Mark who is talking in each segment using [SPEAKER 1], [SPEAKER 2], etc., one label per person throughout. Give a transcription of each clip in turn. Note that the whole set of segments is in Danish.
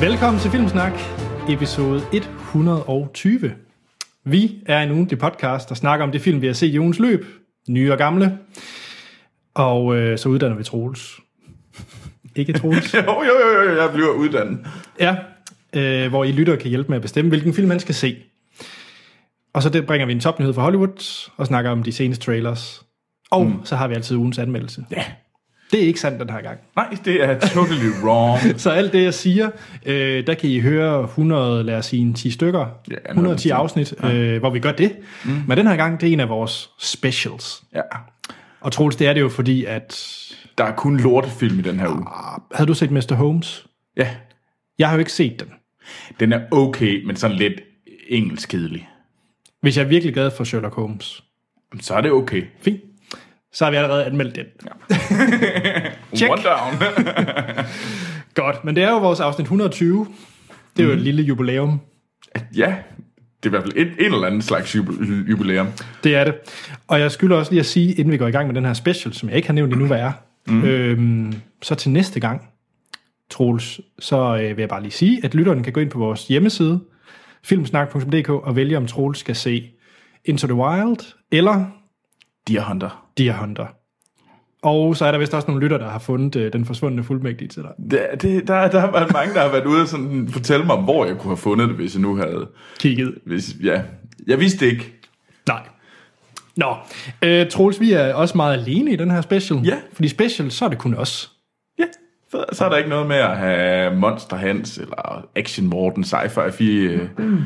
[SPEAKER 1] Velkommen til Filmsnak, episode 120. Vi er en ugentlig podcast, der snakker om det film, vi har set i ugens løb, nye og gamle. Og øh, så uddanner vi Troels. Ikke Troels.
[SPEAKER 2] Jo, jo, jo, jo, jeg bliver uddannet.
[SPEAKER 1] Ja, øh, hvor I lytter kan hjælpe med at bestemme, hvilken film man skal se. Og så det bringer vi en topnyhed fra Hollywood og snakker om de seneste trailers. Og mm. så har vi altid ugens anmeldelse.
[SPEAKER 2] Ja.
[SPEAKER 1] Det er ikke sandt den her gang.
[SPEAKER 2] Nej, det er totally wrong.
[SPEAKER 1] Så alt det, jeg siger, øh, der kan I høre 100, lad os sige, en 10 stykker,
[SPEAKER 2] Ja, noget
[SPEAKER 1] 110
[SPEAKER 2] af den
[SPEAKER 1] afsnit, øh, hvor vi gør det. Mm. Men den her gang, det er en af vores specials.
[SPEAKER 2] Ja.
[SPEAKER 1] Og Troels, det er det jo fordi, at... ah,
[SPEAKER 2] Der er kun lortefilm i den her uge.
[SPEAKER 1] Havde du set Mr. Holmes?
[SPEAKER 2] Ja.
[SPEAKER 1] Jeg har jo ikke set den.
[SPEAKER 2] Den er okay, men sådan lidt engelsk kedelig.
[SPEAKER 1] Hvis jeg er virkelig glad for Sherlock Holmes.
[SPEAKER 2] Så er det okay.
[SPEAKER 1] Fint. Så har vi allerede anmeldt den. Check.
[SPEAKER 2] One down.
[SPEAKER 1] Godt, men det er jo vores afsnit 120. Det er
[SPEAKER 2] Mm.
[SPEAKER 1] jo et lille jubilæum.
[SPEAKER 2] ja, det er i hvert fald en, en eller anden slags jubel- jubilæum.
[SPEAKER 1] Det er det. Og jeg skylder også lige at sige, inden vi går i gang med den her special, som jeg ikke har nævnt endnu, hvad er. Mm. Øhm, så til næste gang, Troels, så øh, vil jeg bare lige sige, at lytterne kan gå ind på vores hjemmeside, filmsnak.dk, og vælge, om Troels skal se Into the Wild eller
[SPEAKER 2] Deer Hunter.
[SPEAKER 1] Deer Hunter. Og så er der vist også nogle lytter, der har fundet øh, den forsvundne fuldmægtige til dig.
[SPEAKER 2] Der, det, der, der har været mange, der har været ude og sådan fortælle mig, hvor jeg kunne have fundet det, hvis jeg nu havde...
[SPEAKER 1] Kigget.
[SPEAKER 2] Hvis, ja, jeg vidste det ikke.
[SPEAKER 1] Nej. Nå, øh, Troels, vi er også meget alene i den her special.
[SPEAKER 2] Ja.
[SPEAKER 1] Fordi special, så er det kun os.
[SPEAKER 2] Ja, så, så er der ikke noget med at have Monster Hans, eller Action Morten, Sci-Fi 4... Mm.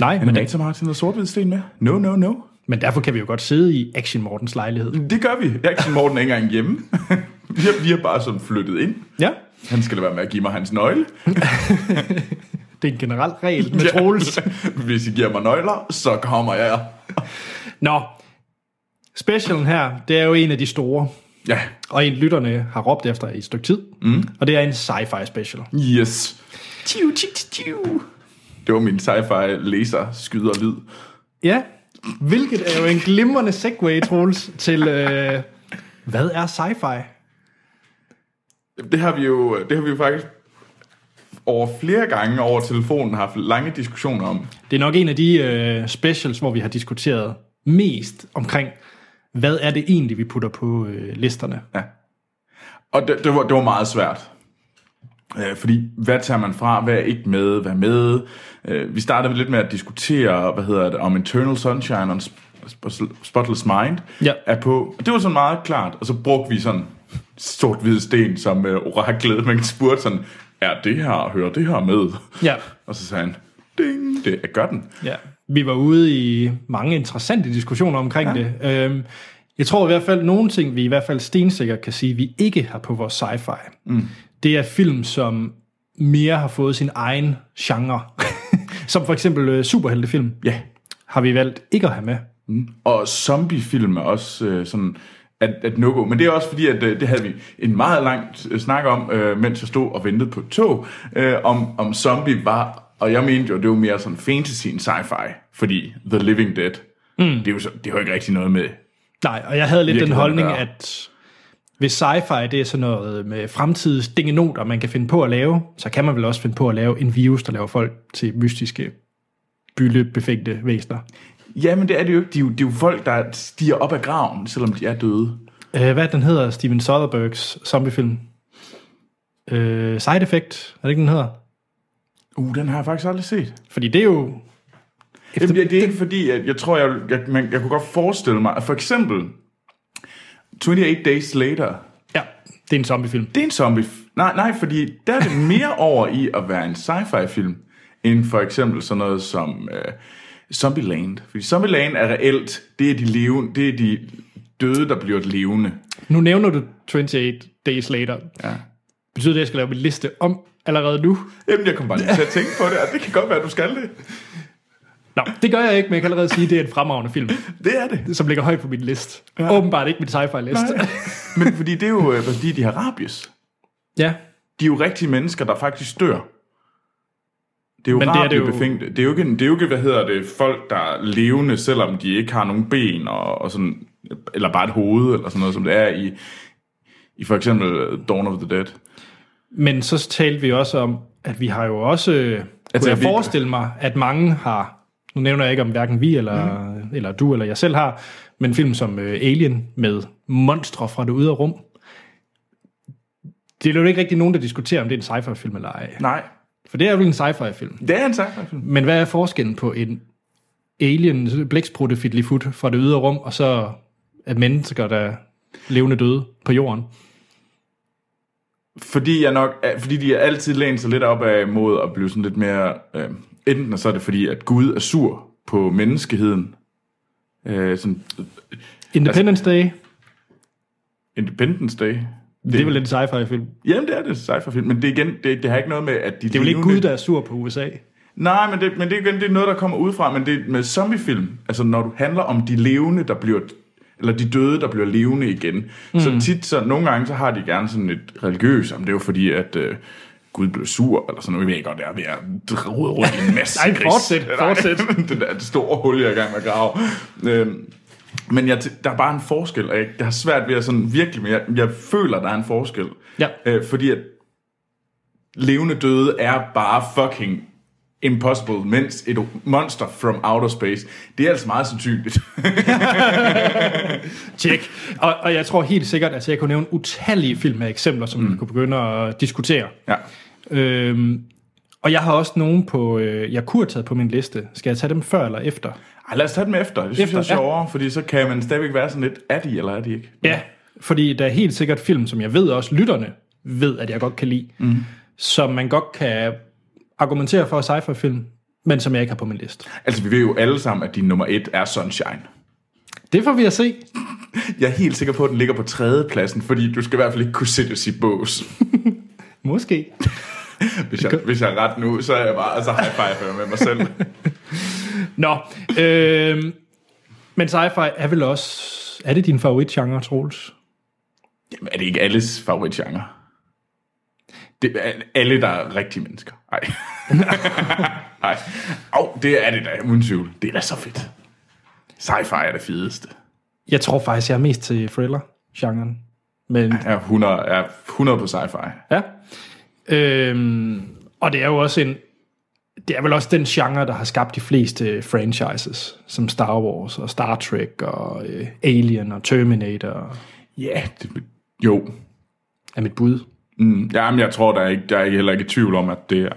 [SPEAKER 1] Nej, men,
[SPEAKER 2] Men
[SPEAKER 1] der,
[SPEAKER 2] ikke så meget til noget sort sten med. No, no, no.
[SPEAKER 1] men derfor kan vi jo godt sidde i Action Mortens lejlighed.
[SPEAKER 2] Det gør vi. Jeg er ikke Morten er ikke engang hjemme. vi, har, vi har bare sådan flyttet ind.
[SPEAKER 1] Ja,
[SPEAKER 2] Han skal lade være med at give mig hans nøgle.
[SPEAKER 1] det er en generel regel med Troels.
[SPEAKER 2] Hvis I giver mig nøgler, så kommer jeg.
[SPEAKER 1] Nå, specialen her, det er jo en af de store,
[SPEAKER 2] Ja,
[SPEAKER 1] og en lytterne har råbt efter i et stykke tid, mm. og det er en sci-fi special.
[SPEAKER 2] yes. Tiu, tiu, tiu, tiu. Det var min sci-fi laser skyder lyd.
[SPEAKER 1] Ja, hvilket er jo en glimrende segue, Troels, til øh, hvad er sci-fi?
[SPEAKER 2] Det har vi jo det har vi jo faktisk over flere gange over telefonen haft lange diskussioner om.
[SPEAKER 1] Det er nok en af de øh, specials, hvor vi har diskuteret mest omkring, hvad er det egentlig, vi putter på øh, listerne.
[SPEAKER 2] Og det, det, var, det var meget svært. Øh, fordi, hvad tager man fra? Hvad er ikke med? Hvad er med? Øh, vi startede lidt med at diskutere, hvad hedder det, om Internal Sunshine og Spotless Mind
[SPEAKER 1] Ja.
[SPEAKER 2] er på. Og Det var sådan meget klart. Og så brugte vi sådan sort-hvid sten som øh, oraklet. Man spurgte sådan, er det her, hører det her med?
[SPEAKER 1] Ja.
[SPEAKER 2] Og så sagde han, ding, det er gør den.
[SPEAKER 1] Ja, vi var ude i mange interessante diskussioner omkring ja. det. Øhm, jeg tror i hvert fald, nogle ting, vi i hvert fald stensikkert kan sige, vi ikke har på vores sci-fi, mm. det er film, som mere har fået sin egen genre. som for eksempel øh, superheltefilm
[SPEAKER 2] Ja. Yeah.
[SPEAKER 1] har vi valgt ikke at have med.
[SPEAKER 2] Og zombiefilm er også øh, sådan at, at no-go. Men det er også fordi, at øh, det havde vi en meget lang øh, snak om, øh, mens jeg stod og ventede på et tog, øh, om, om zombie var, og jeg mente jo, det var mere sådan fantasy end sci-fi, fordi The Living Dead, mm. det, er jo så, det har jo ikke rigtig noget med.
[SPEAKER 1] Nej, og jeg havde lidt den
[SPEAKER 2] Virkelig,
[SPEAKER 1] holdning,
[SPEAKER 2] ja.
[SPEAKER 1] at hvis sci-fi det er sådan noget med fremtidens dingenoter, man kan finde på at lave, så kan man vel også finde på at lave en virus, der laver folk til mystiske, byllebefængte væsener.
[SPEAKER 2] Ja, men det er det jo ikke. De, er jo- det er jo folk, der stiger op af graven, selvom de er døde.
[SPEAKER 1] Øh, hvad er den hedder, Steven Soderberghs zombiefilm? Øh, Side Effect, er det ikke, den hedder?
[SPEAKER 2] Uh, den har jeg faktisk aldrig set.
[SPEAKER 1] Fordi det er jo...
[SPEAKER 2] Jamen, det, det er ikke fordi, at jeg tror, jeg, jeg, man, jeg kunne godt forestille mig, at for eksempel 28 Days Later,
[SPEAKER 1] Ja, det er en zombiefilm.
[SPEAKER 2] Det er en zombie... Nej, nej, fordi der er det mere over i at være en sci-fi film, end for eksempel sådan noget som øh, Zombieland. Fordi Zombieland er reelt, det er, de levende, det er de døde, der bliver levende.
[SPEAKER 1] Nu nævner du 28 Days Later.
[SPEAKER 2] Ja.
[SPEAKER 1] Betyder det, at jeg skal lave min liste om allerede nu?
[SPEAKER 2] Jamen, jeg kom bare lige til at tænke på det, og det kan godt være, at du skal det.
[SPEAKER 1] Nå, det gør jeg ikke, men jeg kan allerede sige, at det er en fremragende film,
[SPEAKER 2] Det er det.
[SPEAKER 1] som ligger højt på min liste. Ja. Åbenbart ikke min sci-fi liste.
[SPEAKER 2] Nej. Men fordi det er jo, øh, fordi de har rabies.
[SPEAKER 1] Ja,
[SPEAKER 2] De er jo rigtige mennesker, der faktisk dør. Det er jo
[SPEAKER 1] Men det er det jo-
[SPEAKER 2] rabiebefængte. Det er jo ikke, en- det er jo ikke, hvad hedder det, folk, der er levende, selvom de ikke har nogen ben, og, og sådan, eller bare et hoved, eller sådan noget, som det er i, i for eksempel øh, Dawn of the Dead.
[SPEAKER 1] men så talte vi også om, at vi har jo også, øh, kunne
[SPEAKER 2] Altså,
[SPEAKER 1] jeg
[SPEAKER 2] vi-
[SPEAKER 1] forestille mig, at mange har, nu nævner jeg ikke om hverken vi eller, mm. eller du eller jeg selv har, men film som øh, Alien med monstre fra det ydre rum. Det er jo ikke rigtig nogen, der diskuterer, om det er en sci-fi-film eller ej.
[SPEAKER 2] Nej,
[SPEAKER 1] For det er jo en sci-fi-film.
[SPEAKER 2] det er en sci-fi-film.
[SPEAKER 1] Men hvad er forskellen på en alien blæksprutte fiddly foot fra det ydre rum, og så at mennesker, der er levende døde på jorden?
[SPEAKER 2] Fordi, jeg nok, er- fordi de altid lænet sig lidt op af mod at blive sådan lidt mere... Øh, enten så er det fordi, at Gud er sur på menneskeheden. Øh, sådan
[SPEAKER 1] Independence Day, Altså, det,
[SPEAKER 2] Independence Day. Det,
[SPEAKER 1] det er vel en sci-fi-film.
[SPEAKER 2] Jamen, det er det sci-fi-film, men det, er igen, det, det har ikke noget med, at de...
[SPEAKER 1] Det er vel ikke Gud, der er sur på USA?
[SPEAKER 2] Nej, men det, men det, er igen, det er noget, der kommer udefra, men det er med zombiefilm. Altså, når du handler om de levende, der bliver eller de døde, der bliver levende igen. Mm. Så tit, så nogle gange, så har de gerne sådan et religiøst, om det er jo fordi, at øh, Gud blev sur, eller sådan noget. Vi ved godt, det er ved at rode rundt i en masse
[SPEAKER 1] Nej, fortsæt,
[SPEAKER 2] gris.
[SPEAKER 1] fortsæt.
[SPEAKER 2] Nej, det der store hul, jeg er i gang med at grave. Øhm, men jeg, t- der er bare en forskel, og jeg, jeg har svært ved at sådan virkelig, men jeg, jeg føler, der er en forskel.
[SPEAKER 1] Ja.
[SPEAKER 2] Øh, fordi at levende døde er bare fucking impossible, mens et monster from outer space, det er altså meget sandsynligt.
[SPEAKER 1] Tjek. Og, og jeg tror helt sikkert, at altså, jeg kunne nævne utallige film med eksempler, som mm. vi kunne begynde at diskutere.
[SPEAKER 2] ja.
[SPEAKER 1] Øhm, og jeg har også nogen på, øh, jeg kunne have taget på min liste. Skal jeg tage dem før eller efter?
[SPEAKER 2] Ej, lad os tage dem efter. Det synes
[SPEAKER 1] Efter,
[SPEAKER 2] efter, jeg er
[SPEAKER 1] ja.
[SPEAKER 2] sjovere, fordi så kan man stadigvæk være sådan lidt, er de eller er de ikke?
[SPEAKER 1] Ja, fordi der er helt sikkert film, som jeg ved også lytterne ved, at jeg godt kan lide, mm. som man godt kan argumentere for sci-fi-film, men som jeg ikke har på min liste.
[SPEAKER 2] Altså, vi ved jo alle sammen, at din nummer et er Sunshine.
[SPEAKER 1] Det får vi at se.
[SPEAKER 2] Jeg er helt sikker på, at den ligger på tredje pladsen, fordi du skal i hvert fald ikke kunne sætte os i bås.
[SPEAKER 1] Måske.
[SPEAKER 2] Hvis jeg, hvis jeg er ret nu, så er jeg bare, altså high five med mig selv.
[SPEAKER 1] Nå, øh, men sci-fi er vel også... Er det din favoritgenre, Troels?
[SPEAKER 2] Jamen, er det ikke alles favoritgenre? Det er alle, der er rigtige mennesker. Nej. Nej. Au, det er det da, uden tvivl. Det er da så fedt. Sci-fi er det fedeste.
[SPEAKER 1] Jeg tror faktisk, jeg er mest til thriller-genren. Men
[SPEAKER 2] Jeg er 100, jeg er 100 på sci-fi.
[SPEAKER 1] ja. Øhm, og det er jo også en... Det er vel også den genre, der har skabt de fleste franchises, som Star Wars og Star Trek og øh, Alien og Terminator,
[SPEAKER 2] Ja, det, jo.
[SPEAKER 1] er mit bud.
[SPEAKER 2] Mm, jamen, jeg tror, der er, ikke, der er heller ikke i tvivl om, at det er,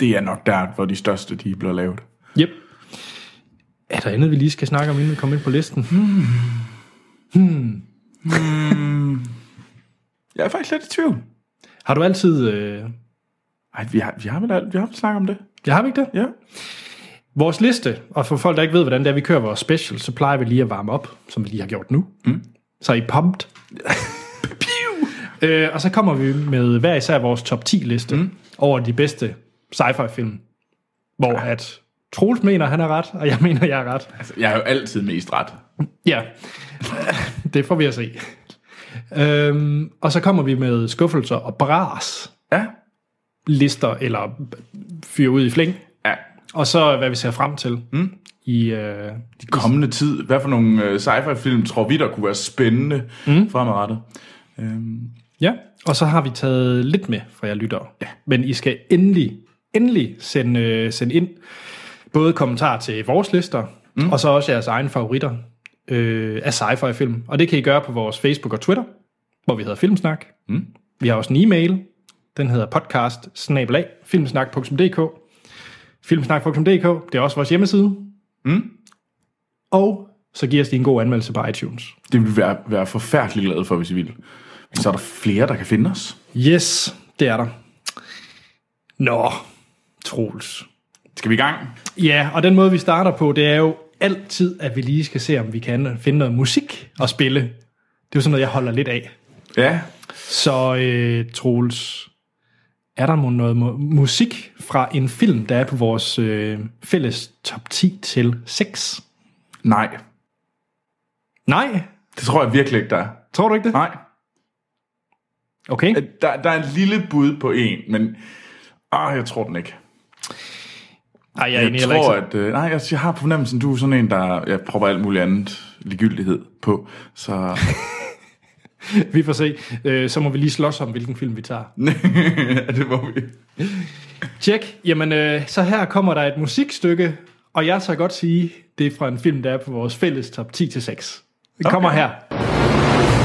[SPEAKER 2] det er nok der, hvor de største de bliver lavet.
[SPEAKER 1] Yep. Er der andet, vi lige skal snakke om, inden vi kommer ind på listen? Hmm.
[SPEAKER 2] Jeg er faktisk lidt i tvivl.
[SPEAKER 1] Har du altid... Øh...
[SPEAKER 2] Ej, vi har, vi har, vel, vi har vel snakket om det.
[SPEAKER 1] Jeg har vi ikke det?
[SPEAKER 2] Ja.
[SPEAKER 1] Vores liste, og for folk, der ikke ved, hvordan det er, vi kører vores special, så plejer vi lige at varme op, som vi lige har gjort nu. Mm. Så er I pumped. øh, og så kommer vi med hver især vores top 10 liste mm. over de bedste sci-fi film. Hvor at Troels mener, han er ret, og jeg mener, jeg er ret.
[SPEAKER 2] Altså, jeg har jo altid mest ret.
[SPEAKER 1] Ja, det får vi at se. Øhm, og så kommer vi med skuffelser og bras
[SPEAKER 2] Ja.
[SPEAKER 1] lister, eller fyre ud i flæng.
[SPEAKER 2] Ja,
[SPEAKER 1] Og så hvad vi ser frem til mm. i, øh,
[SPEAKER 2] kommende tid. Hvad for nogle øh, sci-fi-film tror vi, der kunne være spændende mm. fremadrettet? Øhm,
[SPEAKER 1] Ja, og så har vi taget lidt med fra jer lyttere. Ja. Men I skal endelig, endelig sende, øh, sende ind både kommentarer til vores lister, mm. og så også jeres egne favoritter øh, af sci-fi-film. Og det kan I gøre på vores Facebook og Twitter, hvor vi hedder Filmsnak. Mm. Vi har også en e-mail. Den hedder podcast filmsnak.dk Filmsnak.dk, det er også vores hjemmeside. Mm. Og så giv os lige en god anmeldelse på iTunes.
[SPEAKER 2] det vil vi være, være forfærdeligt glade for, hvis I vil. Men så er der flere, der kan finde os.
[SPEAKER 1] Yes, det er der. Nå, Troels.
[SPEAKER 2] Skal vi i gang?
[SPEAKER 1] Ja, og den måde, vi starter på, det er jo altid, at vi lige skal se, om vi kan finde noget musik at spille. Det er jo sådan noget, jeg holder lidt af.
[SPEAKER 2] Ja.
[SPEAKER 1] Så øh, Troels, er der mon noget mu- musik fra en film, der er på vores øh, fælles top 10 til 6?
[SPEAKER 2] Nej.
[SPEAKER 1] Nej,
[SPEAKER 2] Det tror jeg virkelig ikke, der er.
[SPEAKER 1] tror du ikke det?
[SPEAKER 2] Nej.
[SPEAKER 1] Okay.
[SPEAKER 2] Øh, Der, der er en lille bud på en, men ah, jeg tror den ikke.
[SPEAKER 1] Ej, jeg er
[SPEAKER 2] Jeg
[SPEAKER 1] egentlig heller
[SPEAKER 2] tror,
[SPEAKER 1] ikke.
[SPEAKER 2] at... Øh, nej, jeg, jeg har på fornemmelsen, du er sådan en, der jeg propper alt muligt andet ligegyldighed på. Så
[SPEAKER 1] vi får se. Øh, så må vi lige slås om, hvilken film vi tager.
[SPEAKER 2] ja, det må vi.
[SPEAKER 1] Tjek. Jamen, øh, så her kommer der et musikstykke, og jeg så godt sige, det er fra en film, der er på vores fælles top 10-6. Det kommer
[SPEAKER 2] Okay.
[SPEAKER 1] her.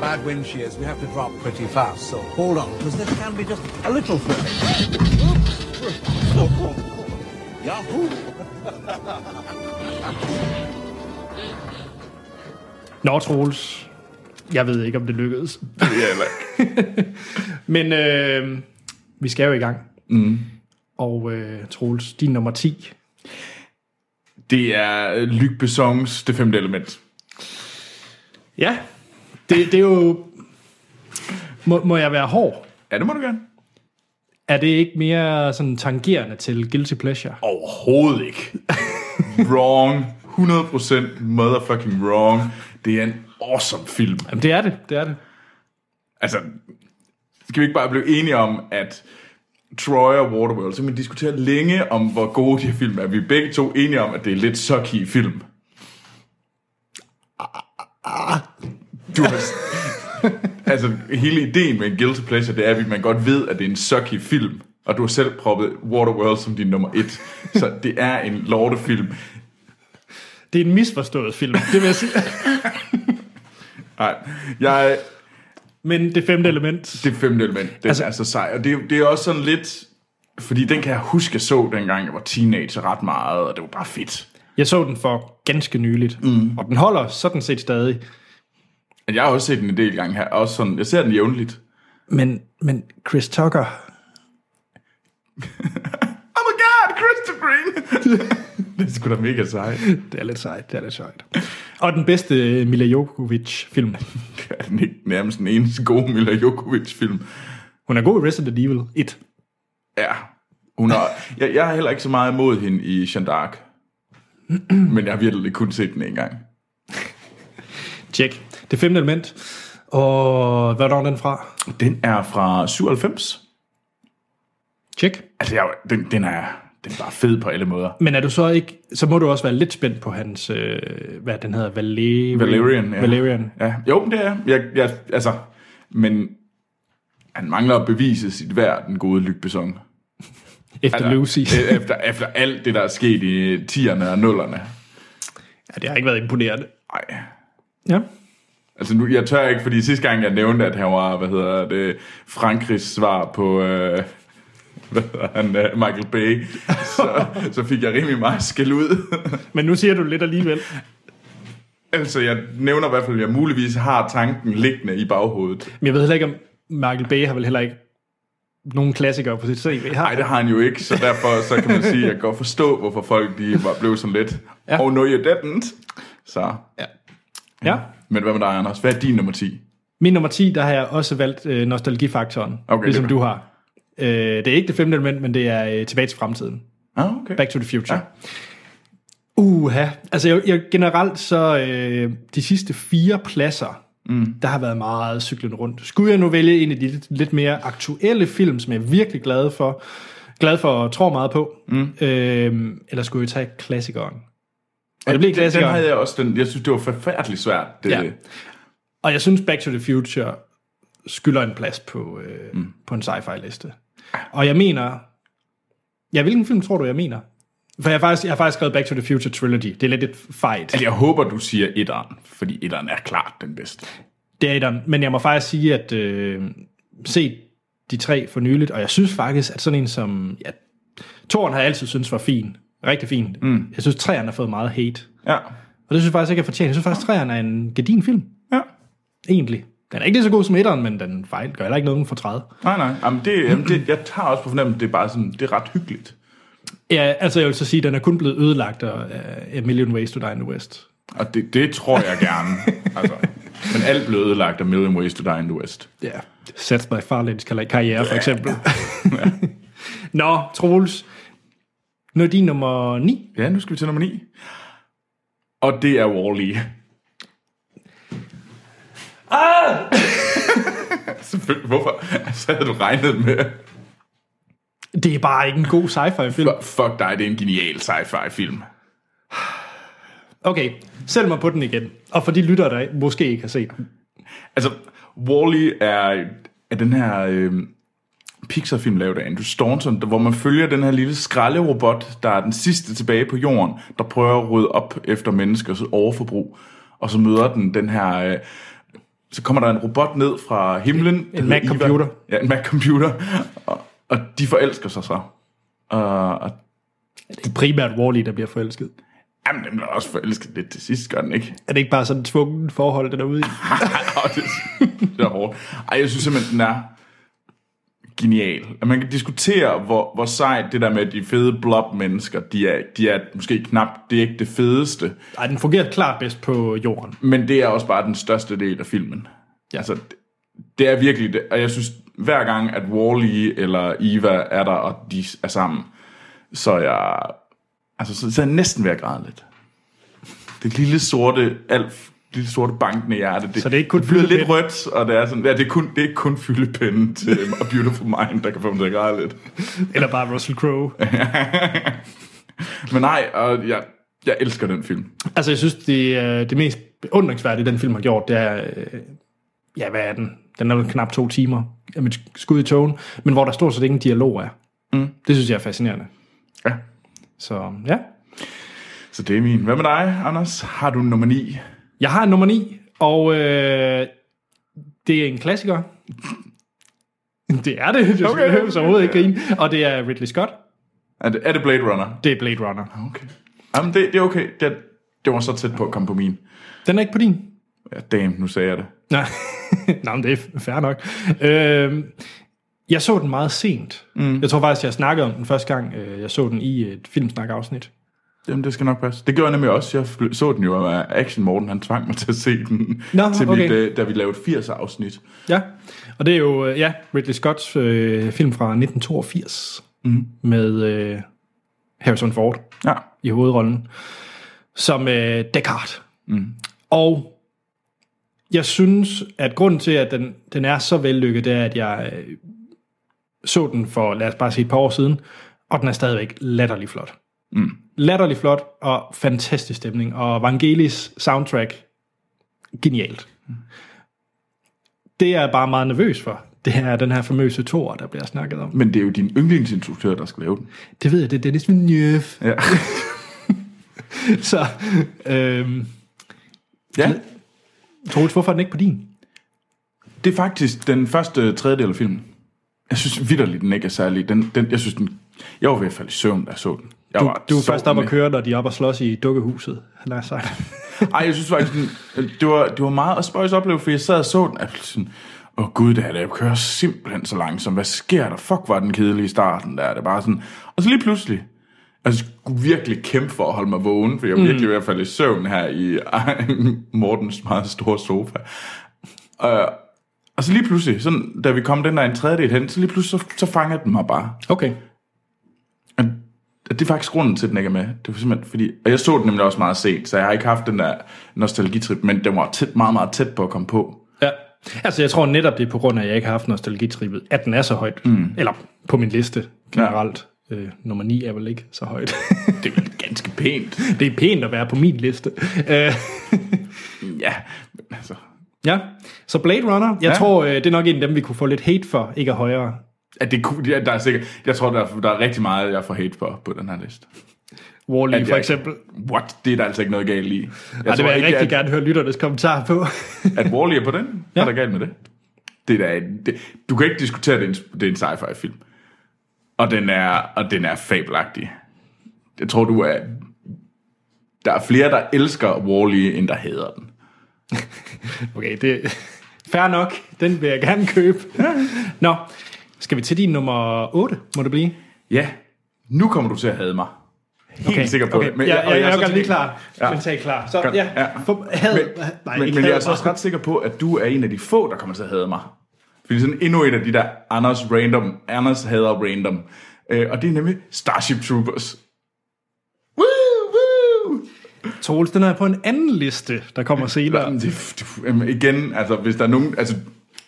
[SPEAKER 3] Bad wind she is. We have to drop pretty fast, so hold on, because this can be just a little thing. Yahoo!
[SPEAKER 1] Nå, Troels. Jeg ved ikke, om det lykkedes.
[SPEAKER 2] Ja, eller,
[SPEAKER 1] Men øh, vi skal jo i gang. Mm. Og øh, Troels, din nummer 10.
[SPEAKER 2] det er Luc Besson's Det femte element.
[SPEAKER 1] Ja, det, det er jo... Må, må jeg være hård?
[SPEAKER 2] Ja, det må du gerne.
[SPEAKER 1] Er det ikke mere sådan tangerende til Guilty Pleasure?
[SPEAKER 2] Overhovedet ikke. wrong. 100% motherfucking wrong. Det er en awesome film.
[SPEAKER 1] Jamen, det er det, det er det.
[SPEAKER 2] Altså, skal vi ikke bare blive enige om, at Troy og Waterworld, så kan man diskutere længe om, hvor gode de her film er. Vi er begge to enige om, at det er lidt sucky film. Du har... altså, hele ideen med en guilty pleasure, det er, at man godt ved, at det er en sucky film. Og du har selv proppet Waterworld som din nummer et. Så det er en lortefilm.
[SPEAKER 1] Det er en misforstået film, det vil jeg sige.
[SPEAKER 2] Nej, jeg,
[SPEAKER 1] Men det femte element.
[SPEAKER 2] Det femte element, den
[SPEAKER 1] Altså-
[SPEAKER 2] altså, er så sej. Og det, er jo- det er også sådan lidt... Fordi den kan jeg huske, jeg så dengang, jeg var teenager ret meget, og det var bare fedt.
[SPEAKER 1] Jeg så den for ganske nyligt, mm. og den holder sådan set stadig.
[SPEAKER 2] Men Jeg har også set den en del gange her. Også sådan, jeg ser den jævnligt.
[SPEAKER 1] Men, men Chris Tucker,
[SPEAKER 2] Oh my god, Crystal Green! det er sgu da mega sej.
[SPEAKER 1] det er lidt sejt, det er lidt sejt. Og den bedste øh, Mila Jokovic-film.
[SPEAKER 2] Det er den ikke nærmest den eneste gode Mila Jokovic-film.
[SPEAKER 1] Hun er god i Resident Evil 1.
[SPEAKER 2] Ja, hun er, jeg, jeg er heller ikke så meget imod hende i Jeanne d'Arc. Men jeg har virkelig kun set den en gang.
[SPEAKER 1] Tjek. Det femte element. Og hvad er den fra?
[SPEAKER 2] Den er fra 97.
[SPEAKER 1] Tjek.
[SPEAKER 2] Altså, jeg, den, den, er, den er bare fed på alle måder.
[SPEAKER 1] Men er du så ikke, så må du også være lidt spændt på hans, øh, hvad den hedder, Valerian.
[SPEAKER 2] Valerian, ja.
[SPEAKER 1] Valerian.
[SPEAKER 2] Ja, jo, det er jeg. jeg altså, men han mangler at bevise sit værd, den gode Luc Besson.
[SPEAKER 1] Efter Lucy.
[SPEAKER 2] Øh, efter, efter alt det, der er sket i 10'erne og 0'erne.
[SPEAKER 1] Ja, det har ikke været imponerende.
[SPEAKER 2] Nej.
[SPEAKER 1] Ja.
[SPEAKER 2] Altså nu, jeg tør ikke, fordi sidste gang jeg nævnte, at han var, hvad hedder det, Frankrigs svar på, øh, hvad hedder han, øh, Michael Bay, så, så fik jeg rimelig meget skæld ud.
[SPEAKER 1] Men nu siger du lidt alligevel.
[SPEAKER 2] altså jeg nævner i hvert fald, at jeg muligvis har tanken liggende i baghovedet.
[SPEAKER 1] Men jeg ved heller ikke, om Michael Bay har vel heller ikke nogen klassikere på sit CV. Har.
[SPEAKER 2] Nej, det har han jo ikke, så derfor så kan man sige, at jeg kan godt forstå, hvorfor folk de var, blev sådan lidt,
[SPEAKER 1] Ja.
[SPEAKER 2] ja. oh no you didn't. Så,
[SPEAKER 1] Ja.
[SPEAKER 2] men hvad med dig, Anders? Hvad er din nummer 10?
[SPEAKER 1] Min nummer 10, der har jeg også valgt øh, nostalgifaktoren,
[SPEAKER 2] Okay,
[SPEAKER 1] ligesom
[SPEAKER 2] det er
[SPEAKER 1] du har. Øh, det er ikke det femte element, men det er øh, tilbage til fremtiden.
[SPEAKER 2] Ah, okay.
[SPEAKER 1] Back to the Future. Ja. Uha. Altså jeg, jeg, generelt så øh, de sidste fire pladser, mm. der har været meget cyklen rundt. Skulle jeg nu vælge en af de lidt, lidt mere aktuelle film, som jeg er virkelig glad for, glad for og tror meget på, mm. øh, eller skulle jeg tage klassikeren? Og det blev
[SPEAKER 2] den, den
[SPEAKER 1] klassikeren.
[SPEAKER 2] havde jeg også, den, jeg synes, det var forfærdeligt svært. Det,
[SPEAKER 1] Ja.
[SPEAKER 2] ja.
[SPEAKER 1] Og jeg synes Back to the Future skylder en plads på, øh, mm. på en sci-fi liste. Og jeg mener... Ja, hvilken film tror du, jeg mener? For jeg har faktisk, jeg har faktisk skrevet Back to the Future Trilogy. Det er lidt et fight.
[SPEAKER 2] Altså, Jeg håber, du siger etteren, fordi etteren er klart den bedste.
[SPEAKER 1] Det er etteren. Men jeg må faktisk sige, at øh, se de tre for nyligt, og jeg synes faktisk, at sådan en som... Ja, Toren har jeg altid synes var fin. Rigtig fin. Mm. Jeg synes, træerne har fået meget hate.
[SPEAKER 2] Ja.
[SPEAKER 1] Og det synes jeg faktisk ikke er fortjent. Jeg synes faktisk, træerne er en gedin film.
[SPEAKER 2] ja.
[SPEAKER 1] Egentlig. Den er ikke lige så god som etteren, men den fejl gør heller ikke nogen for 30.
[SPEAKER 2] Nej, nej. Jamen, det, jamen, det, jeg tager også på fornemmelsen, det er bare sådan, det er ret hyggeligt.
[SPEAKER 1] Ja, altså jeg vil så sige, at den er kun blevet ødelagt af øh, A Million Ways to Die in the West.
[SPEAKER 2] Og det, det tror jeg gerne. altså, Men alt blev ødelagt af Million Ways to Die in the West.
[SPEAKER 1] Ja, Seth MacFarlanes kar- karriere for eksempel. Nå, Troels. Nu er din nummer 9.
[SPEAKER 2] Ja, nu skal vi til nummer 9. Og det er Wall-E. Ah! Selvfølgelig, hvorfor? Så havde du regnet med...
[SPEAKER 1] Det er bare ikke en god sci-fi-film.
[SPEAKER 2] Fuck dig, det er en genial sci-fi film.
[SPEAKER 1] Okay, sælg mig på den igen. Og for de lyttere, der måske ikke har set den.
[SPEAKER 2] Altså, Wall-E er, er den her øh, Pixar-film lavet af Andrew Staunton, der, hvor man følger den her lille skralderobot, der er den sidste tilbage på jorden, der prøver at rydde op efter menneskers overforbrug. Og så møder den den her... Øh, så kommer der en robot ned fra himlen. der hedder
[SPEAKER 1] Mac
[SPEAKER 2] Eva.
[SPEAKER 1] computer.
[SPEAKER 2] Ja, en Mac-computer. Og, og de forelsker sig så. Og, og
[SPEAKER 1] Det er primært Wall-E, der bliver forelsket.
[SPEAKER 2] jamen, den bliver også forelsket lidt til sidst, gør den ikke?
[SPEAKER 1] Er det ikke bare sådan et tvunget forhold, den er ude i?
[SPEAKER 2] Åh, det, det er hårdt. Ej, jeg synes simpelthen, den er genial. At man kan diskutere, hvor, hvor sejt det der med de fede blob mennesker, de er, de er måske knap, det er ikke det fedeste,
[SPEAKER 1] Ej, den fungerer klart bedst på jorden.
[SPEAKER 2] men det er også bare den største del af filmen. Ja. Altså, det, det er virkelig det, og jeg synes, hver gang, at Wall-E eller Eva er der, og de er sammen, så er jeg, altså, så, så er jeg næsten ved at græde lidt. Det lille sorte, alt lille sorte bankende hjerte, det,
[SPEAKER 1] Så det er ikke kun
[SPEAKER 2] det bliver lidt
[SPEAKER 1] fyldepind?
[SPEAKER 2] rødt, og det er sådan, ja, det er, kun, det er ikke kun fyldepinden til A Beautiful Mind, der kan få mig til at græde lidt.
[SPEAKER 1] Eller bare Russell Crowe.
[SPEAKER 2] Men nej, og jeg, jeg elsker den film.
[SPEAKER 1] Altså, jeg synes, det, øh, det mest beundringsværdige, den film har gjort, det er... øh, Ja, hvad er den? Den er vel knap to timer af mit skud i togen, men hvor der stort set ingen dialog er. Mm. Det synes jeg er fascinerende.
[SPEAKER 2] Ja,
[SPEAKER 1] Så ja.
[SPEAKER 2] så det er min. Hvad med dig, Anders? Har du nummer 9?
[SPEAKER 1] Jeg har en nummer 9, og øh, det er en klassiker. Det er det. Du
[SPEAKER 2] Okay.
[SPEAKER 1] okay. skal så overhovedet ikke grine. Og det er Ridley Scott.
[SPEAKER 2] Er det, er det Blade Runner?
[SPEAKER 1] Det er Blade Runner.
[SPEAKER 2] Okay. Jamen, det, det er okay. Det, det var så tæt på at komme på min.
[SPEAKER 1] Den er ikke på din.
[SPEAKER 2] Ja, damn, nu sagde jeg det.
[SPEAKER 1] Nej, Nå, men det er fair nok. Øh, jeg så den meget sent. Mm. Jeg tror faktisk, jeg snakkede om den første gang, øh, jeg så den i et filmsnak-afsnit.
[SPEAKER 2] Jamen, det skal nok passe. Det gjorde jeg nemlig også. Jeg fl- så den jo af Action Morten. Han tvang mig til at se den,
[SPEAKER 1] Nå,
[SPEAKER 2] til
[SPEAKER 1] okay.
[SPEAKER 2] mit, øh, da vi lavede 80 afsnit.
[SPEAKER 1] Ja, og det er jo øh, ja, Ridley Scotts øh, film fra 1982 mm. med øh, Harrison Ford
[SPEAKER 2] Ja.
[SPEAKER 1] i hovedrollen som øh, Descartes. Mm. Og jeg synes, at grunden til, at den, den er så vellykket, det er, at jeg øh, så den for, lad os bare sige, et par år siden, og den er stadigvæk latterlig flot. Mm. Latterlig flot og fantastisk stemning, og Vangelis soundtrack, genialt. Det er jeg bare meget nervøs for. Det er den her famøse tor, der bliver snakket om.
[SPEAKER 2] Men det er jo din yndlingsinstruktør, der skal lave den.
[SPEAKER 1] Det ved jeg, det er Dennis Villeneuve.
[SPEAKER 2] Ja.
[SPEAKER 1] Så, øhm,
[SPEAKER 2] ja.
[SPEAKER 1] Troels, hvorfor er den ikke på din?
[SPEAKER 2] Det er faktisk den første tredjedel af filmen. Jeg synes vidderligt, den ikke er særlig. Den, den, jeg synes, den... Jeg var i hvert fald i søvn, da jeg så den. Jeg
[SPEAKER 1] Du,
[SPEAKER 2] var
[SPEAKER 1] du er
[SPEAKER 2] så
[SPEAKER 1] først op
[SPEAKER 2] med.
[SPEAKER 1] at køre, når de er op og slås i dukkehuset. Lad os sige.
[SPEAKER 2] Ej, jeg synes faktisk, den- det var, det var meget at spøjs opleve, for jeg sad og så den, og sådan, åh gud, det her, jeg kører simpelthen så langsomt. Hvad sker der? Fuck, var den kedelige i starten der. Det er bare sådan, og så lige pludselig, Altså, jeg skulle virkelig kæmpe for at holde mig vågen, for jeg var virkelig i hvert fald i søvn her i Mortens meget store sofa. Og, og så lige pludselig, sådan, da vi kom den der en tredjedel hen, så lige pludselig, så, så fanger den mig bare.
[SPEAKER 1] Okay.
[SPEAKER 2] Og det er faktisk grunden til, at den ikke er med. Det var simpelthen fordi... Og jeg så den nemlig også meget sent, så jeg har ikke haft den der nostalgitrip, men den var tæt, meget, meget tæt på at komme på.
[SPEAKER 1] Ja. Altså, jeg tror netop, det er på grund af, at jeg ikke har haft nostalgitrippet, at den er så højt. Mm. Eller på min liste generelt. Ja. Øh, nummer 9 er vel ikke så højt.
[SPEAKER 2] Det er vel ganske pænt.
[SPEAKER 1] det er pænt at være på min liste. Øh,
[SPEAKER 2] Ja, men altså...
[SPEAKER 1] ja. Så Blade Runner, jeg
[SPEAKER 2] Ja.
[SPEAKER 1] ja. tror, øh, det er nok en af dem, vi kunne få lidt hate for, ikke er højere.
[SPEAKER 2] At det, kunne- ja, der er sikkert, jeg tror, der er, der er rigtig meget, jeg får hate på, på den her liste.
[SPEAKER 1] Wall-E for
[SPEAKER 2] jeg-
[SPEAKER 1] eksempel.
[SPEAKER 2] What? Det er der altså ikke noget galt i. Jeg
[SPEAKER 1] Og det vil jeg
[SPEAKER 2] ikke,
[SPEAKER 1] rigtig
[SPEAKER 2] at,
[SPEAKER 1] gerne høre lytternes kommentar på.
[SPEAKER 2] at Wall-E er på den. Ja.
[SPEAKER 1] Ja.
[SPEAKER 2] Er der galt med det? det, er da, en- det du kan ikke diskutere, at det er en, det er en sci-fi film. Og den er, og den er fabelagtig. Jeg tror, du er... Der er flere, der elsker Wall-E, end der hader den.
[SPEAKER 1] Okay, det er fair nok. Den vil jeg gerne købe. Nå, skal vi til din nummer 8, må det blive?
[SPEAKER 2] Ja, nu kommer du til at hade mig. Helt okay. sikker på
[SPEAKER 1] okay.
[SPEAKER 2] det. Men,
[SPEAKER 1] ja, jeg, jeg, jeg,
[SPEAKER 2] er
[SPEAKER 1] jeg,
[SPEAKER 2] så
[SPEAKER 1] jeg er lige
[SPEAKER 2] til-
[SPEAKER 1] klar.
[SPEAKER 2] Ja.
[SPEAKER 1] Ja. Mentalt klar. Så
[SPEAKER 2] Godt.
[SPEAKER 1] ja,
[SPEAKER 2] Ja.
[SPEAKER 1] for, had,
[SPEAKER 2] Men,
[SPEAKER 1] nej,
[SPEAKER 2] men,
[SPEAKER 1] ikke
[SPEAKER 2] men jeg
[SPEAKER 1] had,
[SPEAKER 2] er så også
[SPEAKER 1] bare-
[SPEAKER 2] ret sikker på, at du er en af de få, der kommer til at hade mig. Fordi sådan endnu et af de der Anders random, Anders hader random. Øh, og det er nemlig Starship Troopers. Woo, woo!
[SPEAKER 1] Troels, den er på en anden liste, der kommer senere.
[SPEAKER 2] Jamen, det, det, jamen, igen, altså hvis der er nogen, altså,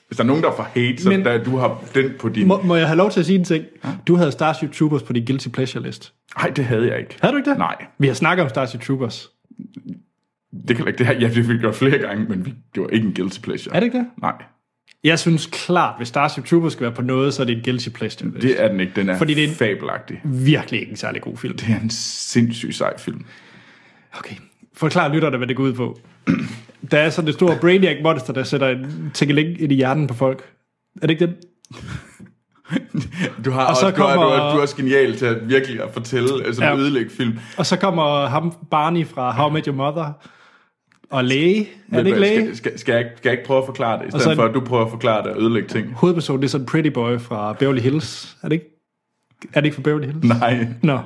[SPEAKER 2] hvis der er nogen, der får hate, så
[SPEAKER 1] Men-
[SPEAKER 2] der, du har den på din...
[SPEAKER 1] Må, må jeg have lov til at sige en ting? Du havde Starship Troopers på din Guilty Pleasure list.
[SPEAKER 2] Nej, det havde jeg ikke.
[SPEAKER 1] Havde du ikke det?
[SPEAKER 2] Nej.
[SPEAKER 1] Vi har snakket om Starship Troopers.
[SPEAKER 2] Det kan jeg ikke. Det her, ja, det fik vi gjort flere gange, men vi gjorde ikke en guilty pleasure.
[SPEAKER 1] Er det ikke det?
[SPEAKER 2] Nej,
[SPEAKER 1] Jeg synes klart, hvis Starship Troopers skal være på noget, så er det en Guilty Pleasure list. Det
[SPEAKER 2] det er den ikke. Den er,
[SPEAKER 1] Fordi det er en-
[SPEAKER 2] fabelagtig.
[SPEAKER 1] er virkelig ikke en særlig god film.
[SPEAKER 2] Det er en sindssygt sej film.
[SPEAKER 1] Okay. Forklar lytterne, hvad det går ud på. Der er sådan det store Brainiac Monster, der sætter en tingeling ind i hjernen på folk. Er det ikke det?
[SPEAKER 2] Du har, og også,
[SPEAKER 1] så
[SPEAKER 2] så kommer... du, er, du, er,
[SPEAKER 1] kommer-
[SPEAKER 2] du er også genial til at virkelig at fortælle, altså ja.
[SPEAKER 1] Ja.
[SPEAKER 2] ødelægge film.
[SPEAKER 1] Og så kommer ham Barney fra How I Met Your Mother og læge. Er det ikke
[SPEAKER 2] skal,
[SPEAKER 1] læge?
[SPEAKER 2] skal, skal, jeg, ikke- skal jeg ikke prøve at forklare det, i stedet
[SPEAKER 1] så en-
[SPEAKER 2] for at du prøver at forklare det og ødelægge ting?
[SPEAKER 1] Hovedpersonen det er sådan Pretty Boy fra Beverly Hills. Er det ikke? Er det ikke fra Beverly Hills?
[SPEAKER 2] Nej.
[SPEAKER 1] Nå.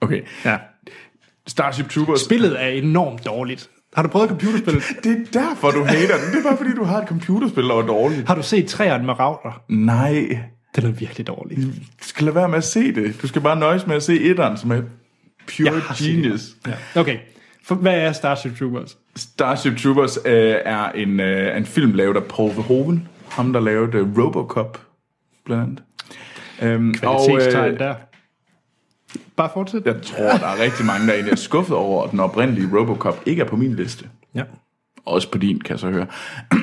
[SPEAKER 2] Okay.
[SPEAKER 1] Ja.
[SPEAKER 2] Starship Troopers.
[SPEAKER 1] Spillet er enormt dårligt. Har du prøvet computerspil?
[SPEAKER 2] Det er derfor, du hater den. Det er bare, fordi du har et computerspil, der var dårligt.
[SPEAKER 1] Har du set træerne med ravner?
[SPEAKER 2] Nej.
[SPEAKER 1] Den er virkelig dårlig.
[SPEAKER 2] Du skal lade være med at se det. Du skal bare nøjes med at se etteren, som er pure
[SPEAKER 1] Jeg har set
[SPEAKER 2] genius.
[SPEAKER 1] Ja. Okay. For, hvad er Starship Troopers?
[SPEAKER 2] Starship Troopers øh, er en, øh, en film lavet af Paul Verhoeven. Ham, der lavede øh, Robocop, blandt andet. Øhm,
[SPEAKER 1] Kvalitetstegn der. Bare fortsæt.
[SPEAKER 2] jeg tror, der er rigtig mange, der egentlig er skuffet over, at den oprindelige Robocop ikke er på min liste.
[SPEAKER 1] Ja.
[SPEAKER 2] Også på din, kan jeg så høre.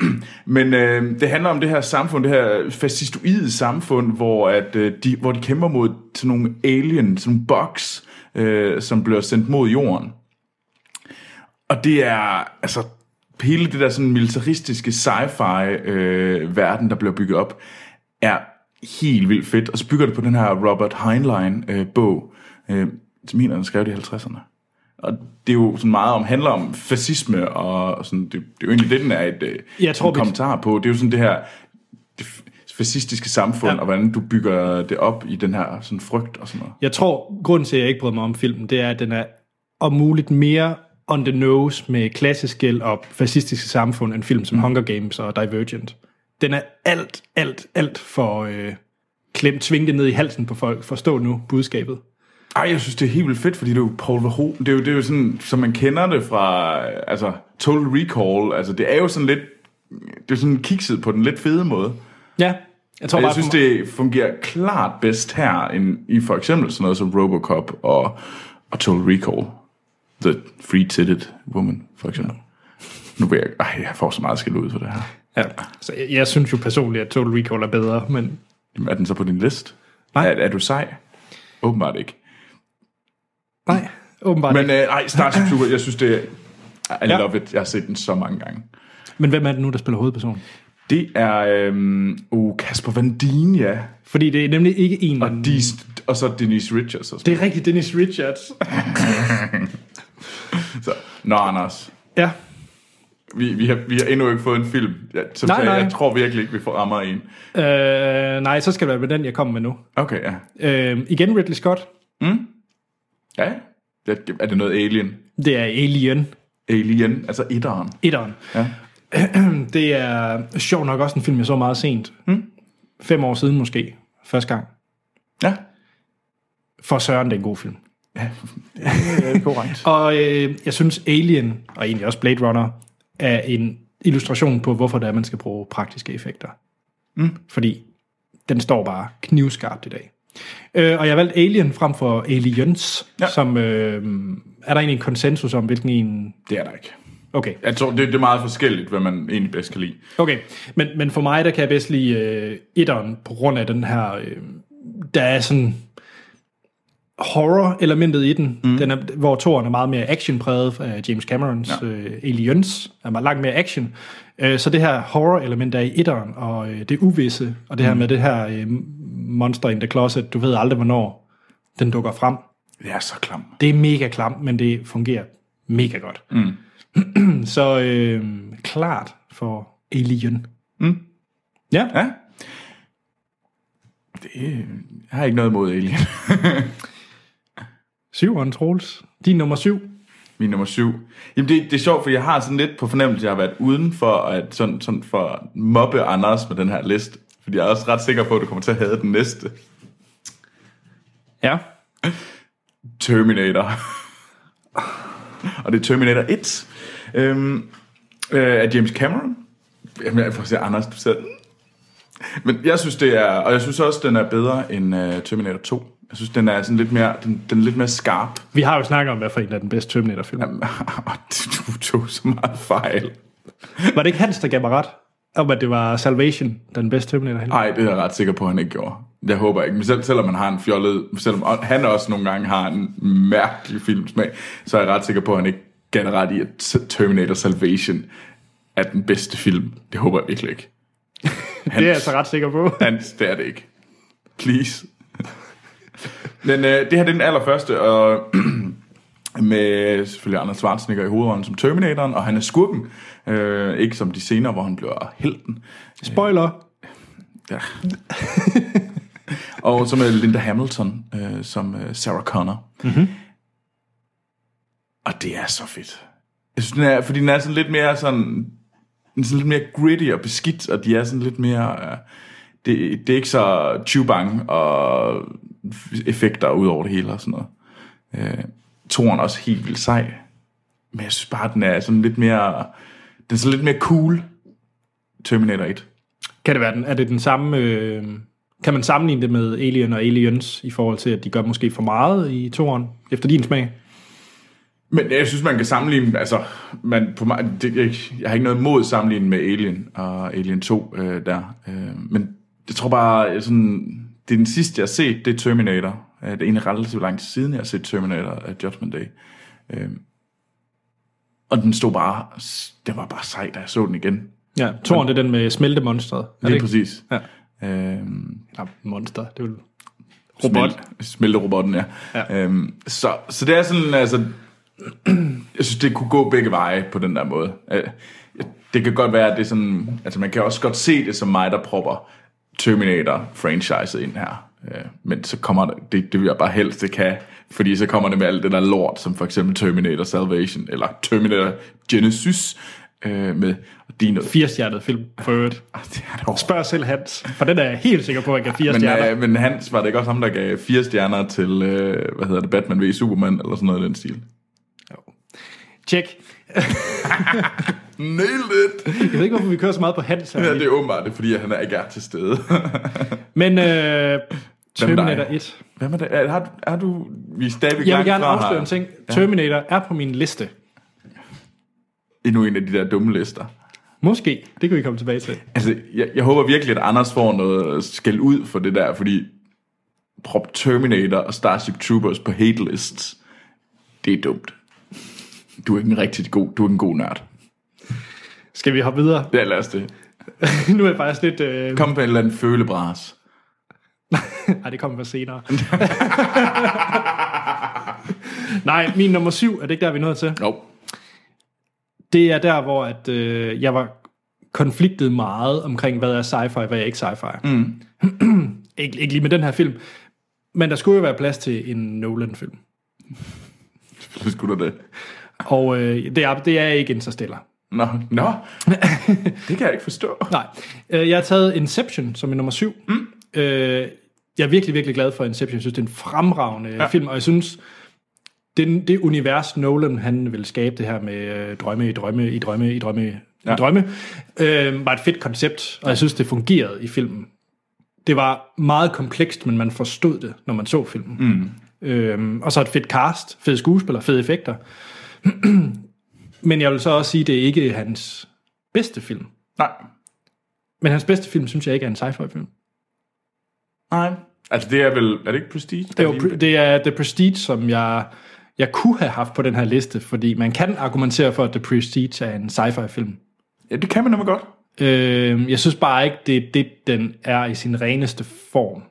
[SPEAKER 2] Men øh, det handler om det her samfund, det her fascistoide samfund, hvor, at, øh, de, hvor de kæmper mod sådan nogle alien, sådan nogle bugs, øh, som bliver sendt mod jorden. Og det er altså hele det der sådan militaristiske sci-fi øh, verden, der bliver bygget op, er helt vildt fedt. Og så bygger det på den her Robert Heinlein øh, bog, øh, som mener, den skrev det i 50'erne. Og det er jo sådan meget om, handler om fascisme, og sådan, det, det er jo egentlig det, den er et øh,
[SPEAKER 1] Jeg tror,
[SPEAKER 2] en
[SPEAKER 1] vi-
[SPEAKER 2] kommentar på. Det er jo sådan det her det f- fascistiske samfund, ja.
[SPEAKER 1] Ja.
[SPEAKER 2] og hvordan du bygger det op i den her sådan frygt og sådan noget.
[SPEAKER 1] Jeg tror, grunden til, at jeg ikke bryder mig om filmen, det er, at den er om muligt mere on the nose med klassisk gæld og fascistiske samfund, end film som Hunger Games og Divergent. Den er alt, alt, alt for øh, klemt, tvinget ned i halsen på folk. Forstå nu budskabet.
[SPEAKER 2] Ej, jeg synes, det er helt vildt fedt, fordi det er jo Paul Verhoeven. Det er jo, det er jo sådan, som man kender det fra øh, altså, Total Recall. Altså, det er jo sådan lidt... Det er sådan kikset på den lidt fede måde.
[SPEAKER 1] Ja, jeg tror
[SPEAKER 2] Og
[SPEAKER 1] bare,
[SPEAKER 2] jeg synes,
[SPEAKER 1] for mig-
[SPEAKER 2] det fungerer klart bedst her, end i for eksempel sådan noget som Robocop og, og Total Recall. The Free-Titted Woman, for eksempel. Nu vil jeg... Ej, jeg får så meget skæld ud for det her.
[SPEAKER 1] ja. Så jeg, jeg synes jo personligt, at Total Recall er bedre, men
[SPEAKER 2] Jamen, er den så på din liste?
[SPEAKER 1] Nej.
[SPEAKER 2] Er, er du sej? Åbenbart ikke.
[SPEAKER 1] nej, åbenbart
[SPEAKER 2] Men øh, ej, Starship Troopers, jeg synes, det er... I
[SPEAKER 1] Ja.
[SPEAKER 2] love it. Jeg har set den så mange gange.
[SPEAKER 1] Men hvem er det nu, der spiller hovedpersonen?
[SPEAKER 2] Det er øhm, oh, Kasper Vandin, ja.
[SPEAKER 1] Fordi det er nemlig ikke en...
[SPEAKER 2] Og, de, og så Denise Richards. Og sådan.
[SPEAKER 1] det er rigtigt Dennis Richards.
[SPEAKER 2] Så, nå, Anders.
[SPEAKER 1] Ja,
[SPEAKER 2] Vi, vi, har, vi har endnu ikke fået en film. Jeg, som
[SPEAKER 1] Nej,
[SPEAKER 2] nej, sagde,
[SPEAKER 1] nej.
[SPEAKER 2] jeg tror virkelig ikke, vi får rammer en.
[SPEAKER 1] øh, nej, så skal det være med den, jeg kommer med nu.
[SPEAKER 2] Okay, ja.
[SPEAKER 1] Øh, igen Ridley Scott.
[SPEAKER 2] Ja, det, er det noget Alien?
[SPEAKER 1] Det er Alien.
[SPEAKER 2] Alien, altså etteren.
[SPEAKER 1] Etteren.
[SPEAKER 2] Ja.
[SPEAKER 1] Det er sjovt nok også en film, jeg så meget sent. Hmm? Fem år siden måske. Første gang.
[SPEAKER 2] Ja,
[SPEAKER 1] For Søren, det er en god film.
[SPEAKER 2] det er korrekt.
[SPEAKER 1] Og øh, jeg synes Alien, og egentlig også Blade Runner, er en illustration på, hvorfor det er, man skal bruge praktiske effekter.
[SPEAKER 2] Hmm?
[SPEAKER 1] Mm. Fordi den står bare knivskarpt i dag. Øh, og jeg valgte Alien frem for Aliens,
[SPEAKER 2] Ja.
[SPEAKER 1] ja. som øh, er der egentlig en konsensus om, hvilken en...
[SPEAKER 2] det er der ikke.
[SPEAKER 1] Okay,
[SPEAKER 2] Jeg tror, det, det er meget forskelligt, hvad man egentlig bedst kan lide.
[SPEAKER 1] Okay, men, men for mig, der kan jeg bedst lide øh, etteren på grund af den her, øh, der er sådan horror-elementet i den, mm. den er, hvor toeren er meget mere actionpræget af James Camerons ja. øh, Aliens, er meget langt mere action. Øh, så det her horror-element, der er i etteren, og øh, det uvisse, og det her med det her øh, monster in the closet, du ved aldrig, hvornår den dukker frem.
[SPEAKER 2] Det er så klam.
[SPEAKER 1] Det er mega klamt, men det fungerer mega godt. Mm. så øh, klart for Alien. Mm. Ja,
[SPEAKER 2] Ja. Det, jeg har ikke noget imod Alien.
[SPEAKER 1] Syveren, Troels. Din nummer syv.
[SPEAKER 2] Min nummer syv. Jamen, det, det er sjovt, for jeg har sådan lidt på fornemmelse, at jeg har været uden for at sådan, sådan for at mobbe Anders med den her liste. Fordi jeg er også ret sikker på, at du kommer til at have den næste.
[SPEAKER 1] Ja.
[SPEAKER 2] Terminator. og det er Terminator 1 øhm, øh, af James Cameron. Jamen, jeg får se, Anders, du sidder... Men jeg synes, det er... Og jeg synes også, den er bedre end øh, Terminator 2. Jeg synes, den er sådan lidt mere, den, den er lidt mere skarp.
[SPEAKER 1] Vi har jo snakket om, hvad for en af den bedste Terminator-film.
[SPEAKER 2] Jamen, og du tog så meget fejl.
[SPEAKER 1] Var det ikke Hans, der gav mig ret? Om, at det var Salvation, der er den bedste Terminator?
[SPEAKER 2] Nej, det er jeg ret sikker på, at han ikke gjorde. Jeg håber ikke. Men selv, selvom man har en fjollet, selvom han også nogle gange har en mærkelig filmsmag, så er jeg ret sikker på, at han ikke gav dig ret i, at Terminator Salvation er den bedste film. Det håber jeg virkelig ikke. Hans,
[SPEAKER 1] Det er jeg altså ret sikker på.
[SPEAKER 2] Hans, det er det ikke. Please. Men øh, det her det er den allerførste, og med selvfølgelig Anders Schwarzenegger i hovedrollen som Terminatoren, og han er skurken. Øh, ikke som de senere, hvor han bliver helten.
[SPEAKER 1] Spoiler.
[SPEAKER 2] Ja. og så med Linda Hamilton øh, som øh, Sarah Connor. Mm-hmm. Og det er så fedt. Jeg synes, den er, fordi den er sådan lidt mere sådan, den er sådan lidt mere gritty og beskidt, og de er sådan lidt mere... Øh, det, det er ikke så chubang og effekter ud over det hele og sådan noget. Øh, toren er også helt vildt sej. Men jeg synes bare, den er sådan lidt mere... Den er sådan lidt mere cool. Terminator 1.
[SPEAKER 1] Kan det være den? Er det den samme... Øh, kan man sammenligne det med Alien og Aliens i forhold til, at de gør måske for meget i toren, efter din smag?
[SPEAKER 2] Men jeg synes, man kan sammenligne, altså, man, på mig, det, jeg, jeg har ikke noget mod sammenligning med Alien og Alien 2 øh, der, øh, men jeg tror bare, jeg sådan, det er den sidste, jeg har set, det er Terminator. Øh, Det er egentlig relativt lang tid siden, jeg har set Terminator af Judgment Day. Øh, og den stod bare, det var bare sej, da jeg så den igen. Lige
[SPEAKER 1] Ja, toren det er den med smeltemonstret. Er det
[SPEAKER 2] det
[SPEAKER 1] ikke?
[SPEAKER 2] præcis.
[SPEAKER 1] Ja.
[SPEAKER 2] Øh,
[SPEAKER 1] Eller monster, det er jo...
[SPEAKER 2] Robot. Smelte robotten, ja. ja. Øhm, så, så det er sådan, altså... jeg synes, det kunne gå begge veje på den der måde. Øh, det kan godt være, at det er sådan... Altså, man kan også godt se det som mig, der propper Terminator-franchiset ind her. Øh, men så kommer det, det, det vil jeg bare helst, det kan. Fordi så kommer det med alt det der lort, som for eksempel Terminator Salvation, eller Terminator Genesis, øh, med... Og de er noget...
[SPEAKER 1] Firestjernet film, for øvrigt.
[SPEAKER 2] Ah, Det er det overhovedet.
[SPEAKER 1] Spørg selv Hans, for den er jeg helt sikker på, at jeg kan fire
[SPEAKER 2] Men,
[SPEAKER 1] stjerner.
[SPEAKER 2] øh, men Hans, var det ikke også ham, der gav fire stjerner til, øh, hvad hedder det, Batman v Superman, eller sådan noget i den stil?
[SPEAKER 1] Tjek.
[SPEAKER 2] Nailed it!
[SPEAKER 1] Jeg ved ikke, hvorfor vi kører så meget på Hans her.
[SPEAKER 2] Ja, det er åbenbart, det er, fordi han er ikke er til stede.
[SPEAKER 1] Men øh, Terminator
[SPEAKER 2] dig?
[SPEAKER 1] 1.
[SPEAKER 2] Hvad med det? Er, har, har du... Vi er stadigvæk
[SPEAKER 1] Jeg vil
[SPEAKER 2] langt
[SPEAKER 1] gerne
[SPEAKER 2] fra
[SPEAKER 1] afsløre
[SPEAKER 2] her.
[SPEAKER 1] en ting. Terminator er på min liste.
[SPEAKER 2] Endnu en af de der dumme lister.
[SPEAKER 1] Måske. Det kan vi komme tilbage til.
[SPEAKER 2] Altså, jeg, jeg håber virkelig, at Anders får noget skæld ud for det der, fordi prop Terminator og Starship Troopers på hate lists, det er dumt. Du er ikke en rigtig god, du er en god nørd.
[SPEAKER 1] Skal vi hoppe videre?
[SPEAKER 2] Ja, lad os det.
[SPEAKER 1] nu er jeg faktisk lidt... Øh...
[SPEAKER 2] Kom på en eller anden følebras.
[SPEAKER 1] Nej, det kommer for senere. Nej, min nummer syv, er det ikke der, vi er nået til?
[SPEAKER 2] Jo.
[SPEAKER 1] Det er der, hvor at, øh, jeg var konfliktet meget omkring, hvad er sci-fi, hvad er ikke sci-fi. Mm. ikke, ikke lige med den her film. Men der skulle jo være plads til en Nolan-film.
[SPEAKER 2] Så skulle du det.
[SPEAKER 1] Og øh, det, er, det er ikke Interstellar.
[SPEAKER 2] Nå, nå. det kan jeg ikke forstå.
[SPEAKER 1] Nej. Øh, Jeg har taget Inception som min nummer syv. Mm. Jeg er virkelig, virkelig glad for Inception. Jeg synes, det er en fremragende ja. film, og jeg synes, det, det univers, Nolan han vil skabe det her med øh, drømme i drømme i drømme i drømme ja. i drømme, øh, var et fedt koncept, og jeg synes, det fungerede i filmen. Det var meget komplekst, men man forstod det, når man så filmen. Mm. Øhm, og så et fedt cast, fede skuespillere, fede effekter. men jeg vil så også sige, det er ikke hans bedste film.
[SPEAKER 2] Nej.
[SPEAKER 1] Men hans bedste film, synes jeg ikke er en sci-fi film.
[SPEAKER 2] Nej. Altså, det er vel... Er det ikke Prestige?
[SPEAKER 1] Det er, jo, det er The Prestige, som jeg, jeg kunne have haft på den her liste, fordi man kan argumentere for, at The Prestige er en sci-fi film.
[SPEAKER 2] Ja, det kan man nemlig godt.
[SPEAKER 1] Øh, jeg synes bare ikke, det er det, den er i sin reneste form.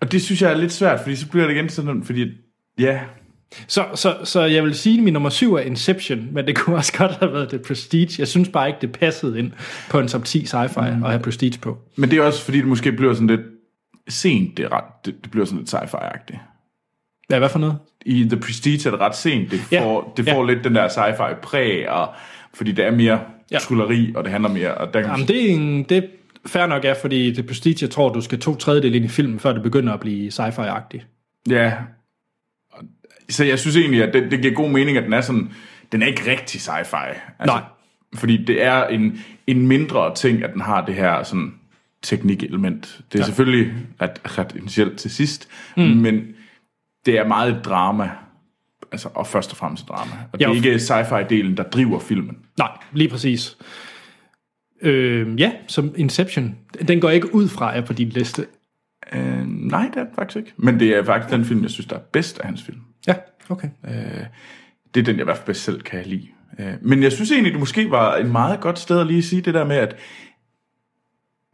[SPEAKER 2] Og det synes jeg er lidt svært, fordi så bliver det igen sådan, fordi... Ja,
[SPEAKER 1] Så, så, så jeg vil sige, at min nummer syv er Inception, men det kunne også godt have været The Prestige. Jeg synes bare ikke, det passede ind på en top 10 sci-fi mm. at have Prestige på.
[SPEAKER 2] men det er også, fordi det måske bliver sådan lidt sent, det, er ret, det, det bliver sådan lidt sci-fi-agtigt.
[SPEAKER 1] Hvad, hvad for noget?
[SPEAKER 2] I The Prestige er det ret sent. Det
[SPEAKER 1] Ja.
[SPEAKER 2] får, det får lidt den der sci-fi præg, og, fordi det er mere
[SPEAKER 1] Ja.
[SPEAKER 2] trulleri, og det handler mere... Og der kan
[SPEAKER 1] Jamen, det er, en, det er fair nok, ja, fordi det prestige, jeg tror, du skal to tredjedel ind i filmen, før det begynder at blive sci-fi-agtigt.
[SPEAKER 2] Ja. Så jeg synes egentlig, at det, det giver god mening, at den er sådan... Den er ikke rigtig sci-fi. Altså,
[SPEAKER 1] Nej.
[SPEAKER 2] Fordi det er en, en mindre ting, at den har det her sådan teknikelement. Det er ja. selvfølgelig ret, ret initielt til sidst, mm. men det er meget et drama. Altså, og først og fremmest et drama. Og det
[SPEAKER 1] Ja,
[SPEAKER 2] er
[SPEAKER 1] og-
[SPEAKER 2] ikke sci-fi-delen, der driver filmen.
[SPEAKER 1] Nej, lige præcis. Øh, ja, som Inception. Den går ikke ud fra jer på din liste.
[SPEAKER 2] Øh, nej, det er det faktisk ikke. Men det er faktisk den film, jeg synes, der er bedst af hans film.
[SPEAKER 1] Ja, okay.
[SPEAKER 2] Det er den, jeg i hvert fald bedst selv kan lide. Øh, Men jeg synes egentlig, det måske var et meget godt sted at lige sige det der med, at,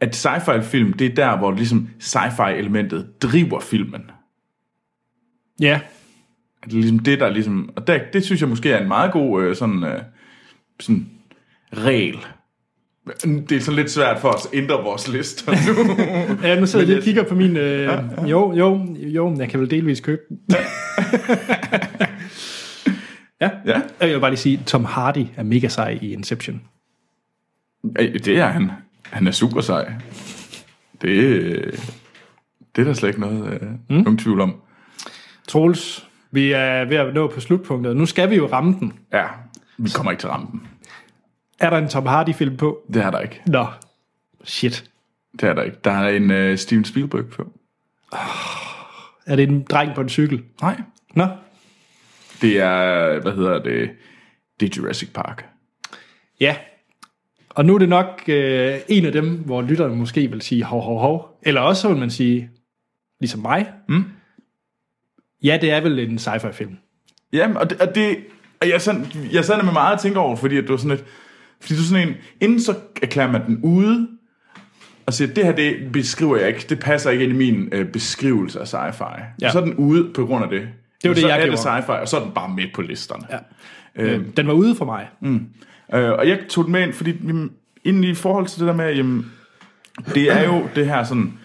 [SPEAKER 2] at sci-fi-film, det er der, hvor ligesom sci-fi-elementet driver filmen.
[SPEAKER 1] Ja,
[SPEAKER 2] At det er ligesom det, der ligesom... Og der, det synes jeg måske er en meget god øh, sådan, øh, sådan regel. Det er sådan lidt svært for os at ændre vores lister nu.
[SPEAKER 1] ja nu sidder jeg lige og
[SPEAKER 2] jeg-
[SPEAKER 1] kigger på min... Øh, ja, ja. Jo, jo, jo, men jeg kan vel delvis købe den. ja.
[SPEAKER 2] ja,
[SPEAKER 1] Jeg vil bare lige sige, Tom Hardy er mega sej i Inception.
[SPEAKER 2] Ej, det er han. Han er super sej. Det, øh, det er der slet ikke noget, øh, mm. nogen tvivl om.
[SPEAKER 1] Troels, vi er ved at nå på slutpunktet. Nu skal vi jo ramme den.
[SPEAKER 2] Ja, vi kommer ikke til rampen.
[SPEAKER 1] Er der en Tom Hardy-film på?
[SPEAKER 2] Det er der ikke.
[SPEAKER 1] Nå, shit.
[SPEAKER 2] Det er der ikke. Der er en øh, Steven Spielberg på.
[SPEAKER 1] Er det en dreng på en cykel?
[SPEAKER 2] Nej.
[SPEAKER 1] Nå,
[SPEAKER 2] Det er, hvad hedder det, det er Jurassic Park.
[SPEAKER 1] ja. Og nu er det nok øh, en af dem, hvor lytterne måske vil sige hov, hov, hov. Eller også så vil man sige, ligesom mig. Mm. Ja, det er vel en sci-fi film.
[SPEAKER 2] Jamen, og det, og det og jeg, sådan, jeg sad med meget at tænke over, fordi at du var sådan lidt, fordi du er sådan en, inden så erklærer man den ude, og siger, det her det beskriver jeg ikke, det passer ikke ind i min øh, beskrivelse af sci-fi.
[SPEAKER 1] Ja.
[SPEAKER 2] Ja. Så er den ude på grund af det.
[SPEAKER 1] Det var det,
[SPEAKER 2] så
[SPEAKER 1] jeg
[SPEAKER 2] er det
[SPEAKER 1] gjorde.
[SPEAKER 2] sci-fi, og så er den bare med på listerne.
[SPEAKER 1] Ja. Øh, den var ude for mig.
[SPEAKER 2] Øh, og jeg tog den med ind, fordi jamen, inden i forhold til det der med, jamen, det er jo det her sådan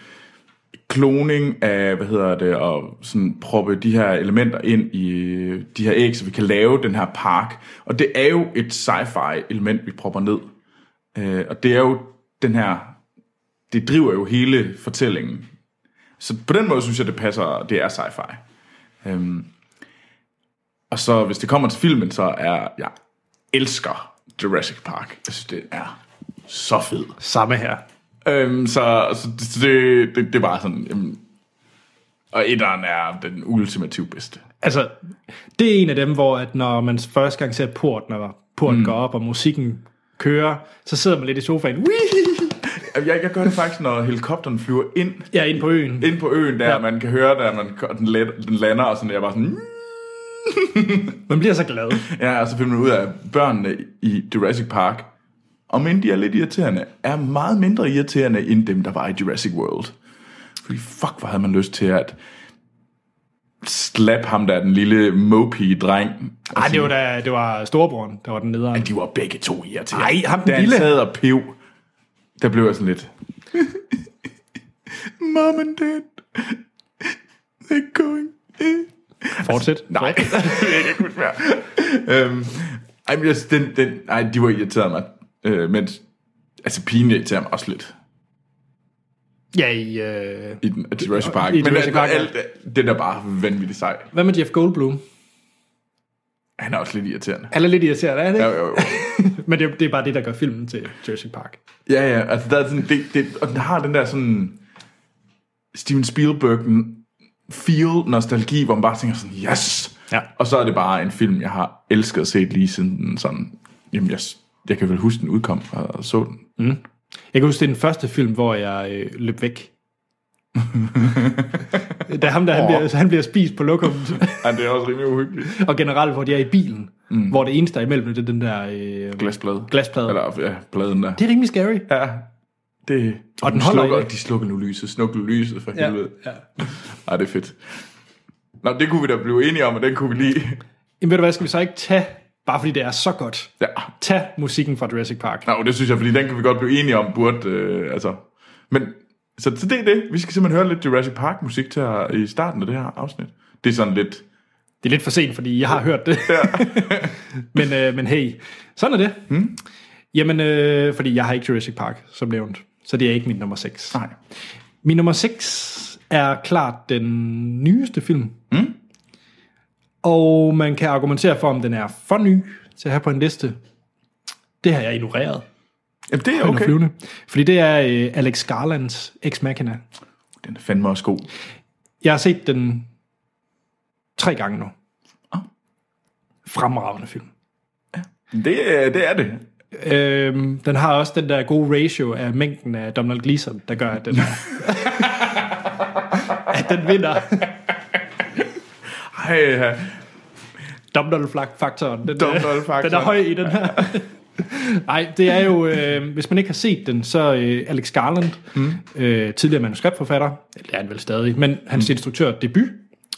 [SPEAKER 2] kloning af, hvad hedder det, og sådan proppe de her elementer ind i de her æg, så vi kan lave den her park. Og det er jo et sci-fi element, vi propper ned. Øh, og det er jo den her, det driver jo hele fortællingen. Så på den måde synes jeg, det passer, det er sci-fi. Øhm, og så hvis det kommer til filmen, så er jeg elsker Jurassic Park. Jeg synes, det er så fed.
[SPEAKER 1] Samme her.
[SPEAKER 2] Øhm, så så det, så det, det, det er bare sådan... Øhm, og etteren er den ultimative bedste.
[SPEAKER 1] Altså, det er en af dem, hvor at når man første gang ser port, når porten mm. går op, og musikken kører, så sidder man lidt i sofaen. Wii!
[SPEAKER 2] Jeg, jeg gør det faktisk, når helikopteren flyver ind,
[SPEAKER 1] Jeg er inde på øen.
[SPEAKER 2] ind på øen, der
[SPEAKER 1] Ja.
[SPEAKER 2] ja. man kan høre, der man, og den, let, den lander, og sådan, jeg er bare sådan... "Mm."
[SPEAKER 1] Man bliver så glad.
[SPEAKER 2] Ja, og så finder man ud af, at børnene i Jurassic Park, om end de er lidt irriterende, er meget mindre irriterende end dem, der var i Jurassic World. Fordi fuck, hvor havde man lyst til at slap ham der, den lille mopey dreng.
[SPEAKER 1] Ej, det var, da, det var storebroren, der var den nederen.
[SPEAKER 2] De var begge to irriterende.
[SPEAKER 1] Ej, ham den
[SPEAKER 2] da han
[SPEAKER 1] lille.
[SPEAKER 2] sad og pev, der blev jeg sådan lidt... Mom and dad, they're going in.
[SPEAKER 1] Fortsæt.
[SPEAKER 2] Nej, det kan jeg ikke huske mere. Øhm, ej, men jeg, den, den, ej, de var irriteret mig. Øh, mens, altså, pigen irriterer mig også lidt
[SPEAKER 1] Ja, i, øh...
[SPEAKER 2] i den, i Jurassic Park.
[SPEAKER 1] I
[SPEAKER 2] men
[SPEAKER 1] Jurassic
[SPEAKER 2] Jurassic
[SPEAKER 1] Park,
[SPEAKER 2] Park,
[SPEAKER 1] ja.
[SPEAKER 2] alt, det den er bare vanvittigt sej.
[SPEAKER 1] Hvad med Jeff Goldblum?
[SPEAKER 2] Han er også lidt irriterende.
[SPEAKER 1] Han er lidt irriterende, er det
[SPEAKER 2] Jo,
[SPEAKER 1] ikke?
[SPEAKER 2] jo, jo.
[SPEAKER 1] Men det, det er bare det, der gør filmen til Jurassic Park.
[SPEAKER 2] Ja, ja, altså, der er sådan, det, det, og den har den der sådan Steven Spielberg feel nostalgi, hvor man bare tænker sådan, yes!
[SPEAKER 1] Ja.
[SPEAKER 2] Og så er det bare en film, jeg har elsket at se lige siden den sådan, jamen, jeg, jeg kan vel huske, den udkom og, og så den.
[SPEAKER 1] Jeg kan huske, det er den første film, hvor jeg øh, løb væk. da ham der, han, bliver, han bliver spist på lokummet.
[SPEAKER 2] Ja, det er også rimelig uhyggeligt.
[SPEAKER 1] og generelt, hvor de er i bilen. Mm. Hvor det eneste, der er imellem, det er den der øh,
[SPEAKER 2] Glasplade.
[SPEAKER 1] glasplade. Eller...
[SPEAKER 2] Eller ja, pladen der.
[SPEAKER 1] Det er rimelig scary.
[SPEAKER 2] Ja, det... Og,
[SPEAKER 1] den
[SPEAKER 2] de
[SPEAKER 1] holder
[SPEAKER 2] slukker,
[SPEAKER 1] ikke.
[SPEAKER 2] De slukker nu lyset. Snukker nu lyset for
[SPEAKER 1] Ja,
[SPEAKER 2] helvede.
[SPEAKER 1] ja.
[SPEAKER 2] Ej, det er fedt. Nå, det kunne vi da blive enige om, og den kunne vi lige...
[SPEAKER 1] Jamen ved du hvad, skal vi så ikke tage, bare fordi det er så godt,
[SPEAKER 2] Ja.
[SPEAKER 1] tage musikken fra Jurassic Park.
[SPEAKER 2] Nå, det synes jeg, fordi den kan vi godt blive enige om, burde... Øh, altså... Men... Så, så det er det. Vi skal simpelthen høre lidt Jurassic Park-musik til, i starten af det her afsnit. Det er sådan lidt...
[SPEAKER 1] Det er lidt for sent, fordi jeg har hørt det. men, øh, men hey, sådan er det.
[SPEAKER 2] Mm.
[SPEAKER 1] Hmm? Jamen, øh, fordi jeg har ikke Jurassic Park, som nævnt. Så det er ikke min nummer 6.
[SPEAKER 2] Nej.
[SPEAKER 1] Min nummer 6 er klart den nyeste film. Mm. Og man kan argumentere for, om den er for ny til at have på en liste. Det har jeg ignoreret.
[SPEAKER 2] Jamen, det er
[SPEAKER 1] Okay.
[SPEAKER 2] okay.
[SPEAKER 1] Flyvende, fordi det er øh, Alex Garlands Ex Machina.
[SPEAKER 2] Den er fandme også god.
[SPEAKER 1] Jeg har set den tre gange nu.
[SPEAKER 2] Ah.
[SPEAKER 1] Fremragende film.
[SPEAKER 2] Det, er- det er det.
[SPEAKER 1] Øhm, den har også den der gode ratio af mængden af Donald Gleeson, der gør, at den, at den vinder.
[SPEAKER 2] Ej, ja.
[SPEAKER 1] Domnall-faktoren. Den, øh,
[SPEAKER 2] Domhnall-faktoren.
[SPEAKER 1] den er høj i den her. Nej, det er jo, øh, hvis man ikke har set den, så øh, Alex Garland, mm. øh, tidligere manuskriptforfatter, eller det er han vel stadig, men hans mm. instruktør debut,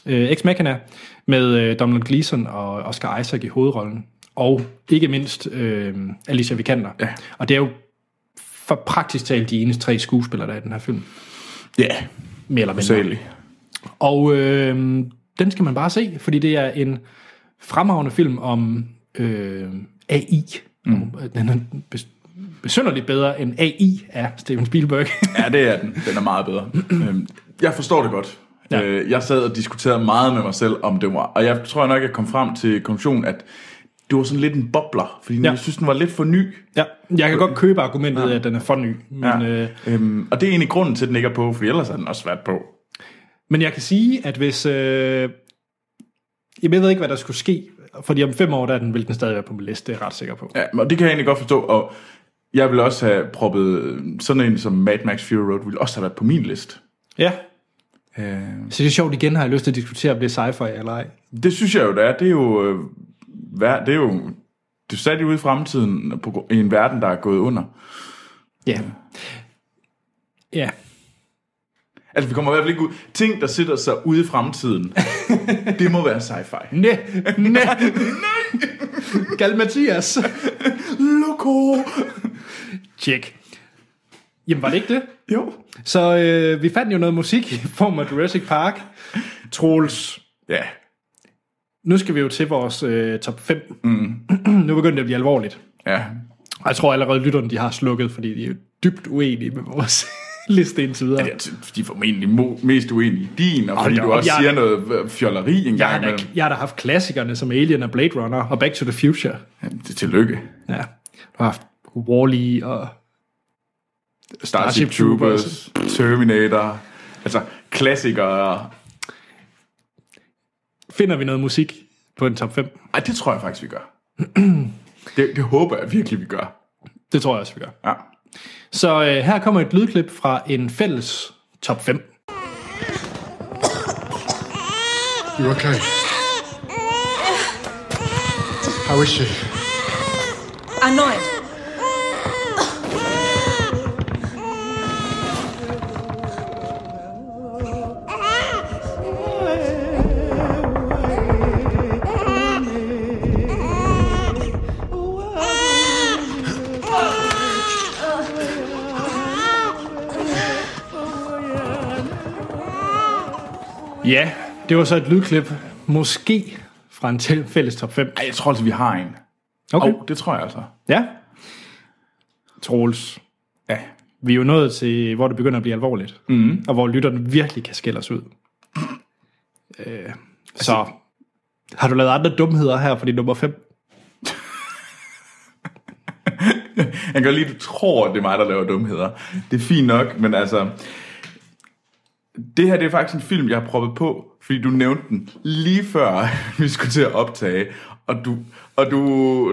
[SPEAKER 1] øh, Ex Machina, med øh, Donald Gleeson og Oscar Isaac i hovedrollen, og ikke mindst øh, Alicia Vikander.
[SPEAKER 2] Ja.
[SPEAKER 1] Og det er jo for praktisk talt de eneste tre skuespillere, der er i den her film.
[SPEAKER 2] ja,
[SPEAKER 1] Mere eller mindre.
[SPEAKER 2] særlig.
[SPEAKER 1] Og øh, den skal man bare se, fordi det er en fremragende film om øh, AI. Mm. Den er bes- besynderligt bedre end AI af Steven Spielberg.
[SPEAKER 2] Ja, det er den. Den er meget bedre. Øhm, jeg forstår det godt.
[SPEAKER 1] Ja.
[SPEAKER 2] Øh, Jeg sad og diskuterede meget med mig selv om det var, og jeg tror nok, jeg kom frem til konklusionen, at det var sådan lidt en bobler, fordi
[SPEAKER 1] Ja.
[SPEAKER 2] jeg synes, den var lidt for ny.
[SPEAKER 1] ja, jeg kan godt købe argumentet, ja. at den er for ny. Men,
[SPEAKER 2] Ja.
[SPEAKER 1] ja. øh,
[SPEAKER 2] Øhm, og det er egentlig grunden til, at den ikke er på, for ellers er den også svært på.
[SPEAKER 1] men jeg kan sige, at hvis... Øh, jamen, jeg ved ikke, hvad der skulle ske, fordi om fem år, der er den, vil den stadig være på min liste, det er jeg ret sikker på.
[SPEAKER 2] Ja, og det kan jeg egentlig godt forstå, og jeg ville også have proppet sådan en som Mad Max Fury Road, ville også have været på min liste.
[SPEAKER 1] Ja.
[SPEAKER 2] Øh,
[SPEAKER 1] Så det er sjovt igen, har jeg lyst til at diskutere, om det er sci-fi eller ej.
[SPEAKER 2] det synes jeg jo, det er. Det er jo, øh, hver- det er jo det er sat ude i fremtiden på, gr- i en verden, der er gået under.
[SPEAKER 1] Ja. Ja.
[SPEAKER 2] Altså, vi kommer i hvert fald ikke ud. Ting, der sætter sig ude i fremtiden, det må være sci-fi.
[SPEAKER 1] Næ, næ, Gal Mathias.
[SPEAKER 2] Loco!
[SPEAKER 1] Tjek. Jamen, var det ikke det?
[SPEAKER 2] Jo.
[SPEAKER 1] Så øh, vi fandt jo noget musik i form af Jurassic Park. Troels.
[SPEAKER 2] Ja.
[SPEAKER 1] Nu skal vi jo til vores øh, top 5. Mm. nu begynder det at blive alvorligt.
[SPEAKER 2] Ja.
[SPEAKER 1] Og jeg tror allerede, lytterne de har slukket, fordi de er jo dybt uenige med vores liste indtil videre.
[SPEAKER 2] Jeg t- De er formentlig mo- mest uenige i din, og fordi
[SPEAKER 1] da
[SPEAKER 2] du
[SPEAKER 1] op,
[SPEAKER 2] også
[SPEAKER 1] jeg-
[SPEAKER 2] siger noget øh, fjolleri en
[SPEAKER 1] Jeg har,
[SPEAKER 2] gang
[SPEAKER 1] da,
[SPEAKER 2] imellem.
[SPEAKER 1] jeg har da haft klassikerne som Alien og Blade Runner og Back to the Future.
[SPEAKER 2] Jamen, det er tillykke.
[SPEAKER 1] Ja. Du har haft Wall-E og...
[SPEAKER 2] Starship Troopers, Terminator, altså klassikere.
[SPEAKER 1] Finder vi noget musik på en top 5?
[SPEAKER 2] Ej, det tror jeg faktisk, vi gør. Det, det håber jeg virkelig, vi gør.
[SPEAKER 1] Det tror jeg også, vi gør.
[SPEAKER 2] Ja.
[SPEAKER 1] Så øh, her kommer et lydklip fra en fælles top 5.
[SPEAKER 4] You okay? How is she?
[SPEAKER 5] Annoyed.
[SPEAKER 1] Ja, det var så et lydklip. Måske fra en til- fælles top 5.
[SPEAKER 2] Ej, jeg tror altså, vi har en.
[SPEAKER 1] Okay.
[SPEAKER 2] Oh, det tror jeg altså.
[SPEAKER 1] Ja. Troels,
[SPEAKER 2] Ja.
[SPEAKER 1] vi er jo nået til, hvor det begynder at blive alvorligt. Mm. Og hvor lytterne virkelig kan skælde os ud. Øh, så har du lavet andre dumheder her for din nummer 5?
[SPEAKER 2] Jeg kan godt lide, at du tror, at det er mig, der laver dumheder. Det er fint nok, men altså... Det her det er faktisk en film, jeg har proppet på, fordi du nævnte den lige før, vi skulle til at optage. Og du, og du,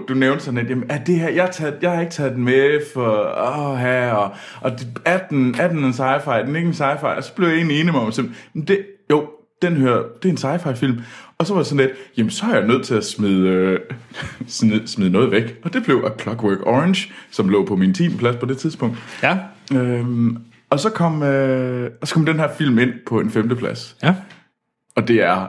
[SPEAKER 2] du nævnte sådan, at jamen, er det her, jeg, har taget, jeg har ikke taget den med for... Åh, her, og, og det, er, den, er den en sci-fi? Er den ikke en sci-fi? Og så blev jeg egentlig enig med mig selv. Men det, jo, den hører, det er en sci-fi film. Og så var jeg sådan lidt, jamen så er jeg nødt til at smide, øh, smide, smide noget væk. Og det blev A Clockwork Orange, som lå på min 10. plads på det tidspunkt.
[SPEAKER 1] Ja.
[SPEAKER 2] Øhm, og, så kom, øh, og så kom den her film ind på en femteplads.
[SPEAKER 1] Ja.
[SPEAKER 2] Og det er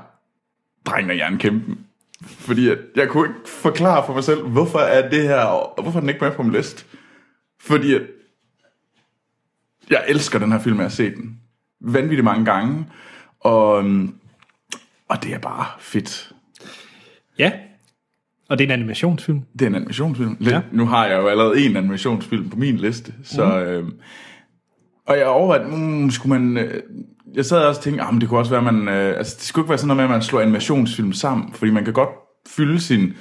[SPEAKER 2] Drengen og Jernkæmpen. Fordi at jeg kunne ikke forklare for mig selv, hvorfor er det her, og hvorfor er den ikke med på min liste. Fordi at jeg elsker den her film, jeg har set den vanvittigt mange gange. Og, øhm, Og det er bare fedt.
[SPEAKER 1] Ja, og det er en animationsfilm.
[SPEAKER 2] Det er en animationsfilm. Lidt, ja.
[SPEAKER 1] Ja.
[SPEAKER 2] Nu har jeg jo allerede en animationsfilm på min liste, så... Mm. Øh, og jeg overvejede, mm, skulle man... Øh, jeg sad også og tænkte, ah, men det kunne også være, man... Øh, altså, det skulle ikke være sådan noget med, at man slår animationsfilm sammen, fordi man kan godt fylde sin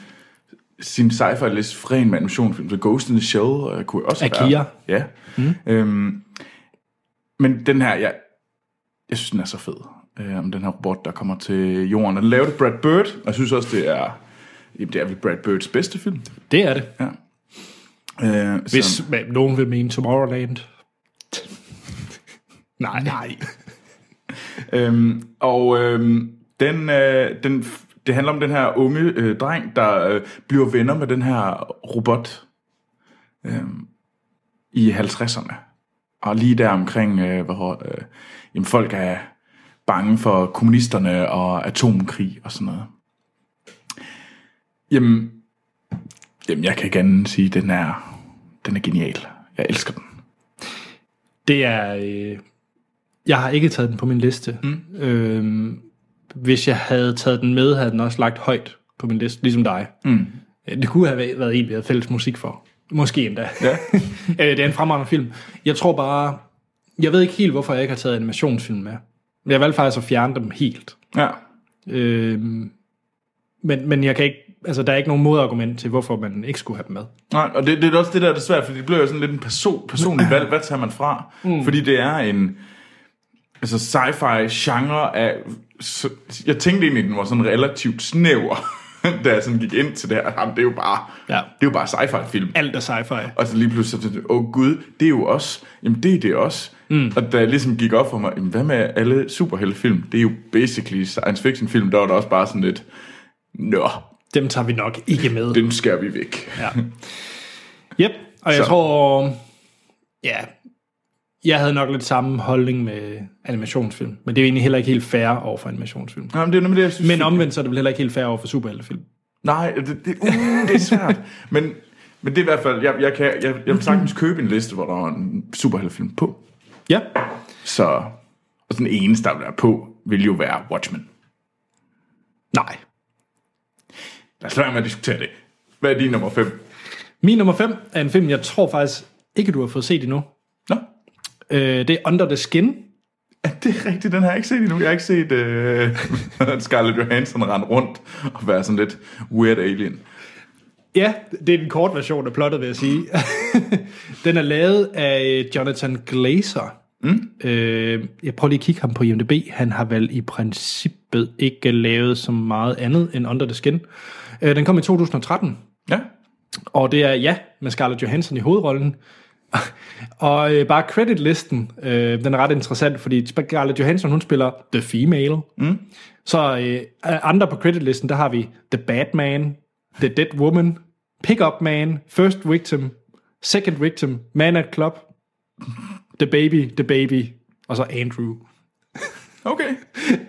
[SPEAKER 2] sin sci-fi list fra en med animationsfilm. Så Ghost in the Shell øh, kunne også
[SPEAKER 1] Akira.
[SPEAKER 2] være... Ja. Mm. Øhm, men den her, jeg, jeg synes, den er så fed. Øh, om den her robot, der kommer til jorden. Og den lavede Brad Bird, og jeg synes også, det er... Jamen, det er vel Brad Birds bedste film.
[SPEAKER 1] Det er det.
[SPEAKER 2] Ja. Øh,
[SPEAKER 1] Hvis
[SPEAKER 2] så-
[SPEAKER 1] hvad, nogen vil mene Tomorrowland. Nej. Nej.
[SPEAKER 2] øhm, og øhm, den, øh, den, det handler om den her unge øh, dreng, der øh, bliver venner med den her robot øhm, i 50'erne. Og lige der omkring, øh, hvor øh, jamen, folk er bange for kommunisterne og atomkrig og sådan noget. Jamen, jamen jeg kan ikke andet end sige, at den er, den er genial. Jeg elsker den.
[SPEAKER 1] Det er... Øh, jeg har ikke taget den på min liste. Mm. Øhm, hvis jeg havde taget den med, havde den også lagt højt på min liste, ligesom dig. Mm. Det kunne have væ- været en, vi havde fælles musik for. Måske endda.
[SPEAKER 2] Ja.
[SPEAKER 1] Øh, det er en fremragende film. Jeg tror bare... Jeg ved ikke helt, hvorfor jeg ikke har taget animationsfilm med. Jeg valgte faktisk at fjerne altså dem helt.
[SPEAKER 2] Ja.
[SPEAKER 1] Øhm, men, men jeg kan ikke, altså, der er ikke nogen modargument til, hvorfor man ikke skulle have dem med.
[SPEAKER 2] Nej, og det, det er også det, der er det svært, fordi det bliver jo sådan lidt en person, personlig valg. Hvad tager man fra? Mm. Fordi det er en altså sci-fi genre af... Så, jeg tænkte egentlig, den var sådan relativt snæver, da jeg sådan gik ind til det her. Jamen, det er jo bare,
[SPEAKER 1] Ja.
[SPEAKER 2] det er jo bare sci-fi film.
[SPEAKER 1] Alt er sci-fi.
[SPEAKER 2] Og så lige pludselig, så tænkte jeg, åh oh, gud, det er jo os. Jamen, det er det også. Mm. Og da jeg ligesom gik op for mig, jamen, hvad med alle superheltefilm? Det er jo basically science fiction film, der var der også bare sådan lidt, nå,
[SPEAKER 1] Dem tager vi nok ikke med.
[SPEAKER 2] den skærer vi væk.
[SPEAKER 1] Ja. Yep, og jeg
[SPEAKER 2] Så.
[SPEAKER 1] så. tror, ja, jeg havde nok lidt samme holdning med animationsfilm, men det er jo egentlig heller ikke helt fair over for animationsfilm.
[SPEAKER 2] Nå, men det er jo nemlig det, jeg synes.
[SPEAKER 1] Men omvendt så er det vel heller ikke helt fair over for superheltefilm.
[SPEAKER 2] Nej, det, det, uh, det er svært. men, men det er i hvert fald, jeg, jeg, kan, jeg, jeg vil sagtens købe en liste, hvor der er en superheltefilm på.
[SPEAKER 1] Ja,
[SPEAKER 2] Så, og den eneste, der vil være på, vil jo være Watchmen.
[SPEAKER 1] nej.
[SPEAKER 2] Lad os lade være med at diskutere det. Hvad er din nummer 5?
[SPEAKER 1] Min nummer 5 er en film, jeg tror faktisk ikke, du har fået set endnu.
[SPEAKER 2] Nå,
[SPEAKER 1] Øh, det er Under the Skin.
[SPEAKER 2] er det er rigtigt, den har jeg ikke set endnu. Jeg har ikke set uh, Scarlett Johansson rende rundt og være sådan lidt weird alien.
[SPEAKER 1] Ja, det er den korte version af plottet, vil jeg sige. den er lavet af øh, Jonathan Glazer. Mm. Øh, jeg prøver lige at kigge ham på IMDb. Han har vel i princippet ikke lavet så meget andet end Under the Skin. Øh, den kom i 2013,
[SPEAKER 2] Ja,
[SPEAKER 1] og det er ja, med Scarlett Johansson i hovedrollen. og øh, bare creditlisten, øh, den er ret interessant, fordi Scarlett Johansson, hun spiller The Female. Mm. Så øh, af andre på creditlisten, der har vi The Batman, The Dead Woman, Pickup Man, First Victim, Second Victim, Man at Club, The Baby, The Baby, og så Andrew.
[SPEAKER 2] okay.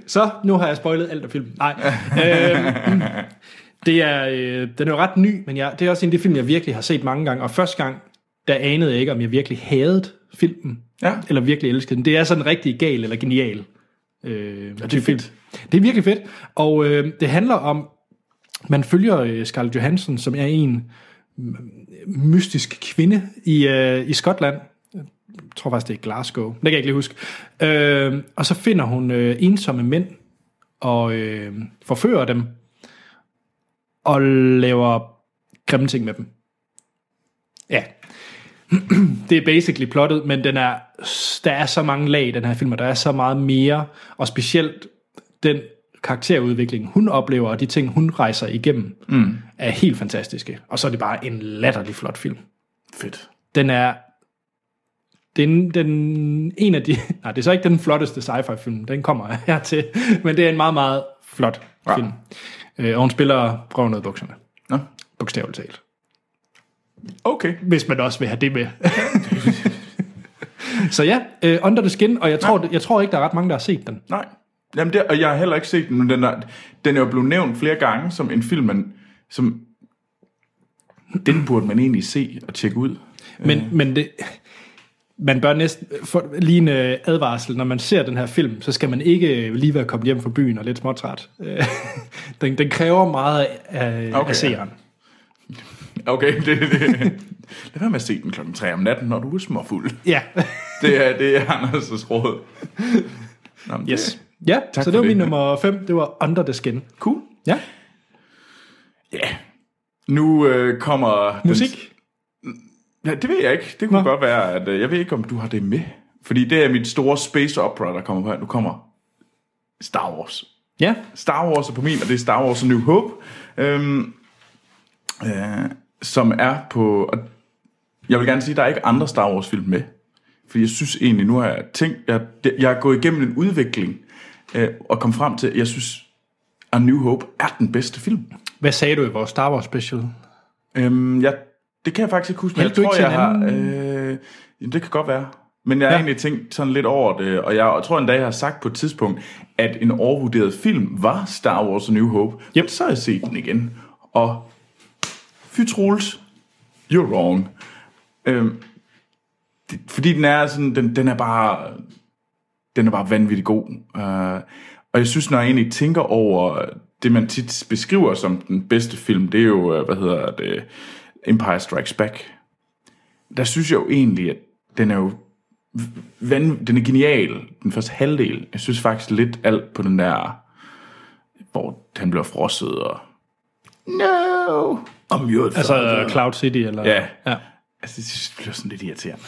[SPEAKER 1] Så nu har jeg spoilet alt af filmen. Nej. øhm, det er, øh, den er jo ret ny, men jeg, det er også en af de film, jeg virkelig har set mange gange. Og første gang, der anede jeg ikke, om jeg virkelig hadede filmen,
[SPEAKER 2] Ja.
[SPEAKER 1] eller virkelig elskede den. Det er sådan rigtig gal eller genial. Øh, ja, det er fedt. Det er virkelig fedt. Og øh, det handler om, man følger øh, Scarlett Johansson, som er en mm, mystisk kvinde i, øh, i Skotland. Jeg tror faktisk, det er Glasgow. Det kan jeg ikke lige huske. Øh, og så finder hun øh, ensomme mænd og øh, forfører dem og laver grimme ting med dem. Ja. det er basically plottet, men den er, der er så mange lag i den her film, og der er så meget mere, og specielt den karakterudvikling, hun oplever, og de ting, hun rejser igennem, mm. er helt fantastiske. Og så er det bare en latterlig flot film
[SPEAKER 2] Fedt.
[SPEAKER 1] den er den, den en af de, nej, det er så ikke den flotteste sci-fi film, den kommer her til, men det er en meget, meget flot
[SPEAKER 2] Ja.
[SPEAKER 1] ja. film. Øh, og hun spiller røven ud af bukserne,
[SPEAKER 2] Nå,
[SPEAKER 1] bogstaveligt talt.
[SPEAKER 2] okay.
[SPEAKER 1] Hvis man også vil have det med. så ja, øh, Under the Skin, og jeg tror, jeg tror ikke, der er ret mange, der har set den.
[SPEAKER 2] Nej. Jamen det, og jeg har heller ikke set den, men den er, den er jo blevet nævnt flere gange som en film, man, som den burde man egentlig se og tjekke ud.
[SPEAKER 1] Men, men det, man bør næsten for, lige en øh, advarsel, når man ser den her film, så skal man ikke øh, lige være kommet hjem fra byen og lidt småtræt. Øh, den, den kræver meget af, okay,
[SPEAKER 2] Okay.
[SPEAKER 1] af seeren.
[SPEAKER 2] Okay, det, det. Lad være med at se den klokken 3 om natten, når du er småfuld.
[SPEAKER 1] Ja,
[SPEAKER 2] Det er, det er Anders' råd. Nå, men det-
[SPEAKER 1] yes. Ja,
[SPEAKER 2] Tak
[SPEAKER 1] så
[SPEAKER 2] for
[SPEAKER 1] det var
[SPEAKER 2] det.
[SPEAKER 1] min nummer 5, det var Under the Skin.
[SPEAKER 2] Cool.
[SPEAKER 1] Ja,
[SPEAKER 2] Nu øh, kommer... den-
[SPEAKER 1] musik.
[SPEAKER 2] Ja, det ved jeg ikke. Det kunne Nå.
[SPEAKER 1] Nå.
[SPEAKER 2] godt være, at... øh, Jeg ved ikke, om du har det med. Fordi det er mit store space opera, der kommer på her. Nu kommer Star Wars.
[SPEAKER 1] Ja,
[SPEAKER 2] Star Wars er på min, og det er Star Wars A New Hope, øhm, øh, som er på... Og jeg vil gerne sige, at der er ikke andre Star Wars-film med. Fordi jeg synes egentlig, nu har jeg tænkt... Jeg, jeg er gået igennem en udvikling øh, og kom frem til, at jeg synes, A New Hope er den bedste film.
[SPEAKER 1] hvad sagde du i vores Star Wars special?
[SPEAKER 2] Øhm, jeg, det kan jeg faktisk ikke huske, men jeg
[SPEAKER 1] Hjalp du
[SPEAKER 2] tror,
[SPEAKER 1] ikke
[SPEAKER 2] jeg
[SPEAKER 1] til
[SPEAKER 2] har... Øh, jamen, det kan godt være. Men jeg har ja.
[SPEAKER 1] Ja.
[SPEAKER 2] egentlig tænkt sådan lidt over det, og jeg tror endda, jeg har sagt på et tidspunkt, at en overvurderet film var Star Wars A New Hope. Yep. Så har jeg set den igen. Og fy Troels, you're wrong. Øhm, det, fordi den er sådan, den, den er bare, den er bare vanvittig god. Uh, og jeg synes, når jeg egentlig tænker over det, man tit beskriver som den bedste film, det er jo, øh, hvad hedder det, Empire Strikes Back. Der synes jeg jo egentlig, at den er jo van, den er genial, den første halvdel. Jeg synes faktisk lidt alt på den der, hvor han bliver frosset og... No! Om
[SPEAKER 1] Altså Cloud City? Eller?
[SPEAKER 2] Ja.
[SPEAKER 1] ja.
[SPEAKER 2] Altså, det synes jeg bliver sådan lidt irriterende.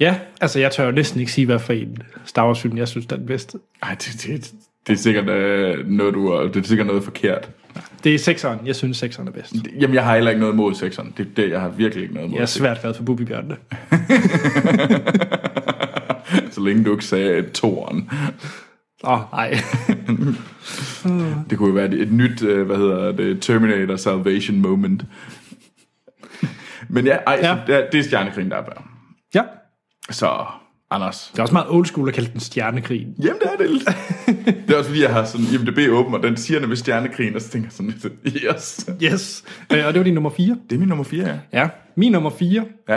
[SPEAKER 1] Ja, altså jeg tør jo næsten ikke sige, hvad for en Star Wars film, jeg synes, der er den bedste.
[SPEAKER 2] Ej, det, det, det er sikkert øh, noget, du har- det er sikkert noget forkert.
[SPEAKER 1] Det er sekseren. Jeg synes, sekseren er bedst.
[SPEAKER 2] Jamen, jeg har heller ikke noget mod sekseren. Det, det, jeg har virkelig ikke noget mod
[SPEAKER 1] Jeg er
[SPEAKER 2] sekseren.
[SPEAKER 1] svært glad for Bubi Bjørnene.
[SPEAKER 2] Så længe du ikke sagde toren.
[SPEAKER 1] Åh, oh, nej.
[SPEAKER 2] Det kunne jo være et nyt, øh, hvad hedder det, Terminator Salvation moment. Men ja, ej, ja.
[SPEAKER 1] Ja.
[SPEAKER 2] Så, det, er- det er stjernekrigen, der er bare.
[SPEAKER 1] ja.
[SPEAKER 2] Så, Anders.
[SPEAKER 1] Det er også meget old school at kalde den stjernekrig.
[SPEAKER 2] Jamen, det er det. lidt. det er også fordi, jeg har sådan IMDB åben, og den siger nemlig stjernekrigen, og så tænker jeg sådan lidt, yes.
[SPEAKER 1] Yes. Øh, og det var din nummer 4.
[SPEAKER 2] Det er min nummer 4, ja.
[SPEAKER 1] Ja. Min nummer 4
[SPEAKER 2] Ja,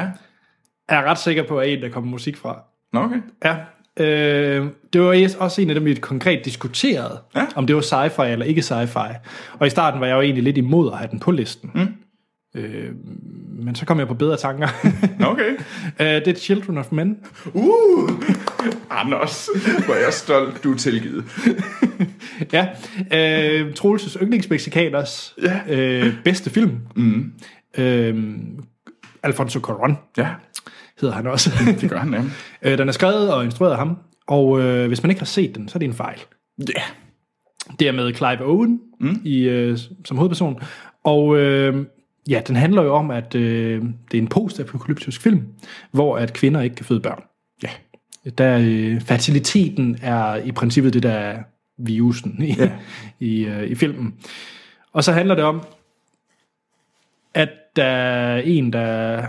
[SPEAKER 1] er jeg ret sikker på, at en, der kommer musik fra.
[SPEAKER 2] Nå, okay.
[SPEAKER 1] Ja. Øh, det var es- også en af dem, vi konkret diskuterede,
[SPEAKER 2] Ja.
[SPEAKER 1] om det var sci-fi eller ikke sci-fi. Og i starten var jeg jo egentlig lidt imod at have den på listen. Mm. Øh, men så kom jeg på bedre tanker.
[SPEAKER 2] Nå, okay.
[SPEAKER 1] øh, det er Children of Men.
[SPEAKER 2] Uh! Anders, hvor er jeg stolt, du er tilgivet.
[SPEAKER 1] Ja, øh, Troelses yndlingsmexikaners
[SPEAKER 2] Ja.
[SPEAKER 1] øh, bedste film. Mm. Øh, Alfonso Cuarón
[SPEAKER 2] Ja,
[SPEAKER 1] hedder han også.
[SPEAKER 2] det gør han nemlig.
[SPEAKER 1] øh, den er skrevet og instrueret af ham, og øh, hvis man ikke har set den, så er det en fejl.
[SPEAKER 2] Ja.
[SPEAKER 1] Det er med Clive Owen mm. i, øh, som hovedperson, og øh, ja, den handler jo om, at øh, det er en postapokalyptisk film, hvor at kvinder ikke kan føde børn.
[SPEAKER 2] Ja.
[SPEAKER 1] der øh, fertiliteten er i princippet det, der er virusen i,
[SPEAKER 2] Ja.
[SPEAKER 1] ja. i, øh, i filmen. Og så handler det om, at der er en, der...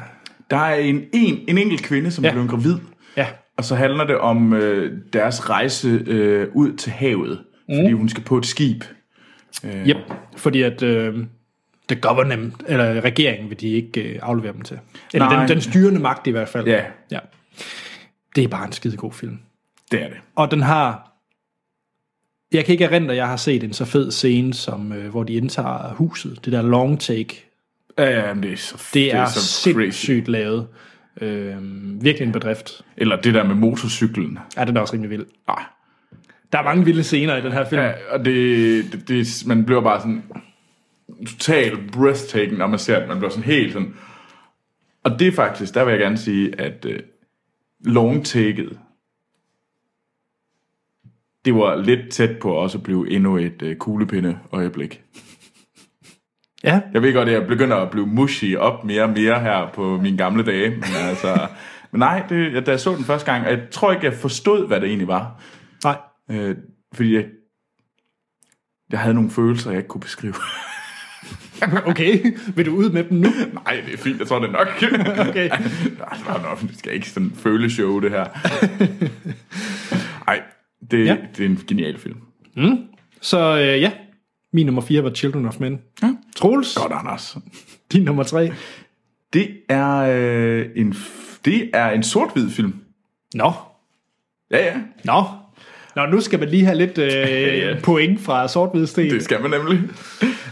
[SPEAKER 2] Der er en, en, en enkelt kvinde, som ja.
[SPEAKER 1] Ja.
[SPEAKER 2] blev gravid,
[SPEAKER 1] Ja,
[SPEAKER 2] og så handler det om øh, deres rejse øh, ud til havet, mm. fordi hun skal på et skib.
[SPEAKER 1] ja. Yep, fordi at øh, the government, eller regeringen, vil de ikke øh, aflevere dem til. Eller
[SPEAKER 2] Nej.
[SPEAKER 1] den, den styrende magt i hvert fald.
[SPEAKER 2] Ja,
[SPEAKER 1] ja. Det er bare en skide god film.
[SPEAKER 2] det er det.
[SPEAKER 1] Og den har... Jeg kan ikke erindre, at jeg har set en så fed scene, som øh, hvor de indtager huset. Det der long take,
[SPEAKER 2] Ja, ja, men det er så,
[SPEAKER 1] Det er,
[SPEAKER 2] så
[SPEAKER 1] sindssygt lavet. Øhm, virkelig en bedrift.
[SPEAKER 2] Eller det der med motorcyklen.
[SPEAKER 1] Ja, den er også rimelig vild.
[SPEAKER 2] Ah.
[SPEAKER 1] Der er mange vilde scener i den her film. Ja,
[SPEAKER 2] Ja, og det, det, det, man bliver bare sådan totalt breathtaking, når man ser det. Man bliver sådan helt sådan... Og det er faktisk, der vil jeg gerne sige, at øh, long taket, det var lidt tæt på også at blive endnu et øh, kuglepinde øjeblik.
[SPEAKER 1] ja.
[SPEAKER 2] Jeg ved godt, at jeg begynder at blive mushy op mere og mere her på mine gamle dage. Men, altså, men nej, det, jeg- da jeg så den første gang, og jeg tror ikke, jeg forstod, hvad det egentlig var.
[SPEAKER 1] nej.
[SPEAKER 2] Øh, fordi jeg, jeg havde nogle følelser, jeg ikke kunne beskrive.
[SPEAKER 1] Okay, vil du ud med dem nu?
[SPEAKER 2] Nej, det er fint, jeg tror det er nok.
[SPEAKER 1] Okay.
[SPEAKER 2] Nej, det var nok, det skal ikke sådan føle show, det her. Nej, det, ja.
[SPEAKER 1] Ja.
[SPEAKER 2] det er en genial film.
[SPEAKER 1] Så øh, ja, min nummer 4 var Children of Men. Ja. Troels,
[SPEAKER 2] Godt, Anders.
[SPEAKER 1] din nummer 3.
[SPEAKER 2] Det er øh, en... f- Det er en sort-hvid film.
[SPEAKER 1] Nå,
[SPEAKER 2] Ja, ja.
[SPEAKER 1] nå. Nå, nu skal man lige have lidt øh, point fra sort sten.
[SPEAKER 2] Det skal man nemlig.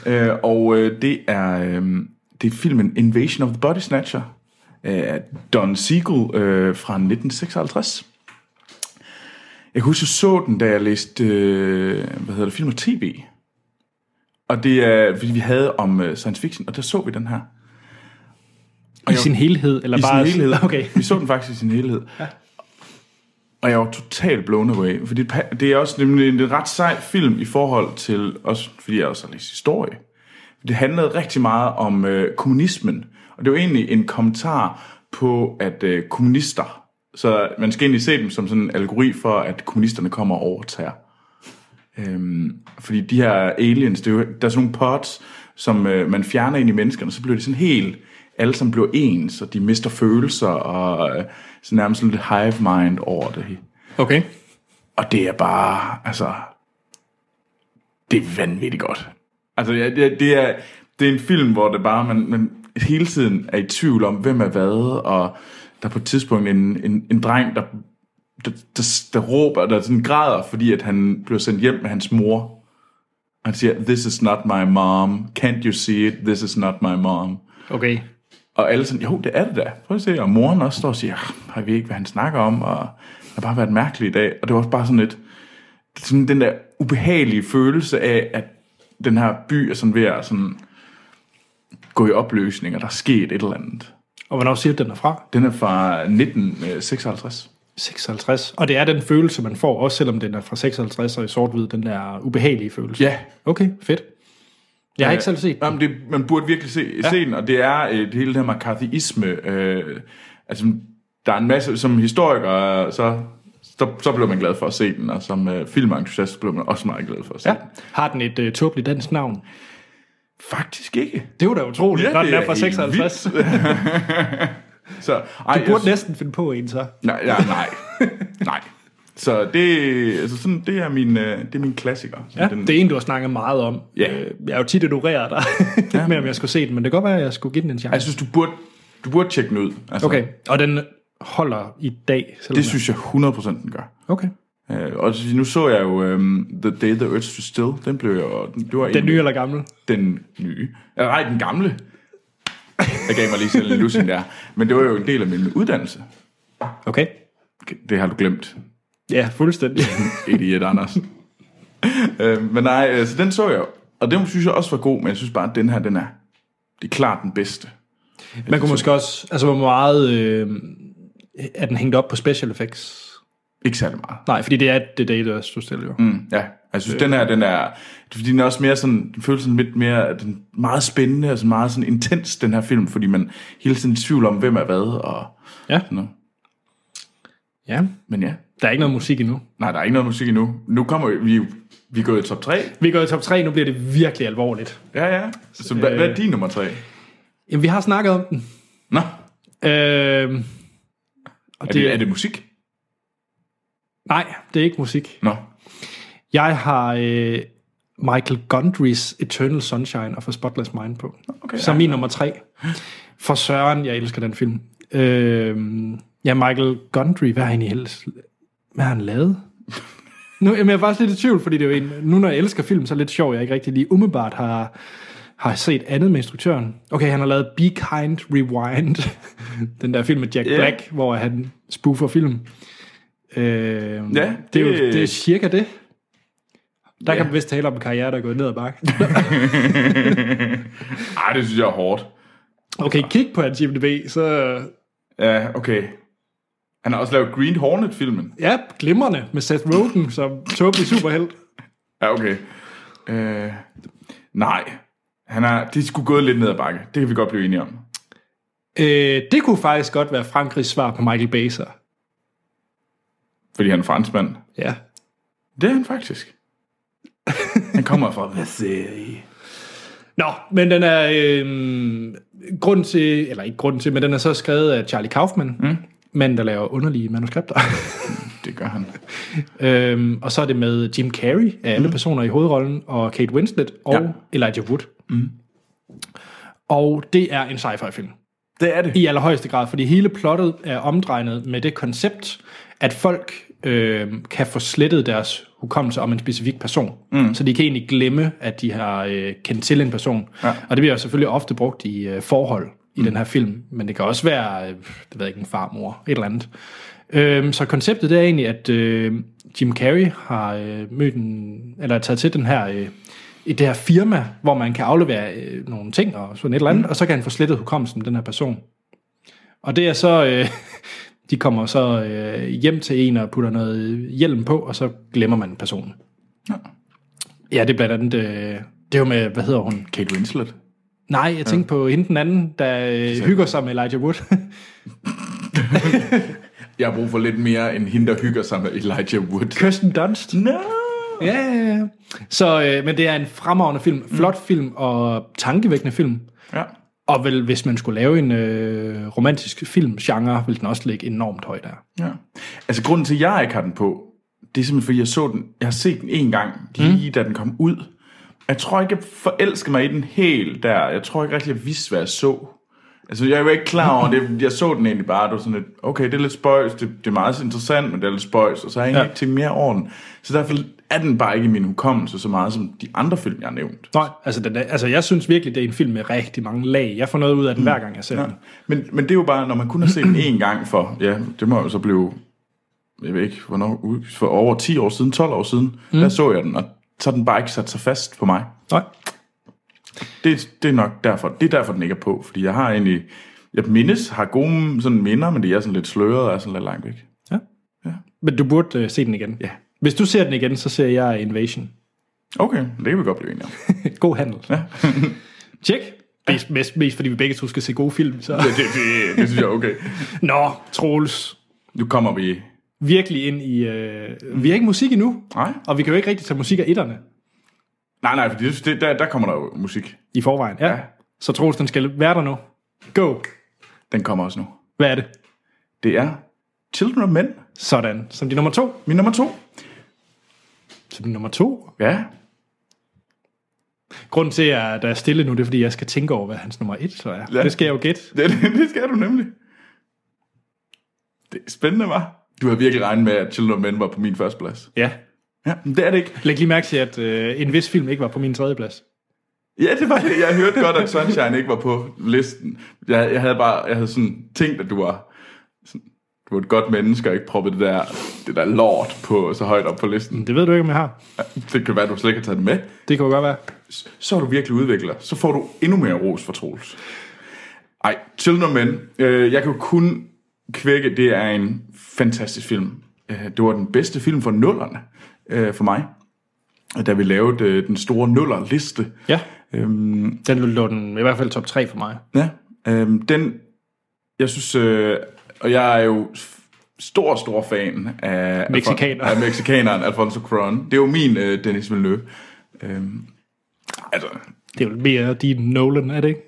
[SPEAKER 2] øh, og øh, det er øh, det er filmen Invasion of the Body Snatcher af Don Siegel øh, fra 1956. Jeg kan huske, jeg så den, da jeg læste øh, hvad hedder det, film og tv. Og det er, fordi vi havde om øh, science fiction, og der så vi den her.
[SPEAKER 1] I sin helhed, eller
[SPEAKER 2] I
[SPEAKER 1] bare...
[SPEAKER 2] sin helhed.
[SPEAKER 1] Okay.
[SPEAKER 2] Vi så den faktisk i sin helhed. Ja. Og jeg var totalt blown away. Fordi det pa- det er også nemlig en ret sej film i forhold til, også fordi jeg også har læst historie. Det handlede rigtig meget om øh, kommunismen. Og det var egentlig en kommentar på, at øh, kommunister, så man skal egentlig se dem som sådan en allegori for, at kommunisterne kommer og overtager. Øhm, fordi de her aliens, det er jo, der er sådan nogle pods, som øh, man fjerner ind i menneskerne, så bliver de sådan helt, alle sammen bliver ens, og de mister følelser, og øh, så nærmest sådan lidt hive mind over det. hele.
[SPEAKER 1] Okay.
[SPEAKER 2] Og det er bare, altså, det er vanvittigt godt. Altså, ja, det, det, er, det er en film, hvor det bare, man, man hele tiden er i tvivl om, hvem er hvad, og der er på et tidspunkt en, en, en dreng, der, der, der, der råber, der sådan græder, fordi at han bliver sendt hjem med hans mor. Og han siger, this is not my mom, can't you see it, this is not my mom.
[SPEAKER 1] Okay.
[SPEAKER 2] Og alle sådan, jo, det er det da. Prøv at se. Og moren også står og siger, "Ah, har vi ikke, hvad han snakker om, og det har bare været mærkeligt i dag. Og det var også bare sådan lidt, sådan den der ubehagelige følelse af, at den her by er sådan ved at sådan gå i opløsning, og der er sket et eller andet.
[SPEAKER 1] Og hvornår siger du, den er fra?
[SPEAKER 2] Den er fra øh, 1956.
[SPEAKER 1] 56. Og det er den følelse, man får, også selvom den er fra 56 og i sort-hvid, den der ubehagelige følelse.
[SPEAKER 2] Ja. Øh,
[SPEAKER 1] Okay, fedt. Jeg har ikke selv set den.
[SPEAKER 2] Jamen, det, man burde virkelig se, ja. se den, og det er øh, det hele det her McCarthyisme. Øh, altså, der er en masse, som historiker, så, så, så blev man glad for at se den, og som øh, filmentusiast blev man også meget glad for at se ja. den.
[SPEAKER 1] Har den et uh, tåbeligt dansk navn?
[SPEAKER 2] Faktisk ikke.
[SPEAKER 1] Det var da utroligt,
[SPEAKER 2] Ja,
[SPEAKER 1] når
[SPEAKER 2] det
[SPEAKER 1] den er
[SPEAKER 2] er
[SPEAKER 1] fra
[SPEAKER 2] helt
[SPEAKER 1] 56. Du
[SPEAKER 2] Så, ej,
[SPEAKER 1] burde
[SPEAKER 2] jeg,
[SPEAKER 1] næsten finde på en så.
[SPEAKER 2] nej, ja, nej, nej. Så det, altså sådan, det, er min, øh, det er min klassiker. Sådan
[SPEAKER 1] Ja,
[SPEAKER 2] den,
[SPEAKER 1] det er en, du har snakket meget om.
[SPEAKER 2] Ja.
[SPEAKER 1] Øh, Jeg har jo tit ignoreret dig ja. med, om jeg skulle se den, men det kan godt være, at jeg skulle give den en chance.
[SPEAKER 2] Jeg synes, du burde, du burde tjekke den ud. Altså,
[SPEAKER 1] okay, og den holder i dag? selvom
[SPEAKER 2] Det
[SPEAKER 1] jeg-
[SPEAKER 2] synes jeg 100% den gør.
[SPEAKER 1] Okay.
[SPEAKER 2] Øh, og så- nu så jeg jo um, The Day the Earth Stood Still. Den blev jo... Den, det var
[SPEAKER 1] Den nye eller gammel?
[SPEAKER 2] Den nye. Eller nej, den gamle. Jeg gav mig lige selv en lussing der. Men det var jo en del af min uddannelse.
[SPEAKER 1] Okay.
[SPEAKER 2] Det har du glemt.
[SPEAKER 1] Ja, fuldstændig.
[SPEAKER 2] Idiot, Anders. øh, men nej, øh, så den så jeg. Og den synes jeg også var god, men jeg synes bare, at den her, den er... Det er klart den bedste.
[SPEAKER 1] Man kunne måske også... Altså, hvor meget øh, er den hængt op på special effects?
[SPEAKER 2] Ikke særlig meget.
[SPEAKER 1] Nej, fordi det er det data, du stiller jo. Mm.
[SPEAKER 2] Mm, ja, jeg synes, øh. den her, den er... Fordi den er også mere sådan... Den føles sådan lidt mere... Den er meget spændende og sådan meget sådan intens, den her film. Fordi man hele tiden er i tvivl om, hvem er hvad og
[SPEAKER 1] Ja.
[SPEAKER 2] sådan noget.
[SPEAKER 1] ja.
[SPEAKER 2] Men ja,
[SPEAKER 1] Der er ikke noget musik endnu.
[SPEAKER 2] nej, der er ikke noget musik endnu. Nu kommer vi... Vi, vi går i top 3.
[SPEAKER 1] Vi går i top 3, nu bliver det virkelig alvorligt.
[SPEAKER 2] Ja, ja. Så hvad, hvad er din nummer 3?
[SPEAKER 1] Jamen, vi har snakket om den.
[SPEAKER 2] Nå,
[SPEAKER 1] Øh, og
[SPEAKER 2] er det, er det musik?
[SPEAKER 1] Nej, det er ikke musik.
[SPEAKER 2] Nå.
[SPEAKER 1] Jeg har øh, Michael Gondrys Eternal Sunshine og For Spotless Mind på.
[SPEAKER 2] Okay,
[SPEAKER 1] som
[SPEAKER 2] ja.
[SPEAKER 1] min nummer tre. For Søren, jeg elsker den film. Øh, ja, Michael Gondry, hvad har han ellers? Hvad har han lavet? Nu, jamen, jeg er faktisk lidt i tvivl, fordi det er jo en, nu når jeg elsker film, så er det lidt sjovt, jeg ikke rigtig lige umiddelbart har, har set andet med instruktøren. Okay, han har lavet Be Kind, Rewind, den der film med Jack
[SPEAKER 2] Ja.
[SPEAKER 1] Black, hvor han spoofer film. Øh, ja, det, det, er jo,
[SPEAKER 2] det-
[SPEAKER 1] det er cirka det. Der
[SPEAKER 2] Ja.
[SPEAKER 1] kan man vist tale om en karriere, der er gået ned ad bakke.
[SPEAKER 2] Ej, det synes jeg er hårdt.
[SPEAKER 1] Okay, kig på hans IMDb, så...
[SPEAKER 2] Ja, okay. Han har også lavet Green Hornet-filmen.
[SPEAKER 1] Ja, glimrende med Seth Rogen som tåbelig superheld.
[SPEAKER 2] Ja, okay. Øh, nej. Han er, de skulle gået lidt ned ad bakke. Det kan vi godt blive enige om.
[SPEAKER 1] Øh, det kunne faktisk godt være Frankrigs svar på Michael Baser.
[SPEAKER 2] Fordi han er franskmand.
[SPEAKER 1] Ja.
[SPEAKER 2] Det er han faktisk. Han kommer fra Versailles.
[SPEAKER 1] Nå, men den er øh, grund til, eller ikke grund til, men den er så skrevet af Charlie Kaufman, mm. manden, der laver underlige manuskripter.
[SPEAKER 2] Det gør han.
[SPEAKER 1] øhm, og så er det med Jim Carrey af alle personer i hovedrollen, og Kate Winslet og
[SPEAKER 2] Ja.
[SPEAKER 1] Elijah Wood. Mm. Og det er en sci-fi film.
[SPEAKER 2] Det Det er det.
[SPEAKER 1] I allerhøjeste grad, fordi hele plottet er omdrejnet med det koncept, at folk øh, kan få slettet deres hukommelse om en specifik person. Mm. Så de kan egentlig glemme, at de har øh, kendt til en person. Ja. Og det bliver jo selvfølgelig ofte brugt i øh, forhold i mm. den her film, men det kan også være, øh, det ved jeg ikke, en farmor, et eller andet. Øhm, så konceptet det er egentlig, at øh, Jim Carrey har øh, mødt en, eller taget til den her, øh, i det her firma, hvor man kan aflevere øh, nogle ting og sådan et eller andet, mm. og så kan han få slettet hukommelsen, den her person. Og det er så, øh, de kommer så øh, hjem til en og putter noget hjelm på, og så glemmer man personen. Ja, ja det er blandt andet, øh, det er jo med, hvad hedder hun?
[SPEAKER 2] Kate Winslet.
[SPEAKER 1] Nej, jeg tænkte på hende den anden, der øh, hygger sig med Elijah Wood.
[SPEAKER 2] Jeg har brug for lidt mere end hende, der hygger sig med Elijah Wood.
[SPEAKER 1] Kirsten Dunst.
[SPEAKER 2] No.
[SPEAKER 1] Ja, ja, ja. Så, øh, men det er en fremragende film, flot film og tankevækkende film.
[SPEAKER 2] Ja.
[SPEAKER 1] Og vel, hvis man skulle lave en øh, romantisk filmgenre, ville den også ligge enormt højt der.
[SPEAKER 2] ja. Altså, grunden til, at jeg ikke har den på, det er simpelthen, fordi jeg så den, jeg har set den en gang, lige mm. da den kom ud. Jeg tror ikke, jeg forelskede mig i den helt der. Jeg tror ikke rigtig, jeg vidste, hvad jeg så. Altså, jeg var ikke klar over det. Jeg så den egentlig bare, det var sådan lidt, okay, det er lidt spøjs, det, det er meget interessant, men det er lidt spøjs, og så har jeg egentlig
[SPEAKER 1] Ja.
[SPEAKER 2] ja. ikke tænkt mere over den. Så derfor er den bare ikke i min hukommelse så meget som de andre film, jeg har nævnt.
[SPEAKER 1] Nej, altså, den er, altså jeg synes virkelig, det er en film med rigtig mange lag. Jeg får noget ud af den, mm. hver gang jeg ser ja. den.
[SPEAKER 2] Men, men det er jo bare, når man kun har set den én gang for, ja, det må jo så blive, jeg ved ikke, hvornår, ud- for over 10 år siden, 12 år siden, mm. der så jeg den, og så har den bare ikke sat sig fast på mig.
[SPEAKER 1] Nej.
[SPEAKER 2] Det, det er nok derfor, det er derfor, den ikke er på, fordi jeg har egentlig, jeg mindes, har gode sådan minder, men det er sådan lidt sløret og er sådan lidt langt væk.
[SPEAKER 1] Ja. ja. Men du burde øh, se den igen.
[SPEAKER 2] Ja.
[SPEAKER 1] Hvis du ser den igen, så ser jeg Invasion.
[SPEAKER 2] Okay, det kan vi godt blive enige om.
[SPEAKER 1] God handel. Ja. Tjek. Mest, mest, mest fordi vi begge to skal se gode film. Så.
[SPEAKER 2] Det, det, det, det synes jeg er okay.
[SPEAKER 1] Nå, Troels.
[SPEAKER 2] Nu kommer vi...
[SPEAKER 1] Virkelig ind i... Øh, vi har ikke musik endnu.
[SPEAKER 2] Nej.
[SPEAKER 1] Og vi kan jo ikke rigtig tage musik af etterne
[SPEAKER 2] Nej, nej, for det, det, der, der kommer der jo musik.
[SPEAKER 1] i forvejen. Ja. ja.
[SPEAKER 2] Ja.
[SPEAKER 1] Så Troels, den skal være der nu. Go.
[SPEAKER 2] Den kommer også nu.
[SPEAKER 1] Hvad er det?
[SPEAKER 2] Det er Children of Men,
[SPEAKER 1] Sådan. Som de nummer to.
[SPEAKER 2] min nummer to.
[SPEAKER 1] Som de nummer to.
[SPEAKER 2] Ja,
[SPEAKER 1] Grunden til, at der er stille nu, det er, fordi jeg skal tænke over, hvad hans nummer et så er. Ja.
[SPEAKER 2] Ja.
[SPEAKER 1] Det skal jeg jo gætte.
[SPEAKER 2] det, det, det skal du nemlig. Det er spændende, var. Du har virkelig regnet med, at Children of Men var på min første plads.
[SPEAKER 1] Ja.
[SPEAKER 2] Ja, men det er det ikke.
[SPEAKER 1] Læg lige mærke til, at øh, en vis film ikke var på min tredje plads.
[SPEAKER 2] Ja, det var det. Jeg hørte godt, at Sunshine ikke var på listen. Jeg, jeg havde bare jeg havde sådan tænkt, at du var, sådan, du var et godt menneske og ikke proppet det der, det der lort på, så højt op på listen.
[SPEAKER 1] Det ved du ikke, om jeg har.
[SPEAKER 2] Det kan være, at du slet ikke har taget det med.
[SPEAKER 1] Det kan jo godt være.
[SPEAKER 2] så er du virkelig udvikler. Så får du endnu mere ros fra Troels. Ej, Children of Men. Øh, jeg kan jo kun kvække, det er en fantastisk film. Øh, det var den bedste film for nullerne øh, for mig. Da vi lavede øh, den store nullerliste.
[SPEAKER 1] Ja.
[SPEAKER 2] Øhm,
[SPEAKER 1] Den lå den i hvert fald top 3 for mig.
[SPEAKER 2] Ja, øhm, den, jeg synes, øh, og jeg er jo s- stor, stor fan af...
[SPEAKER 1] Mexikaner.
[SPEAKER 2] Af mexikaneren Alfonso Cuarón. Det er jo min øh, Dennis Villeneuve. Øhm, altså,
[SPEAKER 1] Det er jo mere din Nolan, er det ikke?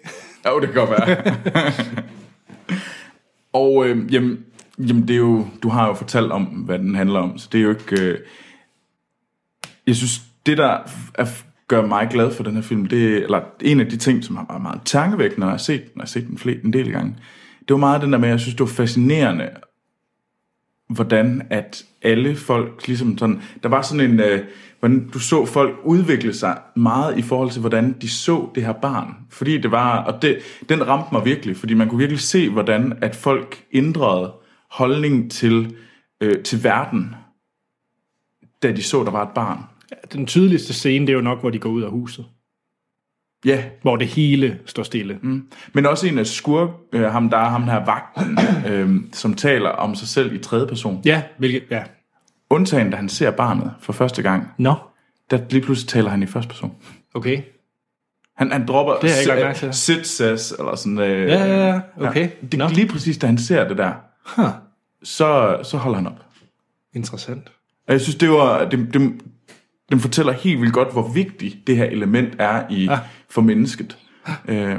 [SPEAKER 2] jo, det kan godt være. og øh, jamen, jamen, det er jo, du har jo fortalt om, hvad den handler om, så det er jo ikke... Øh, jeg synes, det der f- er, f- gør mig glad for den her film, det, eller en af de ting, som har været meget tankevækkende, når jeg har set den, og jeg har set den flere, en del gange, det var meget den der med, at jeg synes, det var fascinerende, hvordan at alle folk ligesom sådan, der var sådan en, øh, hvordan du så folk udvikle sig meget i forhold til, hvordan de så det her barn. Fordi det var, og det, den ramte mig virkelig, fordi man kunne virkelig se, hvordan at folk ændrede holdning til, øh, til verden, da de så, der var et barn.
[SPEAKER 1] Den tydeligste scene, det er jo nok, hvor de går ud af huset.
[SPEAKER 2] Ja,
[SPEAKER 1] Hvor det hele står stille. Mm.
[SPEAKER 2] men også en af skurk, øh, ham der er ham her vagten, øh, som taler om sig selv i tredje person.
[SPEAKER 1] Ja, hvilket... Ja.
[SPEAKER 2] Undtagen, da han ser barnet for første gang,
[SPEAKER 1] Nå.
[SPEAKER 2] der lige pludselig taler han i første person.
[SPEAKER 1] Okay.
[SPEAKER 2] Han, han dropper
[SPEAKER 1] Det har jeg ikke lagt mærke til.
[SPEAKER 2] sit says, eller sådan øh,
[SPEAKER 1] Ja, ja, ja. Okay.
[SPEAKER 2] Det,
[SPEAKER 1] Nå.
[SPEAKER 2] lige præcis, da han ser det der,
[SPEAKER 1] Huh.
[SPEAKER 2] så, så holder han op.
[SPEAKER 1] Interessant.
[SPEAKER 2] Og jeg synes, det var... Det, det, den fortæller helt vildt godt, hvor vigtigt det her element er i ah. for mennesket. Øh,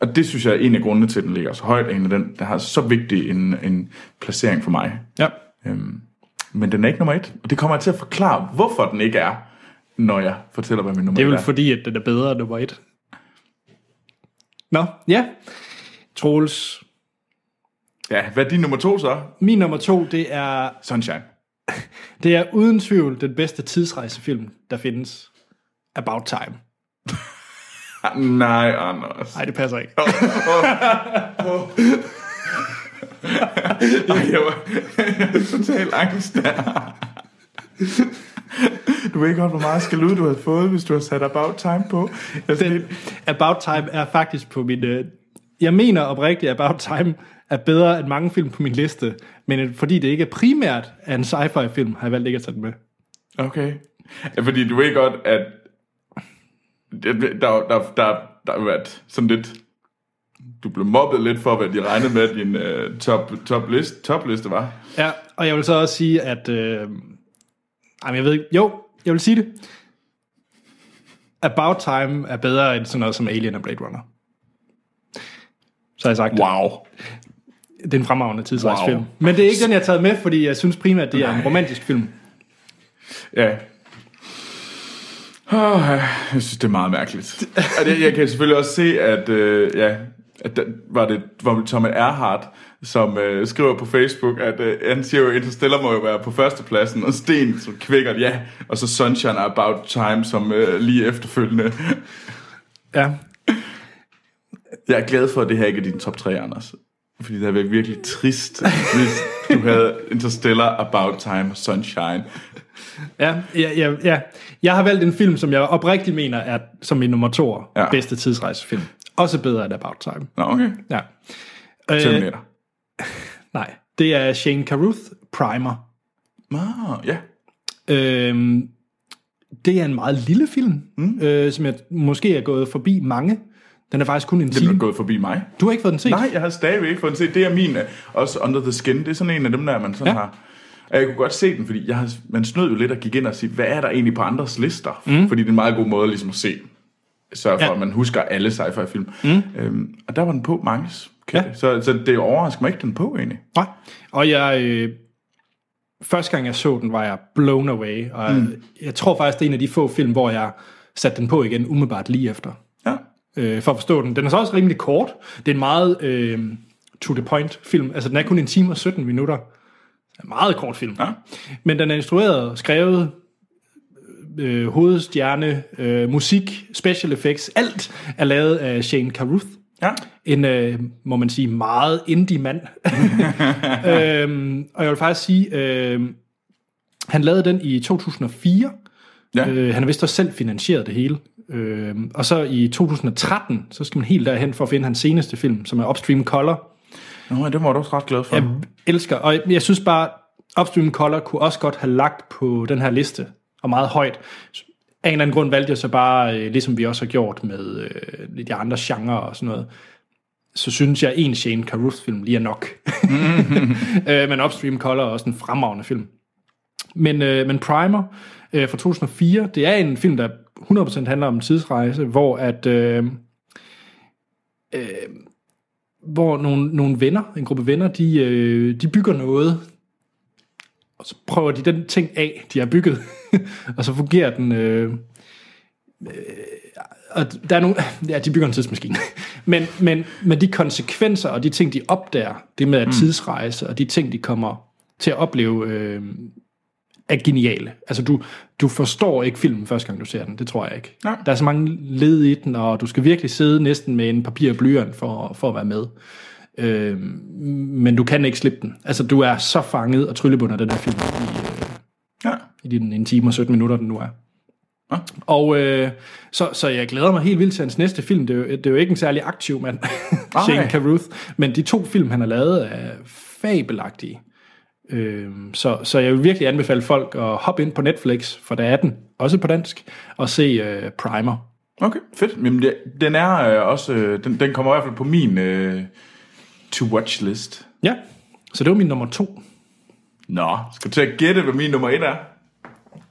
[SPEAKER 2] og det synes jeg er en af grundene til, at den ligger så højt, en af den, der har så vigtig en, en placering for mig.
[SPEAKER 1] Ja.
[SPEAKER 2] Øhm, men den er ikke nummer et, og det kommer jeg til at forklare, hvorfor den ikke er, når jeg fortæller, hvad min nummer
[SPEAKER 1] Det er
[SPEAKER 2] et
[SPEAKER 1] vel
[SPEAKER 2] er.
[SPEAKER 1] fordi, at den er bedre end nummer et. Nå, ja. Troels,
[SPEAKER 2] Ja, hvad er din nummer to så?
[SPEAKER 1] Min nummer to, det er,
[SPEAKER 2] Sunshine.
[SPEAKER 1] det er uden tvivl den bedste tidsrejsefilm, der findes. About Time.
[SPEAKER 2] Ah, Nej, Anders.
[SPEAKER 1] Nej, det passer ikke.
[SPEAKER 2] Ej, jeg var total angst der. Du ved godt, hvor meget skal ud du havde fået, hvis du har sat About Time på. Jeg
[SPEAKER 1] Den, About Time er faktisk på min... Øh, jeg mener oprigtigt, at About Time er bedre end mange film på min liste, men øh, fordi det ikke er primært er en sci-fi film, har jeg valgt ikke at tage den med.
[SPEAKER 2] Okay. Ja, fordi du ved godt, at det- der, der, der, der har været sådan lidt... Du blev mobbet lidt for, hvad de regnede med, at din uh, top, top, list, top liste var.
[SPEAKER 1] Ja, og jeg vil så også sige, at... Øh, ej, men jeg ved ikke... Jo, jeg vil sige det. About Time er bedre end sådan noget som Alien og Blade Runner. Så har jeg sagt det.
[SPEAKER 2] Wow.
[SPEAKER 1] Det er en fremragende tidsrejsefilm.
[SPEAKER 2] Wow.
[SPEAKER 1] Wow. Men det er ikke den, jeg har taget med, fordi jeg synes primært, det er en romantisk film.
[SPEAKER 2] Ja. Oh, jeg synes, det er meget mærkeligt. Og det, jeg kan selvfølgelig også se, at, øh, ja, at der, var det var det Thomas Erhardt, som øh, skriver på Facebook, at øh, Anzio Interstellar må jo være på førstepladsen, og Sten som kvækker, ja, og så Sunshine og About Time som øh, lige efterfølgende.
[SPEAKER 1] Ja,
[SPEAKER 2] Jeg er glad for, at det her ikke er din top 3, Anders. Fordi det havde været virkelig trist, hvis du havde Interstellar, About Time og Sunshine.
[SPEAKER 1] Ja, ja, ja, ja. Jeg har valgt en film, som jeg oprigtigt mener er som min nummer to
[SPEAKER 2] Ja.
[SPEAKER 1] ja. bedste tidsrejsefilm. Også bedre end About Time.
[SPEAKER 2] Nå, okay.
[SPEAKER 1] Ja. Øh,
[SPEAKER 2] Terminator.
[SPEAKER 1] nej, det er Shane Carruth Primer.
[SPEAKER 2] Ah, ja.
[SPEAKER 1] Øh, det er en meget lille film, mm. øh, som jeg måske er gået forbi mange. Den er faktisk kun en
[SPEAKER 2] Den er
[SPEAKER 1] time.
[SPEAKER 2] gået forbi mig.
[SPEAKER 1] Du har ikke fået den set?
[SPEAKER 2] Nej, jeg har stadigvæk ikke fået den set. Det er min, øh, også Under the Skin. Det er sådan en af dem, der man sådan ja.
[SPEAKER 1] Ja.
[SPEAKER 2] har... Og jeg kunne godt se den, fordi jeg har, man snød jo lidt og gik ind og sige, hvad er der egentlig på andres lister? Mm. Fordi det er en meget god måde ligesom at se. Sørge for, ja.
[SPEAKER 1] Ja.
[SPEAKER 2] at man husker alle sci-fi film. Mm. Øhm, og der var den på manges. Okay. Ja.
[SPEAKER 1] Ja.
[SPEAKER 2] Så, så det overrasker mig ikke, den er på egentlig.
[SPEAKER 1] Nej. Og jeg... Øh, første gang jeg så den, var jeg blown away. Og mm. jeg tror faktisk, det er en af de få film, hvor jeg satte den på igen umiddelbart lige efter.
[SPEAKER 2] Ja.
[SPEAKER 1] øh, for at forstå den. Den er så også rimelig kort. Det er en meget øh, to the point film. Altså den er kun en time og 17 minutter. Det er En meget kort film.
[SPEAKER 2] Ja.
[SPEAKER 1] Men den er instrueret, og skrevet, øh, hovedstjerne, øh, musik, special effects, alt er lavet af Shane Carruth.
[SPEAKER 2] ja.
[SPEAKER 1] En, øh, må man sige, meget indie mand. øhm, og jeg vil faktisk sige, øh, han lavede den i 2004.
[SPEAKER 2] Ja. Øh.
[SPEAKER 1] Øh, han har vist også selv finansieret det hele. Øh, og så i 2013, så skal man helt derhen for at finde hans seneste film, som er Upstream Color.
[SPEAKER 2] Nå, ja, den var du også ret glad for.
[SPEAKER 1] Jeg elsker, og jeg synes bare, Upstream Color kunne også godt have lagt på den her liste, og meget højt. Af en eller anden grund valgte jeg så bare, øh, ligesom vi også har gjort med øh, de andre genrer og sådan noget, så synes jeg, en Shane Carruth-film lige er nok. øh, men Upstream Color er også en fremragende film. Men, øh, men Primer øh, fra 2004, det er en film, der 100% handler om en tidsrejse, hvor at... Øh, hvor nogle, nogle venner, en gruppe venner, de, øh, de bygger noget, og så prøver de den ting af, de har bygget, og så fungerer den... Øh, øh, og der er nogle, ja, de bygger en tidsmaskine. Men, men, men de konsekvenser og de ting, de opdager, det med at tidsrejse, og de ting, de kommer til at opleve, øh, er geniale. Altså, du, du forstår ikke filmen første gang, du ser den. Det tror jeg ikke.
[SPEAKER 2] Nej.
[SPEAKER 1] Der er så mange led i den, og du skal virkelig sidde næsten med en papir og blyant for, for at være med. Øh, men du kan ikke slippe den. Altså, du er så fanget og tryllebundet af den her film
[SPEAKER 2] Ja.
[SPEAKER 1] i den en time og 17 minutter, den nu er.
[SPEAKER 2] Ja.
[SPEAKER 1] Og øh, så, så jeg glæder mig helt vildt til hans næste film. Det er jo, det er jo ikke en særlig aktiv mand, Shane Carruth, men de to film, han har lavet, er fabelagtige. Øh, så, så jeg vil virkelig anbefale folk at hoppe ind på Netflix, for der er den, også på dansk, og se øh, Primer.
[SPEAKER 2] Okay, fedt. Jamen, det, den er øh, også... Øh, den, den kommer i hvert fald på min øh, to-watch list.
[SPEAKER 1] Ja, så det var min nummer to.
[SPEAKER 2] Nå, skal du til at gætte, hvad min nummer et er?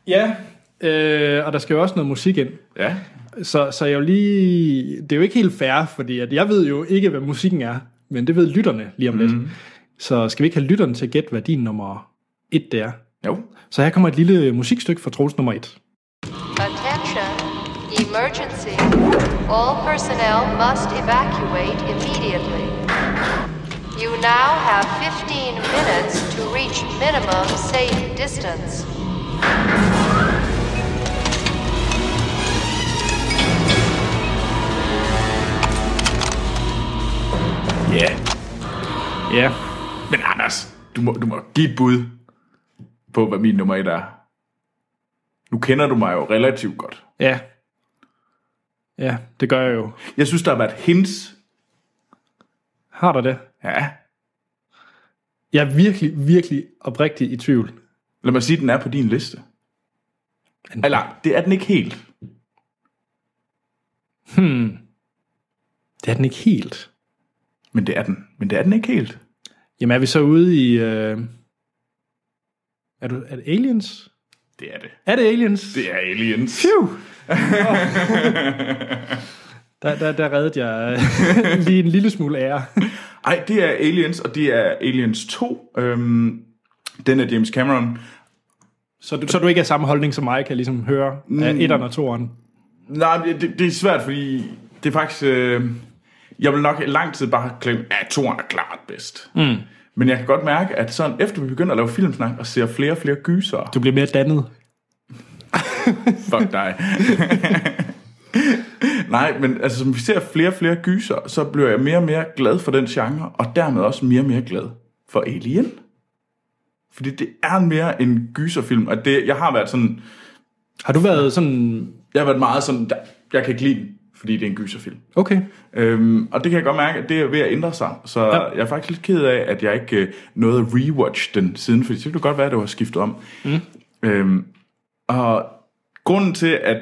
[SPEAKER 1] Ja. Øh, og der skal jo også noget musik ind.
[SPEAKER 2] Ja.
[SPEAKER 1] Så, så jeg er jo lige, det er jo ikke helt fair, fordi at jeg ved jo ikke, hvad musikken er, men det ved lytterne lige om lidt.
[SPEAKER 2] Mhm.
[SPEAKER 1] Så skal vi ikke have lytterne til at gætte, hvad din nummer et det er?
[SPEAKER 2] Jo.
[SPEAKER 1] Så her kommer et lille musikstykke fra Troels nummer et.
[SPEAKER 6] Attention, emergency. All personnel must evacuate immediately. You now have 15 minutes to reach minimum safe distance.
[SPEAKER 2] Ja. Yeah.
[SPEAKER 1] Ja. Yeah.
[SPEAKER 2] Men Anders, du må, du må give et bud på, hvad min nummer et er. Nu kender du mig jo relativt godt.
[SPEAKER 1] Ja. Ja, det gør jeg jo.
[SPEAKER 2] Jeg synes, der har været hints.
[SPEAKER 1] Har der det?
[SPEAKER 2] Ja.
[SPEAKER 1] Jeg er virkelig, virkelig oprigtigt i tvivl.
[SPEAKER 2] Lad mig sige, at den er på din liste. Eller, det er den ikke helt.
[SPEAKER 1] Det er den ikke helt.
[SPEAKER 2] Men det er den. Men det er den ikke helt.
[SPEAKER 1] Jamen er vi så ude i... Øh... Er, du, er det aliens?
[SPEAKER 2] Det er det.
[SPEAKER 1] Er det aliens?
[SPEAKER 2] Det er aliens.
[SPEAKER 1] Phew! der, der, der reddede jeg øh, lige en lille smule ære.
[SPEAKER 2] Ej, det er Aliens, og det er Aliens 2. Øhm, den er James Cameron.
[SPEAKER 1] Så du, så du ikke er samme holdning som mig, kan jeg ligesom høre af etteren og toeren.
[SPEAKER 2] Nej, men det, det er svært, fordi det er faktisk... Øh, jeg vil nok i lang tid bare klemme, at toren er klart bedst. Mm. Men jeg kan godt mærke, at sådan efter vi begynder at lave filmsnak og ser flere og flere gyser,
[SPEAKER 1] Du bliver mere dannet.
[SPEAKER 2] Fuck dig. Nej, men altså, som vi ser flere og flere gyser, så bliver jeg mere og mere glad for den genre, og dermed også mere og mere glad for Alien. Fordi det er mere en gyserfilm, og det, jeg har været sådan,
[SPEAKER 1] Har du været sådan...
[SPEAKER 2] jeg har været meget sådan, der, jeg kan ikke lide den, fordi det er en gyserfilm.
[SPEAKER 1] Okay.
[SPEAKER 2] Øhm, og det kan jeg godt mærke, at det er ved at ændre sig. Så ja. jeg er faktisk lidt ked af, at jeg ikke øh, nåede at rewatch den siden, fordi så kunne det godt være, at det var skiftet om. Mm. Øhm, og grunden til, at...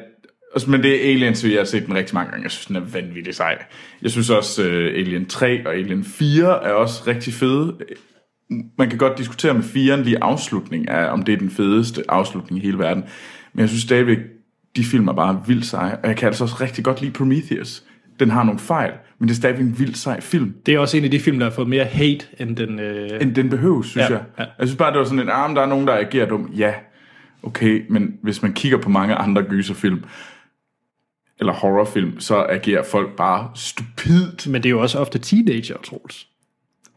[SPEAKER 2] Altså, men det er Alien, så jeg har set den rigtig mange gange. Jeg synes, den er vanvittig sej. Jeg synes også, uh, Alien 3 og Alien 4 er også rigtig fede. Man kan godt diskutere med 4'eren lige afslutning af, om det er den fedeste afslutning i hele verden. Men jeg synes stadigvæk, de film er bare vildt seje. Og jeg kan altså også rigtig godt lide Prometheus. Den har nogle fejl, men det er stadigvæk en vildt sej film.
[SPEAKER 1] Det er også en af de film, der har fået mere hate, end den... Øh...
[SPEAKER 2] End den behøves, synes
[SPEAKER 1] Ja,
[SPEAKER 2] jeg.
[SPEAKER 1] ja.
[SPEAKER 2] Jeg synes bare, det var sådan en, ah, men der er nogen, der agerer dum. Ja, okay, men hvis man kigger på mange andre gyserfilm, eller horrorfilm, så agerer folk bare stupidt.
[SPEAKER 1] Men det er jo også ofte teenager, Troels.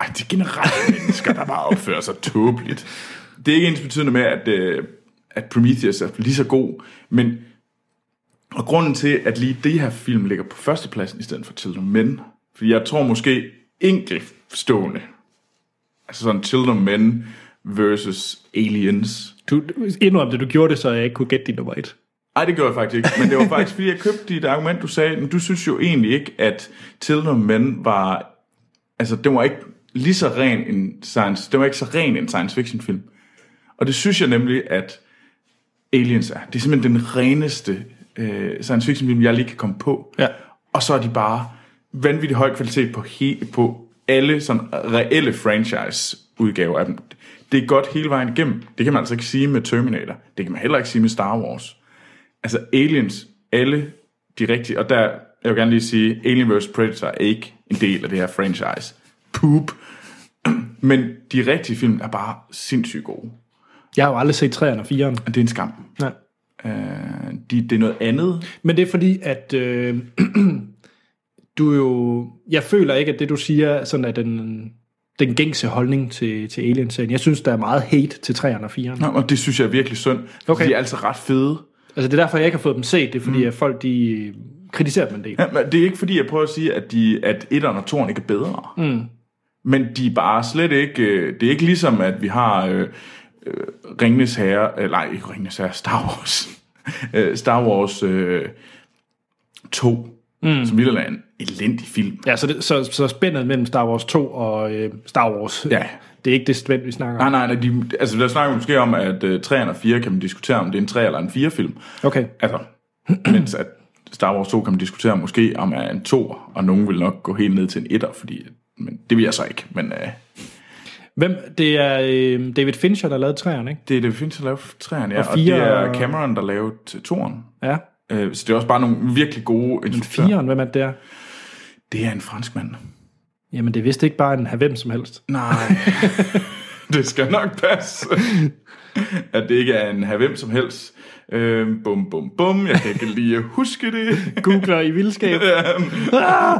[SPEAKER 2] Ej, det er generelt mennesker, der bare opfører sig tåbeligt. Det er ikke ens betydende med, at, øh, at Prometheus er lige så god, men og grunden til, at lige det her film ligger på førstepladsen i stedet for Children of Men, fordi jeg tror måske enkeltstående, altså sådan Children of Men versus Aliens,
[SPEAKER 1] Du, indrøm det, du gjorde det, så jeg ikke kunne gætte din nummer et.
[SPEAKER 2] Nej, det gjorde jeg faktisk ikke. Men det var faktisk, fordi jeg købte dit argument, du sagde, men du synes jo egentlig ikke, at Children of Men var... Altså, det var ikke lige så ren en science... Det var ikke så ren en science fiction film. Og det synes jeg nemlig, at Aliens er. Det er simpelthen den reneste øh, science fiction film, jeg lige kan komme på.
[SPEAKER 1] Ja.
[SPEAKER 2] Og så er de bare vanvittig høj kvalitet på, he, på alle sådan reelle franchise udgaver af dem. Det er godt hele vejen igennem. Det kan man altså ikke sige med Terminator. Det kan man heller ikke sige med Star Wars. Altså Aliens, alle de rigtige, og der, jeg vil gerne lige sige, Alien vs. Predator er ikke en del af det her franchise. Poop. Men de rigtige film er bare sindssygt gode.
[SPEAKER 1] Jeg har jo aldrig set 3'eren og 4'eren.
[SPEAKER 2] Og det er en skam.
[SPEAKER 1] Nej.
[SPEAKER 2] Øh, de, det er noget andet.
[SPEAKER 1] Men det er fordi, at øh, du jo... Jeg føler ikke, at det, du siger, sådan er den, den gængse holdning til, til Alien-serien. Jeg synes, der er meget hate til 3'eren og 4'eren.
[SPEAKER 2] Nå, og det synes jeg er virkelig synd.
[SPEAKER 1] Okay.
[SPEAKER 2] Okay. De er altså ret fede.
[SPEAKER 1] Altså, det er derfor, jeg ikke har fået dem set. Det er fordi, mm. at folk, de øh, kritiserer dem en del.
[SPEAKER 2] Ja, men det er ikke fordi, jeg prøver at sige, at, de, at etteren og toren ikke er bedre. Mm. Men de er bare slet ikke... øh, Det er ikke ligesom, at vi har øh, øh, Ringnes Herre... Eller nej, ikke Ringnes Herre, Star Wars. Øh, Star Wars øh, 2, mm. som ville er en elendig film.
[SPEAKER 1] Ja, så, det, så, så spændet mellem Star Wars 2 og øh, Star Wars,
[SPEAKER 2] Ja.
[SPEAKER 1] det er ikke det spænd, vi snakker om.
[SPEAKER 2] Nej, nej, nej de, altså der snakker vi måske om, at øh, 3'eren og 4 kan man diskutere, om det er en 3 eller en 4 film.
[SPEAKER 1] Okay.
[SPEAKER 2] Altså, mens at Star Wars 2 kan man diskutere måske, om er en 2, og nogen vil nok gå helt ned til en 1'er, fordi... Men det vil jeg så ikke, men... Øh,
[SPEAKER 1] Hvem? Det er øh, David Fincher, der lavede 3'eren, ikke?
[SPEAKER 2] Det er det findes at lave træerne, ja. Og, og det
[SPEAKER 1] fire-
[SPEAKER 2] er Cameron, der lavede til toren.
[SPEAKER 1] Ja.
[SPEAKER 2] Øh, Så det er også bare nogle virkelig gode instruktører.
[SPEAKER 1] 4'eren, hvem er det der?
[SPEAKER 2] Det er en fransk mand.
[SPEAKER 1] Jamen, det er vist ikke bare en havem som helst.
[SPEAKER 2] Nej. det skal nok passe. At det ikke er en have hvem som helst. Øhm, bum, bum, bum. Jeg kan ikke lige huske det.
[SPEAKER 1] Googler i vildskab.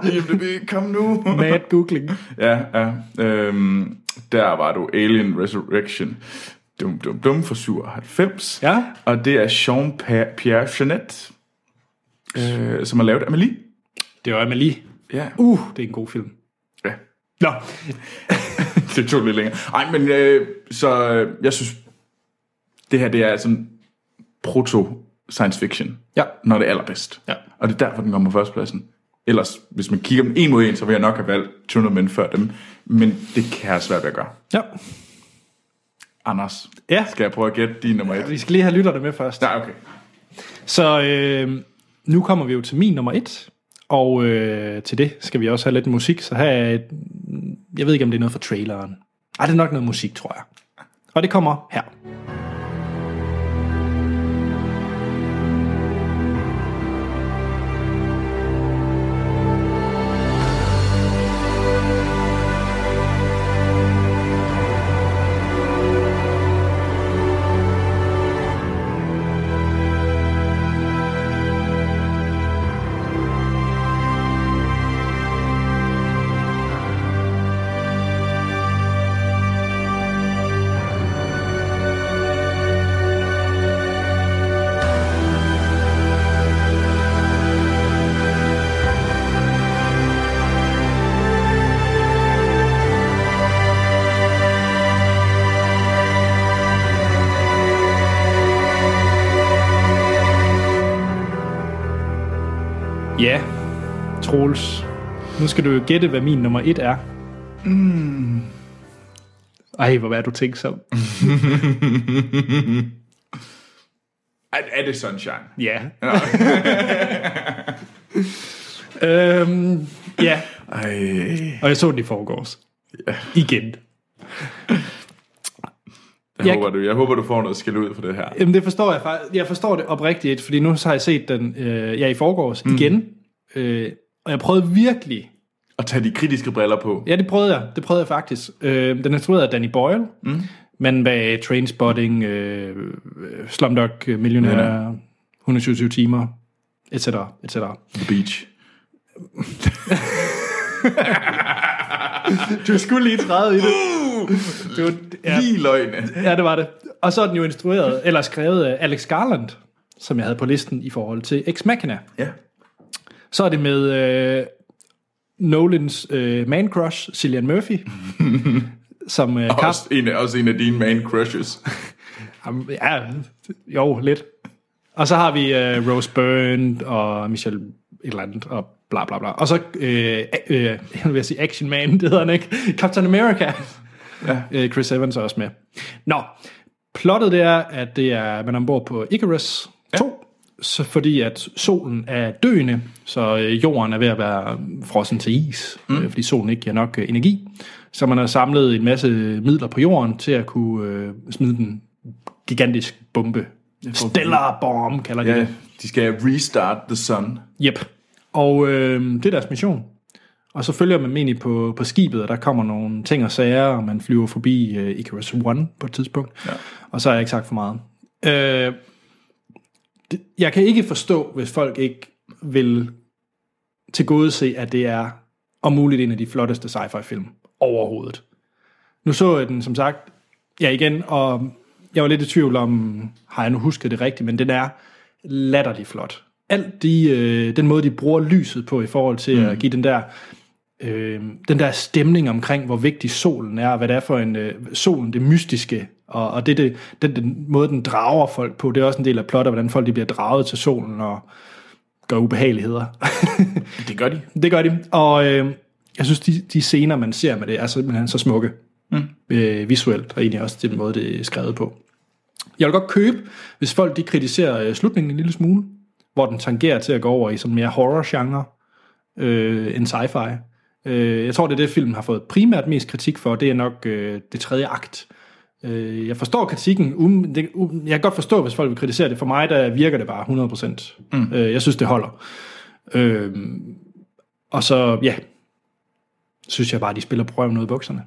[SPEAKER 2] IMDb, kom nu.
[SPEAKER 1] Mad googling.
[SPEAKER 2] Ja, ja. Øhm, der var du Alien Resurrection. Dum, dum, dum fra 97.
[SPEAKER 1] Ja.
[SPEAKER 2] Og det er Jean-Pierre Jeanette, øh, som har lavet Amélie.
[SPEAKER 1] Det var Amalie.
[SPEAKER 2] Ja.
[SPEAKER 1] Uh, det er en god film.
[SPEAKER 2] ja.
[SPEAKER 1] Nå,
[SPEAKER 2] Det tog lidt længere. Ej, men øh, så øh, jeg synes, det her det er sådan proto-science fiction.
[SPEAKER 1] Ja.
[SPEAKER 2] Når det er allerbedst.
[SPEAKER 1] Ja.
[SPEAKER 2] Og det er derfor, den kommer på førstepladsen. Ellers, hvis man kigger dem en mod en, så vil jeg nok have valgt 200 mænd før dem. Men det kan jeg svært ved at gøre.
[SPEAKER 1] ja.
[SPEAKER 2] Anders,
[SPEAKER 1] Ja.
[SPEAKER 2] skal jeg prøve at gætte din nummer et?
[SPEAKER 1] vi skal lige have lytterne med først.
[SPEAKER 2] Nej, okay.
[SPEAKER 1] Så øh, nu kommer vi jo til min nummer et, og øh, til det skal vi også have lidt musik, så her er et, jeg ved ikke, om det er noget fra traileren. Ej, det er nok noget musik, tror jeg. Og det kommer her. Ja, Troels. Nu skal du jo gætte, hvad min nummer et er. Mm. Ej, hvor er du tænksom.
[SPEAKER 2] Er, er det Sunshine?
[SPEAKER 1] Ja. øhm, ja,
[SPEAKER 2] Ej,
[SPEAKER 1] og jeg så den i forgårs. Igen.
[SPEAKER 2] jeg,
[SPEAKER 1] Jeg-
[SPEAKER 2] håber, du, jeg håber, du får noget skæld ud for det her.
[SPEAKER 1] Jamen, det forstår jeg faktisk. Jeg forstår det oprigtigt, fordi nu har jeg set den øh, ja, i forgårs mm. igen. Øh, og jeg prøvede virkelig...
[SPEAKER 2] Og tag de kritiske briller på.
[SPEAKER 1] Ja, det prøvede jeg. Det prøvede jeg faktisk. Øh, den er instrueret af Danny Boyle. Mm. Men bag Trainspotting, øh, øh, Slumdog Millionaire, ja. 127 timer, etc. etc.
[SPEAKER 2] The Beach.
[SPEAKER 1] Du skulle lige træde i det. det var, ja,
[SPEAKER 2] Lige løgne.
[SPEAKER 1] ja, det var det. Og så er den jo instrueret, eller skrevet af Alex Garland, som jeg havde på listen i forhold til Ex Machina.
[SPEAKER 2] Ja.
[SPEAKER 1] Så er det med øh, Nolans øh, man crush, Cillian Murphy, som øh, kap...
[SPEAKER 2] Også en, af- også en af dine main crushes.
[SPEAKER 1] Jamen, Ja, jo, lidt. Og så har vi øh, Rose Byrne og Michelle et eller andet, og bla bla bla. Og så, øh, a- øh, jeg vil sige Action Man, det hedder han ikke, Captain America. Ja. Øh, Chris Evans er også med. Nå, plottet det er, at det er, man er ombord på Icarus 2, så fordi at solen er døende, så øh, jorden er ved at være frossen til is, mm. øh, fordi solen ikke giver nok øh, energi. Så man har samlet en masse midler på jorden til at kunne øh, smide den gigantisk bombe. Stellar bomb kalder de
[SPEAKER 2] Ja,
[SPEAKER 1] det.
[SPEAKER 2] de skal restart the sun.
[SPEAKER 1] Yep. Og øh, det er deres mission. Og så følger man dem egentlig på, på skibet, og der kommer nogle ting og sager, og man flyver forbi øh, Icarus One på et tidspunkt. Ja. Og så har jeg ikke sagt for meget. Øh, det, jeg kan ikke forstå, hvis folk ikke vil tilgodese, at det er om muligt en af de flotteste sci-fi-film overhovedet. Nu så jeg den, som sagt, ja igen, og jeg var lidt i tvivl om, har jeg nu husket det rigtigt, men den er latterlig flot. Alt de, øh, den måde, de bruger lyset på i forhold til mm. at give den der, øh, den der stemning omkring, hvor vigtig solen er, og hvad det er for en, øh, solen, det mystiske, og, og det, det, den, den måde, den drager folk på, det er også en del af plottet, hvordan folk de bliver draget til solen og gør ubehageligheder.
[SPEAKER 2] Det gør de.
[SPEAKER 1] Det gør de. Og øh, jeg synes, de, de scener, man ser med det, er simpelthen så smukke. Mm. Øh, visuelt, og egentlig også til den måde, det er skrevet på. Jeg vil godt købe, hvis folk de kritiserer øh, slutningen en lille smule, hvor den tangerer til at gå over i sådan mere horror-genre øh, end sci-fi. Øh, jeg tror, det er det, filmen har fået primært mest kritik for, det er nok øh, det tredje akt. Øh, jeg forstår kritikken. Um, det, um, jeg kan godt forstå, hvis folk vil kritisere det. For mig, der virker det bare 100%. Mm. Øh, jeg synes, det holder. Øh, og så, ja, synes jeg bare, de spiller prøven ud af bukserne.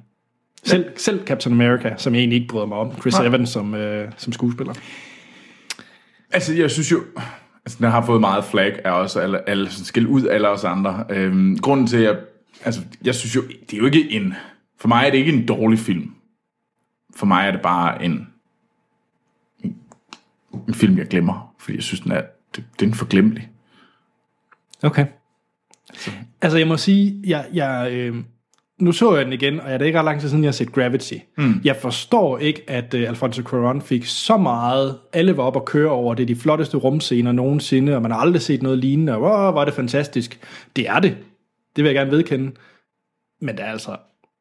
[SPEAKER 1] Selv, selv Captain America, som jeg egentlig ikke bryder mig om. Chris Nej. Evans som, øh, som skuespiller.
[SPEAKER 2] Altså, jeg synes jo... Altså, den har fået meget flag af os, alle, alle sådan skæld ud af alle os andre. Øhm, grunden til, at jeg... Altså, jeg synes jo... Det er jo ikke en... For mig er det ikke en dårlig film. For mig er det bare en... en- En film, jeg glemmer. Fordi jeg synes, den er... Det, den er forglemmelig.
[SPEAKER 1] Okay. Altså, jeg må sige, jeg, jeg, øh, nu så jeg den igen, og jeg er da ikke ret lang tid siden, jeg har set Gravity. Mm. Jeg forstår ikke, at øh, Alfonso Cuarón fik så meget. Alle var op og køre over det. er De flotteste rumscener nogensinde, og man har aldrig set noget lignende. Og wow, hvor er det fantastisk. Det er det. Det vil jeg gerne vedkende. Men der er altså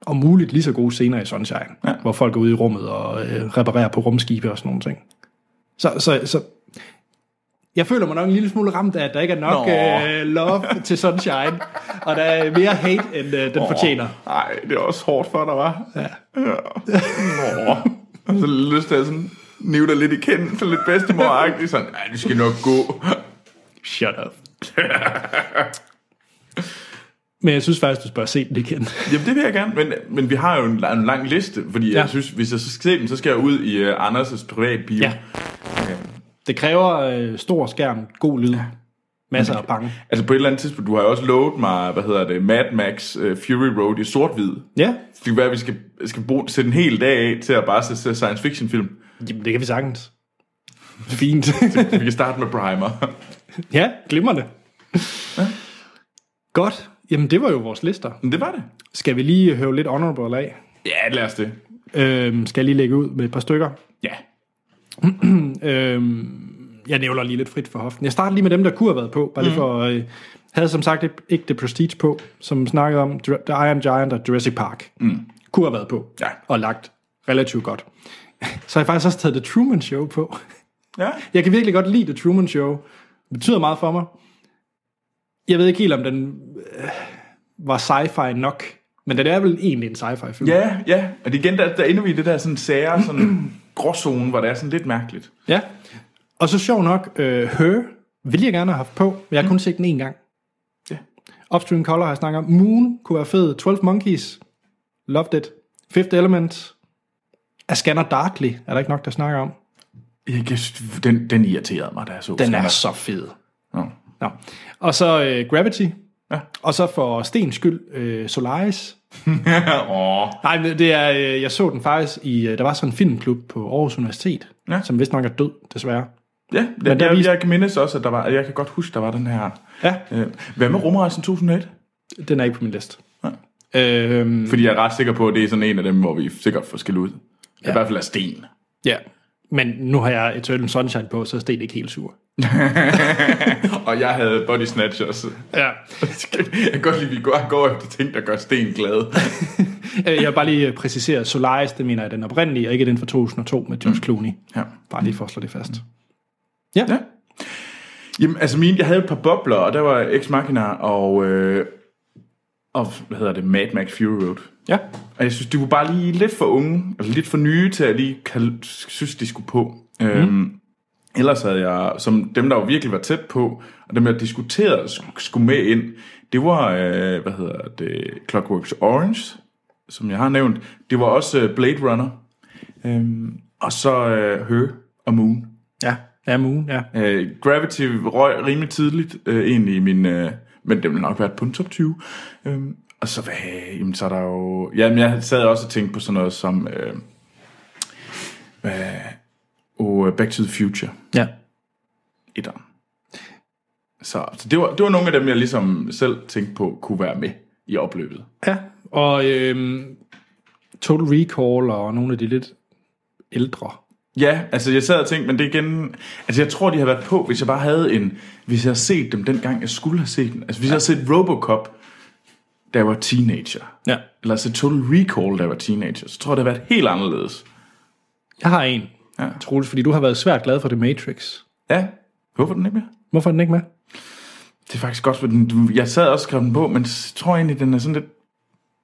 [SPEAKER 1] om muligt lige så gode scener i Sunshine, ja. hvor folk er ude i rummet og øh, reparerer på rumskibe og sådan nogle ting. Så, så, så jeg føler mig nok en lille smule ramt af, at der ikke er nok
[SPEAKER 2] Nå.
[SPEAKER 1] øh, love til Sunshine, og der er mere hate, end øh, den oh. fortjener.
[SPEAKER 2] Nej, det er også hårdt for dig, var. Ja. ja. Nå. Så lyst til at sådan nive dig lidt i kænden, så lidt bedstemor-agtigt. Sådan, nej, det skal nok gå.
[SPEAKER 1] Shut up. Men jeg synes faktisk, du bør se den igen.
[SPEAKER 2] Jamen, det vil jeg gerne, men, men vi har jo en, en lang liste, fordi ja.
[SPEAKER 1] Ja.
[SPEAKER 2] jeg synes, hvis jeg så skal se den, så skal jeg ud i uh, Anders' privat bio.
[SPEAKER 1] Ja. Det kræver øh, stor skærm, god lyd, masser af bange.
[SPEAKER 2] Altså på et eller andet tidspunkt, du har jo også lovet mig, hvad hedder det, Mad Max uh, Fury Road i sort-hvid.
[SPEAKER 1] Ja,
[SPEAKER 2] Det kan være, at vi skal, skal bruge, sætte en hel dag af til at bare se, se science fiction film.
[SPEAKER 1] Jamen, det kan vi sagtens. Fint.
[SPEAKER 2] Vi kan starte med Primer.
[SPEAKER 1] ja, glimrende. Godt. Jamen, det var jo vores lister.
[SPEAKER 2] Men det var det.
[SPEAKER 1] Skal vi lige høve lidt honorable af?
[SPEAKER 2] Ja, lad os det.
[SPEAKER 1] Øhm, skal jeg lige lægge ud med et par stykker?
[SPEAKER 2] Ja.
[SPEAKER 1] Øhm, jeg nævler lige lidt frit for hoften. Jeg starter lige med dem, der kunne have været på. Bare lige for, øh, havde som sagt ikke- ikke The Prestige på, som snakkede om Dr- The Iron Giant og Jurassic Park. Mm. Kunne have været på.
[SPEAKER 2] Ja.
[SPEAKER 1] Og lagt relativt godt. Så har jeg faktisk også taget The Truman Show på.
[SPEAKER 2] Ja.
[SPEAKER 1] Jeg kan virkelig godt lide The Truman Show. Det betyder meget for mig. Jeg ved ikke helt, om den øh, var sci-fi nok. Men den er vel egentlig en sci-fi film.
[SPEAKER 2] Ja, ja. Og det er igen, der, der er endnu i det der sådan sære, sådan gråzone, hvor det er sådan lidt mærkeligt.
[SPEAKER 1] Ja. Og så sjov nok, øh, Her ville jeg gerne have haft på, men jeg har kun set den en gang.
[SPEAKER 2] Ja.
[SPEAKER 1] Upstream Color har jeg snakket om. Moon kunne være fed. 12 Monkeys. Loved it. Fifth Element. A Scanner Darkly er der ikke nok, der snakker om.
[SPEAKER 2] Jeg, jeg, synes, den, den irriterede mig, da jeg så
[SPEAKER 1] Den er
[SPEAKER 2] Scanner.
[SPEAKER 1] så fed.
[SPEAKER 2] Nå.
[SPEAKER 1] Nå. Og så øh, Gravity.
[SPEAKER 2] Ja.
[SPEAKER 1] Og så for Stens skyld, øh, Solaris.
[SPEAKER 2] Åh,
[SPEAKER 1] Nej, men det er, øh, jeg så den faktisk i, øh, der var sådan en filmklub på Aarhus Universitet,
[SPEAKER 2] Ja.
[SPEAKER 1] som vist nok er død, desværre.
[SPEAKER 2] Ja, der,
[SPEAKER 1] der
[SPEAKER 2] der, jeg,
[SPEAKER 1] viste-
[SPEAKER 2] jeg kan mindes også, at der var, jeg kan godt huske, der var den her...
[SPEAKER 1] Ja.
[SPEAKER 2] Øh, hvad med rumrejsen 2001?
[SPEAKER 1] Den er ikke på min liste. Ja. Øhm,
[SPEAKER 2] Fordi jeg er ret sikker på, at det er sådan en af dem, hvor vi sikkert får skæld ud. Ja. I hvert fald af sten.
[SPEAKER 1] Ja, men nu har jeg Eternal Sunshine på, så er Sten ikke helt sur.
[SPEAKER 2] Og jeg havde body snatchers.
[SPEAKER 1] Ja.
[SPEAKER 2] jeg kan godt lide, at vi går, går efter ting, der gør sten glad.
[SPEAKER 1] Øh, Jeg vil bare lige øh, præcisere, Solaris, det mener jeg den oprindelige, og ikke den fra 2002 med George Clooney.
[SPEAKER 2] Ja.
[SPEAKER 1] Bare lige for at slå det fast.
[SPEAKER 2] ja. Jamen, altså mine, jeg havde et par bobler, og der var Ex Machina og, øh, og hvad hedder det, Mad Max Fury Road.
[SPEAKER 1] Ja.
[SPEAKER 2] Og jeg synes, de var bare lige lidt for unge, altså lidt for nye til at lige kan, synes, de skulle på. Mm. Øhm, ellers havde jeg, som dem, der jo virkelig var tæt på, og dem, jeg diskuterede, sk- skulle med ind, det var, øh, hvad hedder det, Clockworks Orange, som jeg har nævnt. Det var også øh, Blade Runner. Øhm, og så øh, Her og Moon.
[SPEAKER 1] Ja. Ja, Moon, ja.
[SPEAKER 2] Øh, Gravity røg rimelig tidligt, øh, egentlig i min... Øh, men det ville nok være på en top 20. Øhm, og så, hvad, jamen, så er der jo... Jamen, jeg sad også og tænkte på sådan noget som... Øh, hvad, oh, Back to the Future
[SPEAKER 1] Ja.
[SPEAKER 2] etteren. Så, så det, var, det var nogle af dem, jeg ligesom selv tænkte på, kunne være med i opløbet.
[SPEAKER 1] ja. Og øhm, Total Recall og nogle af de lidt ældre.
[SPEAKER 2] Ja, altså jeg sad og tænkte, men det er igen... Altså jeg tror, de har været på, hvis jeg bare havde en... Hvis jeg havde set dem dengang, jeg skulle have set dem. Altså hvis jeg havde set Robocop, da jeg var teenager.
[SPEAKER 1] Ja.
[SPEAKER 2] eller så Total Recall, da jeg var teenager, så tror jeg, det har været helt anderledes.
[SPEAKER 1] Jeg har en,
[SPEAKER 2] Ja.
[SPEAKER 1] ja. Troels, fordi du har været svært glad for The Matrix.
[SPEAKER 2] Ja, hvorfor er den ikke mere?
[SPEAKER 1] Hvorfor er den ikke med?
[SPEAKER 2] Det er faktisk godt, for den, jeg sad også og skrev den på, men jeg tror egentlig, den er sådan lidt...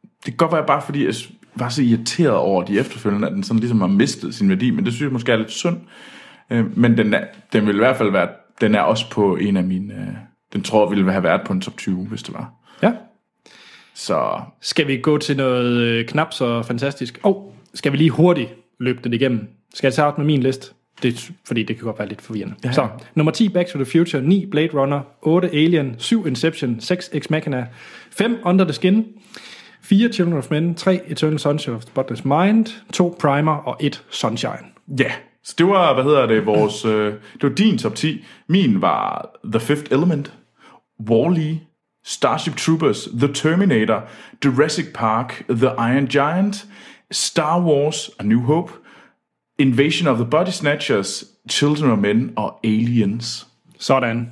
[SPEAKER 2] Det kan godt være bare, fordi jeg var så irriteret over de efterfølgende, at den sådan ligesom har mistet sin værdi, men det synes jeg måske er lidt synd. Øh, Men den, er, den vil i hvert fald være... Den er også på en af mine... øh, Den tror jeg ville have været på en top 20, hvis det var.
[SPEAKER 1] Ja.
[SPEAKER 2] Så
[SPEAKER 1] Skal vi gå til noget øh, knap så fantastisk? Og oh, skal vi lige hurtigt løbe det igennem? Skal jeg starte med min liste? Det, fordi det kan godt være lidt forvirrende. Ja. Så, nummer 10, Back to the Future, 9, Blade Runner, 8, Alien, 7, Inception, 6, Ex Machina, 5, Under the Skin, 4, Children of Men, 3, Eternal Sunshine of the Spotless Mind, 2, Primer og 1, Sunshine.
[SPEAKER 2] Ja, så det var, hvad hedder det, vores, øh, det var din top 10. Min var The Fifth Element, Wall-E, Starship Troopers, The Terminator, Jurassic Park, The Iron Giant, Star Wars, A New Hope, Invasion of the Body Snatchers, Children of Men og Aliens.
[SPEAKER 1] Sådan.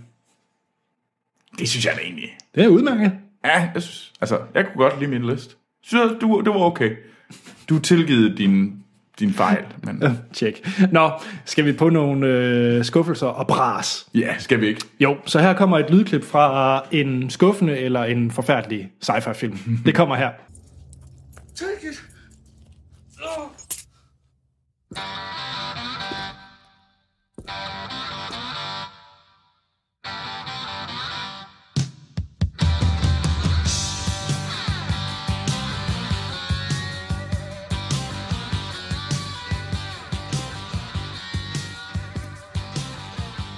[SPEAKER 2] Det synes jeg da egentlig.
[SPEAKER 1] Det er udmærket.
[SPEAKER 2] Ja, jeg synes, altså, jeg kunne godt lide min liste. Synes jeg, du, det var okay. Du tilgivet din, din fejl, men
[SPEAKER 1] Tjek. Nå, skal vi på nogle øh, skuffelser og bras?
[SPEAKER 2] ja, skal vi ikke.
[SPEAKER 1] Jo, så her kommer et lydklip fra en skuffende eller en forfærdelig sci-fi film. Det kommer her.
[SPEAKER 7] Take it. Oh.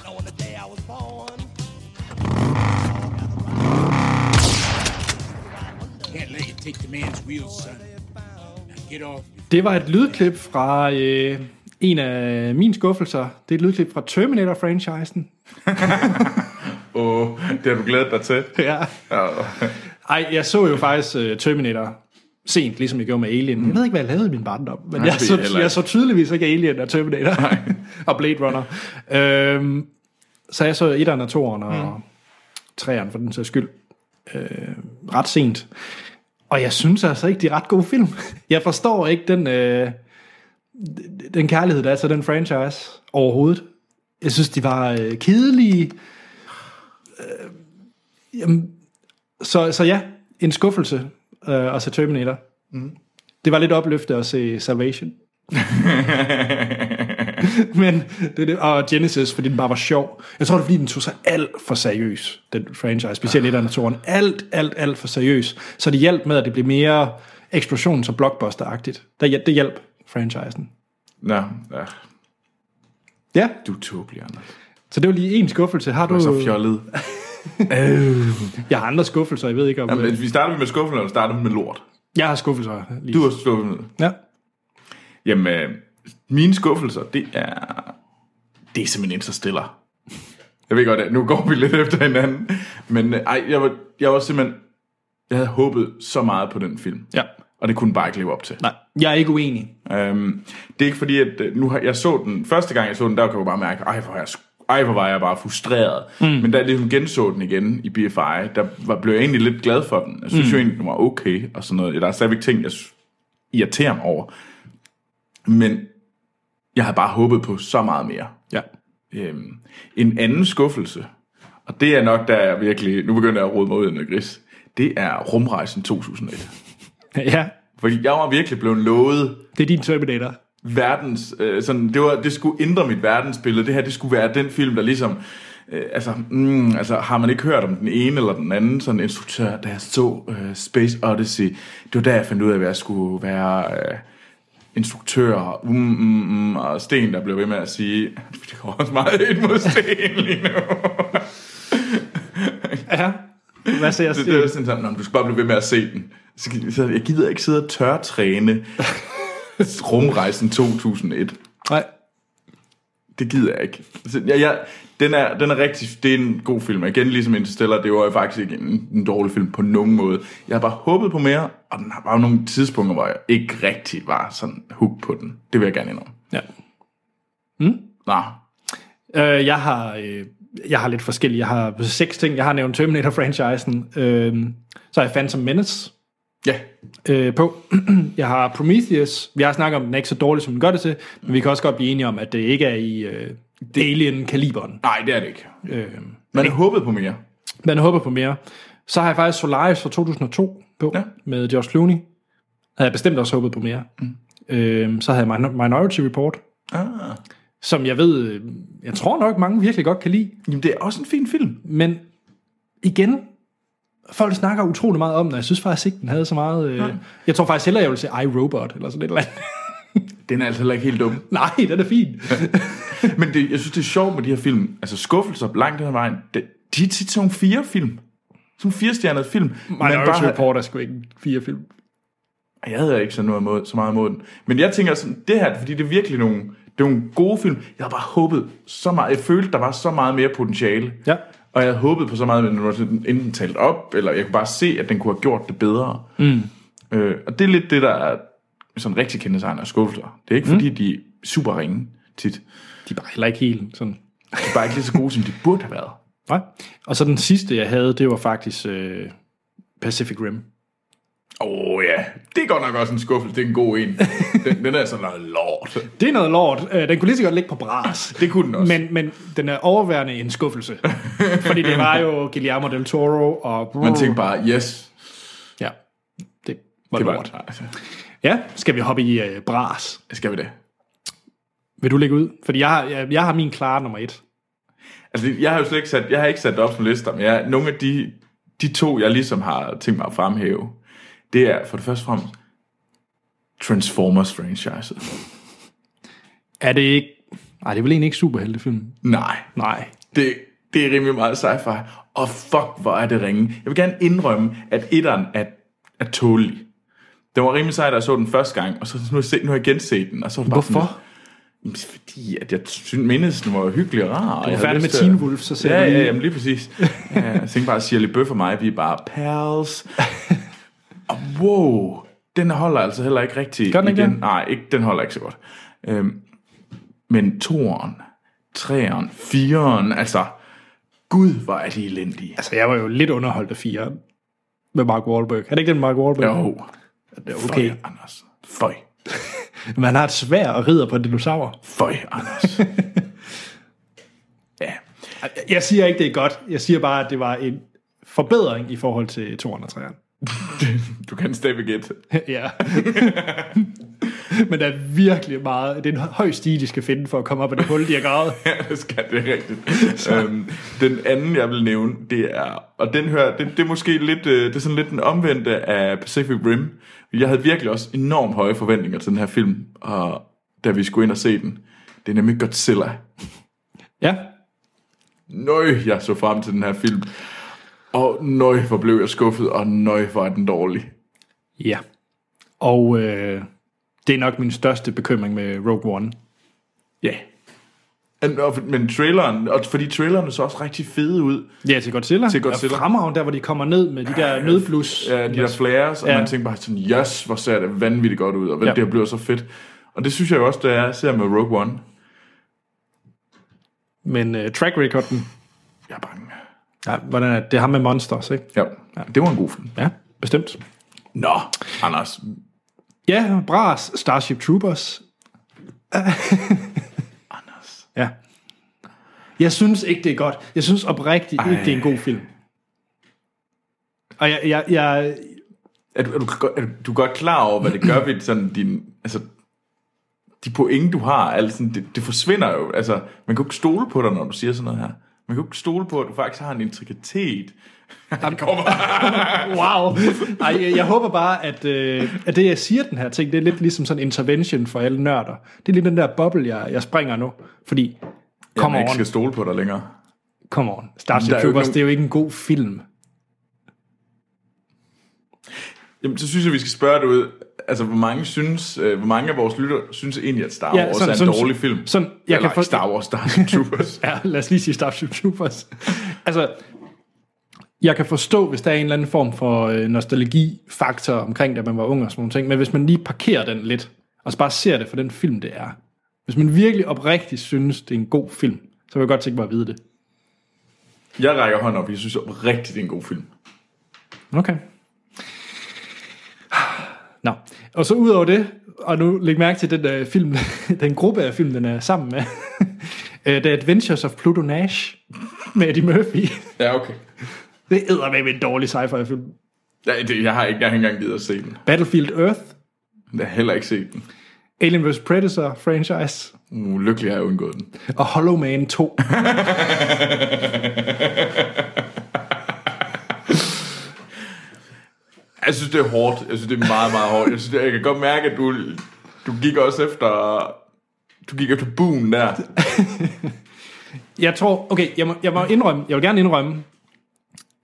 [SPEAKER 3] Now, on the day I was born.
[SPEAKER 8] Can't let you take the man's wheels, son. Now get off.
[SPEAKER 1] Det var et lydklip fra øh, en af mine skuffelser. Det er et lydklip fra Terminator-franchisen.
[SPEAKER 2] Åh, det har du glædet dig til.
[SPEAKER 1] Ja. Ej, jeg så jo faktisk øh, Terminator sent, ligesom jeg gjorde med Alien. Jeg ved ikke, hvad jeg lavede i min barndom, men
[SPEAKER 2] Nej,
[SPEAKER 1] jeg,
[SPEAKER 2] det ved
[SPEAKER 1] så,
[SPEAKER 2] jeg heller
[SPEAKER 1] jeg
[SPEAKER 2] ikke.
[SPEAKER 1] så tydeligvis ikke Alien og Terminator og Blade Runner. Øhm, så jeg så etteren og toeren og treeren for den sags skyld øh, ret sent. Og jeg synes altså ikke, de er ret gode film. Jeg forstår ikke den, øh, den kærlighed, der er til den franchise overhovedet. Jeg synes, de var øh, kedelige. Så, så ja, en skuffelse øh, at se Terminator. Mm. Det var lidt opløftet at se Salvation. Men det, er det, og Genesis, fordi den bare var sjov. Jeg tror, det er, fordi den tog sig alt for seriøs, den franchise, specielt et af naturen. Alt, alt, alt for seriøs. Så det hjalp med, at det blev mere eksplosions- og blockbuster-agtigt. Det, hjæl- det hjalp franchisen.
[SPEAKER 2] Nå, ja.
[SPEAKER 1] Ja,
[SPEAKER 2] Du er tåbelig, Anders.
[SPEAKER 1] så det var lige en skuffelse. Har
[SPEAKER 2] Du
[SPEAKER 1] du...
[SPEAKER 2] er så fjollet.
[SPEAKER 1] Jeg har andre skuffelser, jeg ved ikke om...
[SPEAKER 2] Jamen,
[SPEAKER 1] Jamen,
[SPEAKER 2] vi starter med skuffelsen, eller starter vi med lort?
[SPEAKER 1] jeg har skuffelser. Lige.
[SPEAKER 2] Du har skuffet.
[SPEAKER 1] Ja.
[SPEAKER 2] Jamen, øh, mine skuffelser, det er... Det er simpelthen Interstellar. Jeg ved godt, at nu går vi lidt efter hinanden. Men øh, ej, jeg var, jeg var simpelthen... Jeg havde håbet så meget på den film.
[SPEAKER 1] ja.
[SPEAKER 2] Og det kunne den bare ikke leve op til.
[SPEAKER 1] Nej, jeg er ikke uenig.
[SPEAKER 2] Øhm, det er ikke fordi, at øh, nu har, jeg så den, første gang jeg så den, der kunne jeg bare mærke, ej hvor, er jeg, sk- ej, hvor var jeg bare frustreret. Mm. Men da jeg ligesom genså den igen i BFI, der var, blev jeg egentlig lidt glad for den. Jeg synes mm. jo egentlig, den var okay og sådan noget. Der er stadigvæk ting, jeg s- irriterer mig over. Men jeg havde bare håbet på så meget mere.
[SPEAKER 1] Ja.
[SPEAKER 2] Øhm, en anden skuffelse, og det er nok, der jeg virkelig, nu begynder jeg at rode mig ud af noget gris, det er rumrejsen 2001.
[SPEAKER 1] ja,
[SPEAKER 2] Fordi jeg var virkelig blevet lovet
[SPEAKER 1] det er din Terminator.
[SPEAKER 2] verdens, øh, sådan, det, var, det skulle ændre mit verdensbillede. Det her, det skulle være den film, der ligesom, øh, altså, mm, altså, har man ikke hørt om den ene eller den anden sådan instruktør, da jeg så øh, Space Odyssey, det var der, jeg fandt ud af, hvad jeg skulle være øh, instruktør, og mm, mm, mm, og Sten, der blev ved med at sige, det går også meget ind mod Sten lige nu.
[SPEAKER 1] Ja. Hvad ser jeg?
[SPEAKER 2] Det, det er sådan sådan, "Nå, men du skal bare blive ved med at se den. Så, så jeg gider ikke sidde og tørtræne rumrejsen 2001.
[SPEAKER 1] Nej.
[SPEAKER 2] Det gider jeg ikke. Altså, jeg, jeg, den, er, den er rigtig, det er en god film. Og Igen, ligesom Interstellar, det var jo faktisk ikke en, en dårlig film på nogen måde. Jeg har bare håbet på mere, og den har bare nogle tidspunkter, hvor jeg ikke rigtig var sådan hooked på den. Det vil jeg gerne indrømme.
[SPEAKER 1] Ja.
[SPEAKER 2] Nå,
[SPEAKER 1] Øh, jeg, har, øh, jeg har lidt forskellige. Jeg har seks ting. Jeg har nævnt Terminator-franchisen. Øh, så har jeg Phantom Menace
[SPEAKER 2] ja.
[SPEAKER 1] øh, på. jeg har Prometheus. Vi har snakket om, at den er ikke så dårlig, som den gør det til. Men vi kan også godt blive enige om, at det ikke er i øh, Alien-kaliberen.
[SPEAKER 2] Nej, det er det ikke.
[SPEAKER 1] Øh,
[SPEAKER 2] Man har håbet på mere.
[SPEAKER 1] man håber på mere. Så har jeg faktisk Solaris fra 2002 på ja.
[SPEAKER 2] Ja.
[SPEAKER 1] med George Clooney. Havde jeg bestemt også håbet på mere. Mm. Øh, så havde jeg Min- Minority Report.
[SPEAKER 2] Ah.
[SPEAKER 1] Som jeg ved, øh, jeg tror nok mange virkelig godt kan lide.
[SPEAKER 2] Jamen, det er også en fin film.
[SPEAKER 1] Men igen, folk snakker utrolig meget om den, og jeg synes faktisk ikke, den havde så meget... Øh, jeg tror faktisk hellere, jeg vil se iRobot, eller sådan et eller andet.
[SPEAKER 2] Den er altså heller ikke helt dum.
[SPEAKER 1] Nej, den er fin.
[SPEAKER 2] Men det, jeg synes, det er sjovt med de her film. Altså skuffelser langt den her vejen. Det, de er tit sådan nogle fire film. Sådan nogle firestjernede film.
[SPEAKER 1] Minority
[SPEAKER 2] har-
[SPEAKER 1] Report er sgu ikke en fire film.
[SPEAKER 2] jeg havde ikke så, noget imod, så meget imod den. Men jeg tænker sådan, det her, fordi det er virkelig nogle, det er nogle gode film. Jeg havde bare håbet så meget. Jeg følte, der var så meget mere potentiale.
[SPEAKER 1] Ja.
[SPEAKER 2] Og jeg havde håbet på så meget, at den var sådan enten talt op, eller jeg kunne bare se, at den kunne have gjort det bedre. Mm. Øh, og det er lidt det, der er sådan rigtig kendetegn af skulpter. Det er ikke, fordi de er super ringe tit.
[SPEAKER 1] De er bare heller ikke helt sådan...
[SPEAKER 2] De er bare ikke lige så gode, som de burde have været.
[SPEAKER 1] Nej. Og så den sidste, jeg havde, det var faktisk øh, Pacific Rim.
[SPEAKER 2] Åh oh, ja, det er godt nok også en skuffelse. Det er en god en. Den, den er sådan noget lort.
[SPEAKER 1] Det er noget lort. Øh, den kunne lige så godt ligge på bras.
[SPEAKER 2] Det kunne den også.
[SPEAKER 1] Men, men den er overværende en skuffelse. fordi det var jo Guillermo del Toro og...
[SPEAKER 2] Man tænker bare, yes.
[SPEAKER 1] Ja, det var det
[SPEAKER 2] Det var
[SPEAKER 1] lort. Ja, skal vi hoppe i øh, bras?
[SPEAKER 2] Skal vi det?
[SPEAKER 1] Vil du lægge ud? Fordi jeg har, jeg, jeg har min klare nummer et.
[SPEAKER 2] Altså, jeg har jo slet ikke sat, jeg har ikke sat det op som lister, men jeg, nogle af de, de to, jeg ligesom har tænkt mig at fremhæve, det er for det første og fremmest Transformers franchise.
[SPEAKER 1] Er det ikke... Nej, det er vel egentlig ikke superheltefilm.
[SPEAKER 2] Nej,
[SPEAKER 1] Nej.
[SPEAKER 2] det, det er rimelig meget sci-fi. Og fuck, hvor er det ringe. Jeg vil gerne indrømme, at etteren er, er tålig. Det var rimelig sejt, da jeg så den første gang, og så nu har jeg, set, nu har jeg genset den. Og så er det bare sådan
[SPEAKER 1] Hvorfor?
[SPEAKER 2] lidt, "Jamen, fordi at jeg synes, mindes, den var hyggelig og rar. Du
[SPEAKER 1] var færdig med Teen Wolf, så ser
[SPEAKER 2] ja,
[SPEAKER 1] du
[SPEAKER 2] ja,
[SPEAKER 1] lige-
[SPEAKER 2] jamen lige præcis. Ja, jeg tænkte bare, at Shirley Bøf og mig, vi er bare pals. og wow, den holder altså heller ikke rigtig
[SPEAKER 1] Gør den ikke
[SPEAKER 2] igen.
[SPEAKER 1] det?
[SPEAKER 2] Nej, ikke, den holder ikke så godt. Øhm, men toeren, treeren, fireren, altså... Gud, hvor er de elendige.
[SPEAKER 1] Altså, jeg var jo lidt underholdt af fire med Mark Wahlberg. Er det ikke den Mark Wahlberg?
[SPEAKER 2] Jo,
[SPEAKER 1] Okay.
[SPEAKER 2] Føj, Anders. Føj.
[SPEAKER 1] Man har et svær og rider på en dinosaur.
[SPEAKER 2] Føj, Anders. ja,
[SPEAKER 1] Jeg siger ikke, det er godt. Jeg siger bare, at det var en forbedring i forhold til 203'eren.
[SPEAKER 2] du kan stadigvæk gætte.
[SPEAKER 1] ja. Men der er virkelig meget... Det er en høj stige, de skal finde for at komme op af det hul, de har gravet.
[SPEAKER 2] Ja, det skal det er rigtigt. øhm, den anden, jeg vil nævne, det er, og den hører, det, det er måske lidt, øh, det er sådan lidt den omvendte af Pacific Rim. Jeg havde virkelig også enormt høje forventninger til den her film, og da vi skulle ind og se den. Det er nemlig Godzilla.
[SPEAKER 1] Ja.
[SPEAKER 2] Nøj, jeg så frem til den her film. Og nøj, hvor blev jeg skuffet, og nøj, hvor er den dårlig.
[SPEAKER 1] Ja. Og øh, det er nok min største bekymring med Rogue One.
[SPEAKER 2] Ja. Men, og- men traileren, og fordi trailerne så også rigtig fede ud.
[SPEAKER 1] Ja, til Godzilla.
[SPEAKER 2] Til Godzilla.
[SPEAKER 1] Og fremragende, der hvor de kommer ned med de der nødblus.
[SPEAKER 2] Ja, de der flares, og
[SPEAKER 1] Ja.
[SPEAKER 2] man tænker bare sådan, yes, hvor ser det vanvittigt godt ud, og hvad
[SPEAKER 1] Ja.
[SPEAKER 2] ja. det her bliver så fedt. Og det synes jeg jo også, det er, jeg ser med Rogue One.
[SPEAKER 1] Men øh, track recorden,
[SPEAKER 2] Jeg er bange.
[SPEAKER 1] ja, hvordan er det? det er ham med Monsters, ikke?
[SPEAKER 2] Ja. det var en god film.
[SPEAKER 1] Ja, bestemt.
[SPEAKER 2] Nå, Anders.
[SPEAKER 1] Ja, Bras, Starship Troopers.
[SPEAKER 2] Anders.
[SPEAKER 1] Ja. Jeg synes ikke, det er godt. Jeg synes oprigtigt Ej. ikke, det er en god film. Og jeg, jeg, jeg,
[SPEAKER 2] Er du, er, du, godt- er du- du er godt klar over, hvad det gør ved sådan din... Altså, de point, du har, altså, sådan, det, det forsvinder jo. Altså, man kan jo ikke stole på dig, når du siger sådan noget her. Man kan jo ikke stole på, at du faktisk har en intrikatitet. Han kommer.
[SPEAKER 1] wow. Ej, jeg, jeg håber bare, at, øh, at det, jeg siger den her ting, det er lidt ligesom sådan en intervention for alle nørder. Det er lidt den der boble, jeg, jeg springer nu. Fordi,
[SPEAKER 2] Kom
[SPEAKER 1] come
[SPEAKER 2] ikke
[SPEAKER 1] on,
[SPEAKER 2] skal stole på dig længere.
[SPEAKER 1] come on. Starship
[SPEAKER 2] Der er jo ikke
[SPEAKER 1] Troopers,
[SPEAKER 2] nogen-
[SPEAKER 1] det er jo ikke en god film.
[SPEAKER 2] Jamen, så synes jeg, vi skal spørge dig ud. Altså, hvor mange, synes, øh, hvor mange af vores lytter synes egentlig, at Star Wars
[SPEAKER 1] Ja,
[SPEAKER 2] ja,
[SPEAKER 1] sådan-
[SPEAKER 2] er en
[SPEAKER 1] sådan-
[SPEAKER 2] dårlig film?
[SPEAKER 1] sådan- jeg
[SPEAKER 2] Eller
[SPEAKER 1] kan for-
[SPEAKER 2] Star Wars, Star Troopers.
[SPEAKER 1] Ja, lad os lige sige Starship Troopers. altså, jeg kan forstå, hvis der er en eller anden form for øh, nostalgi-faktor omkring, da man var ung og sådan nogle ting, men hvis man lige parkerer den lidt, og så bare ser det for den film, det er. Hvis man virkelig oprigtigt synes, det er en god film, så vil jeg godt tænke mig at vide det.
[SPEAKER 2] jeg rækker hånden op, jeg synes rigtig, det er en god film.
[SPEAKER 1] Okay. Nå, og så ud over det, og nu læg mærke til den, øh, film, den gruppe af film, den er sammen med. Øh, The Adventures of Pluto Nash med Eddie Murphy.
[SPEAKER 2] Ja, okay.
[SPEAKER 1] Det æder med en dårlig sci-fi film.
[SPEAKER 2] Jeg, det, jeg har ikke jeg har ikke engang givet at se den.
[SPEAKER 1] Battlefield Earth,
[SPEAKER 2] Jeg har heller ikke set den.
[SPEAKER 1] Alien vs. Predator franchise
[SPEAKER 2] Ulykkelig har jeg undgået den.
[SPEAKER 1] og Hollow Man 2.
[SPEAKER 2] Jeg synes, det er hårdt. Jeg synes, det er meget, meget hårdt. Jeg, synes, det, jeg kan godt mærke, at du, du gik også efter... Du gik efter buen der.
[SPEAKER 1] Jeg tror, okay, jeg må, jeg må indrømme, jeg vil gerne indrømme,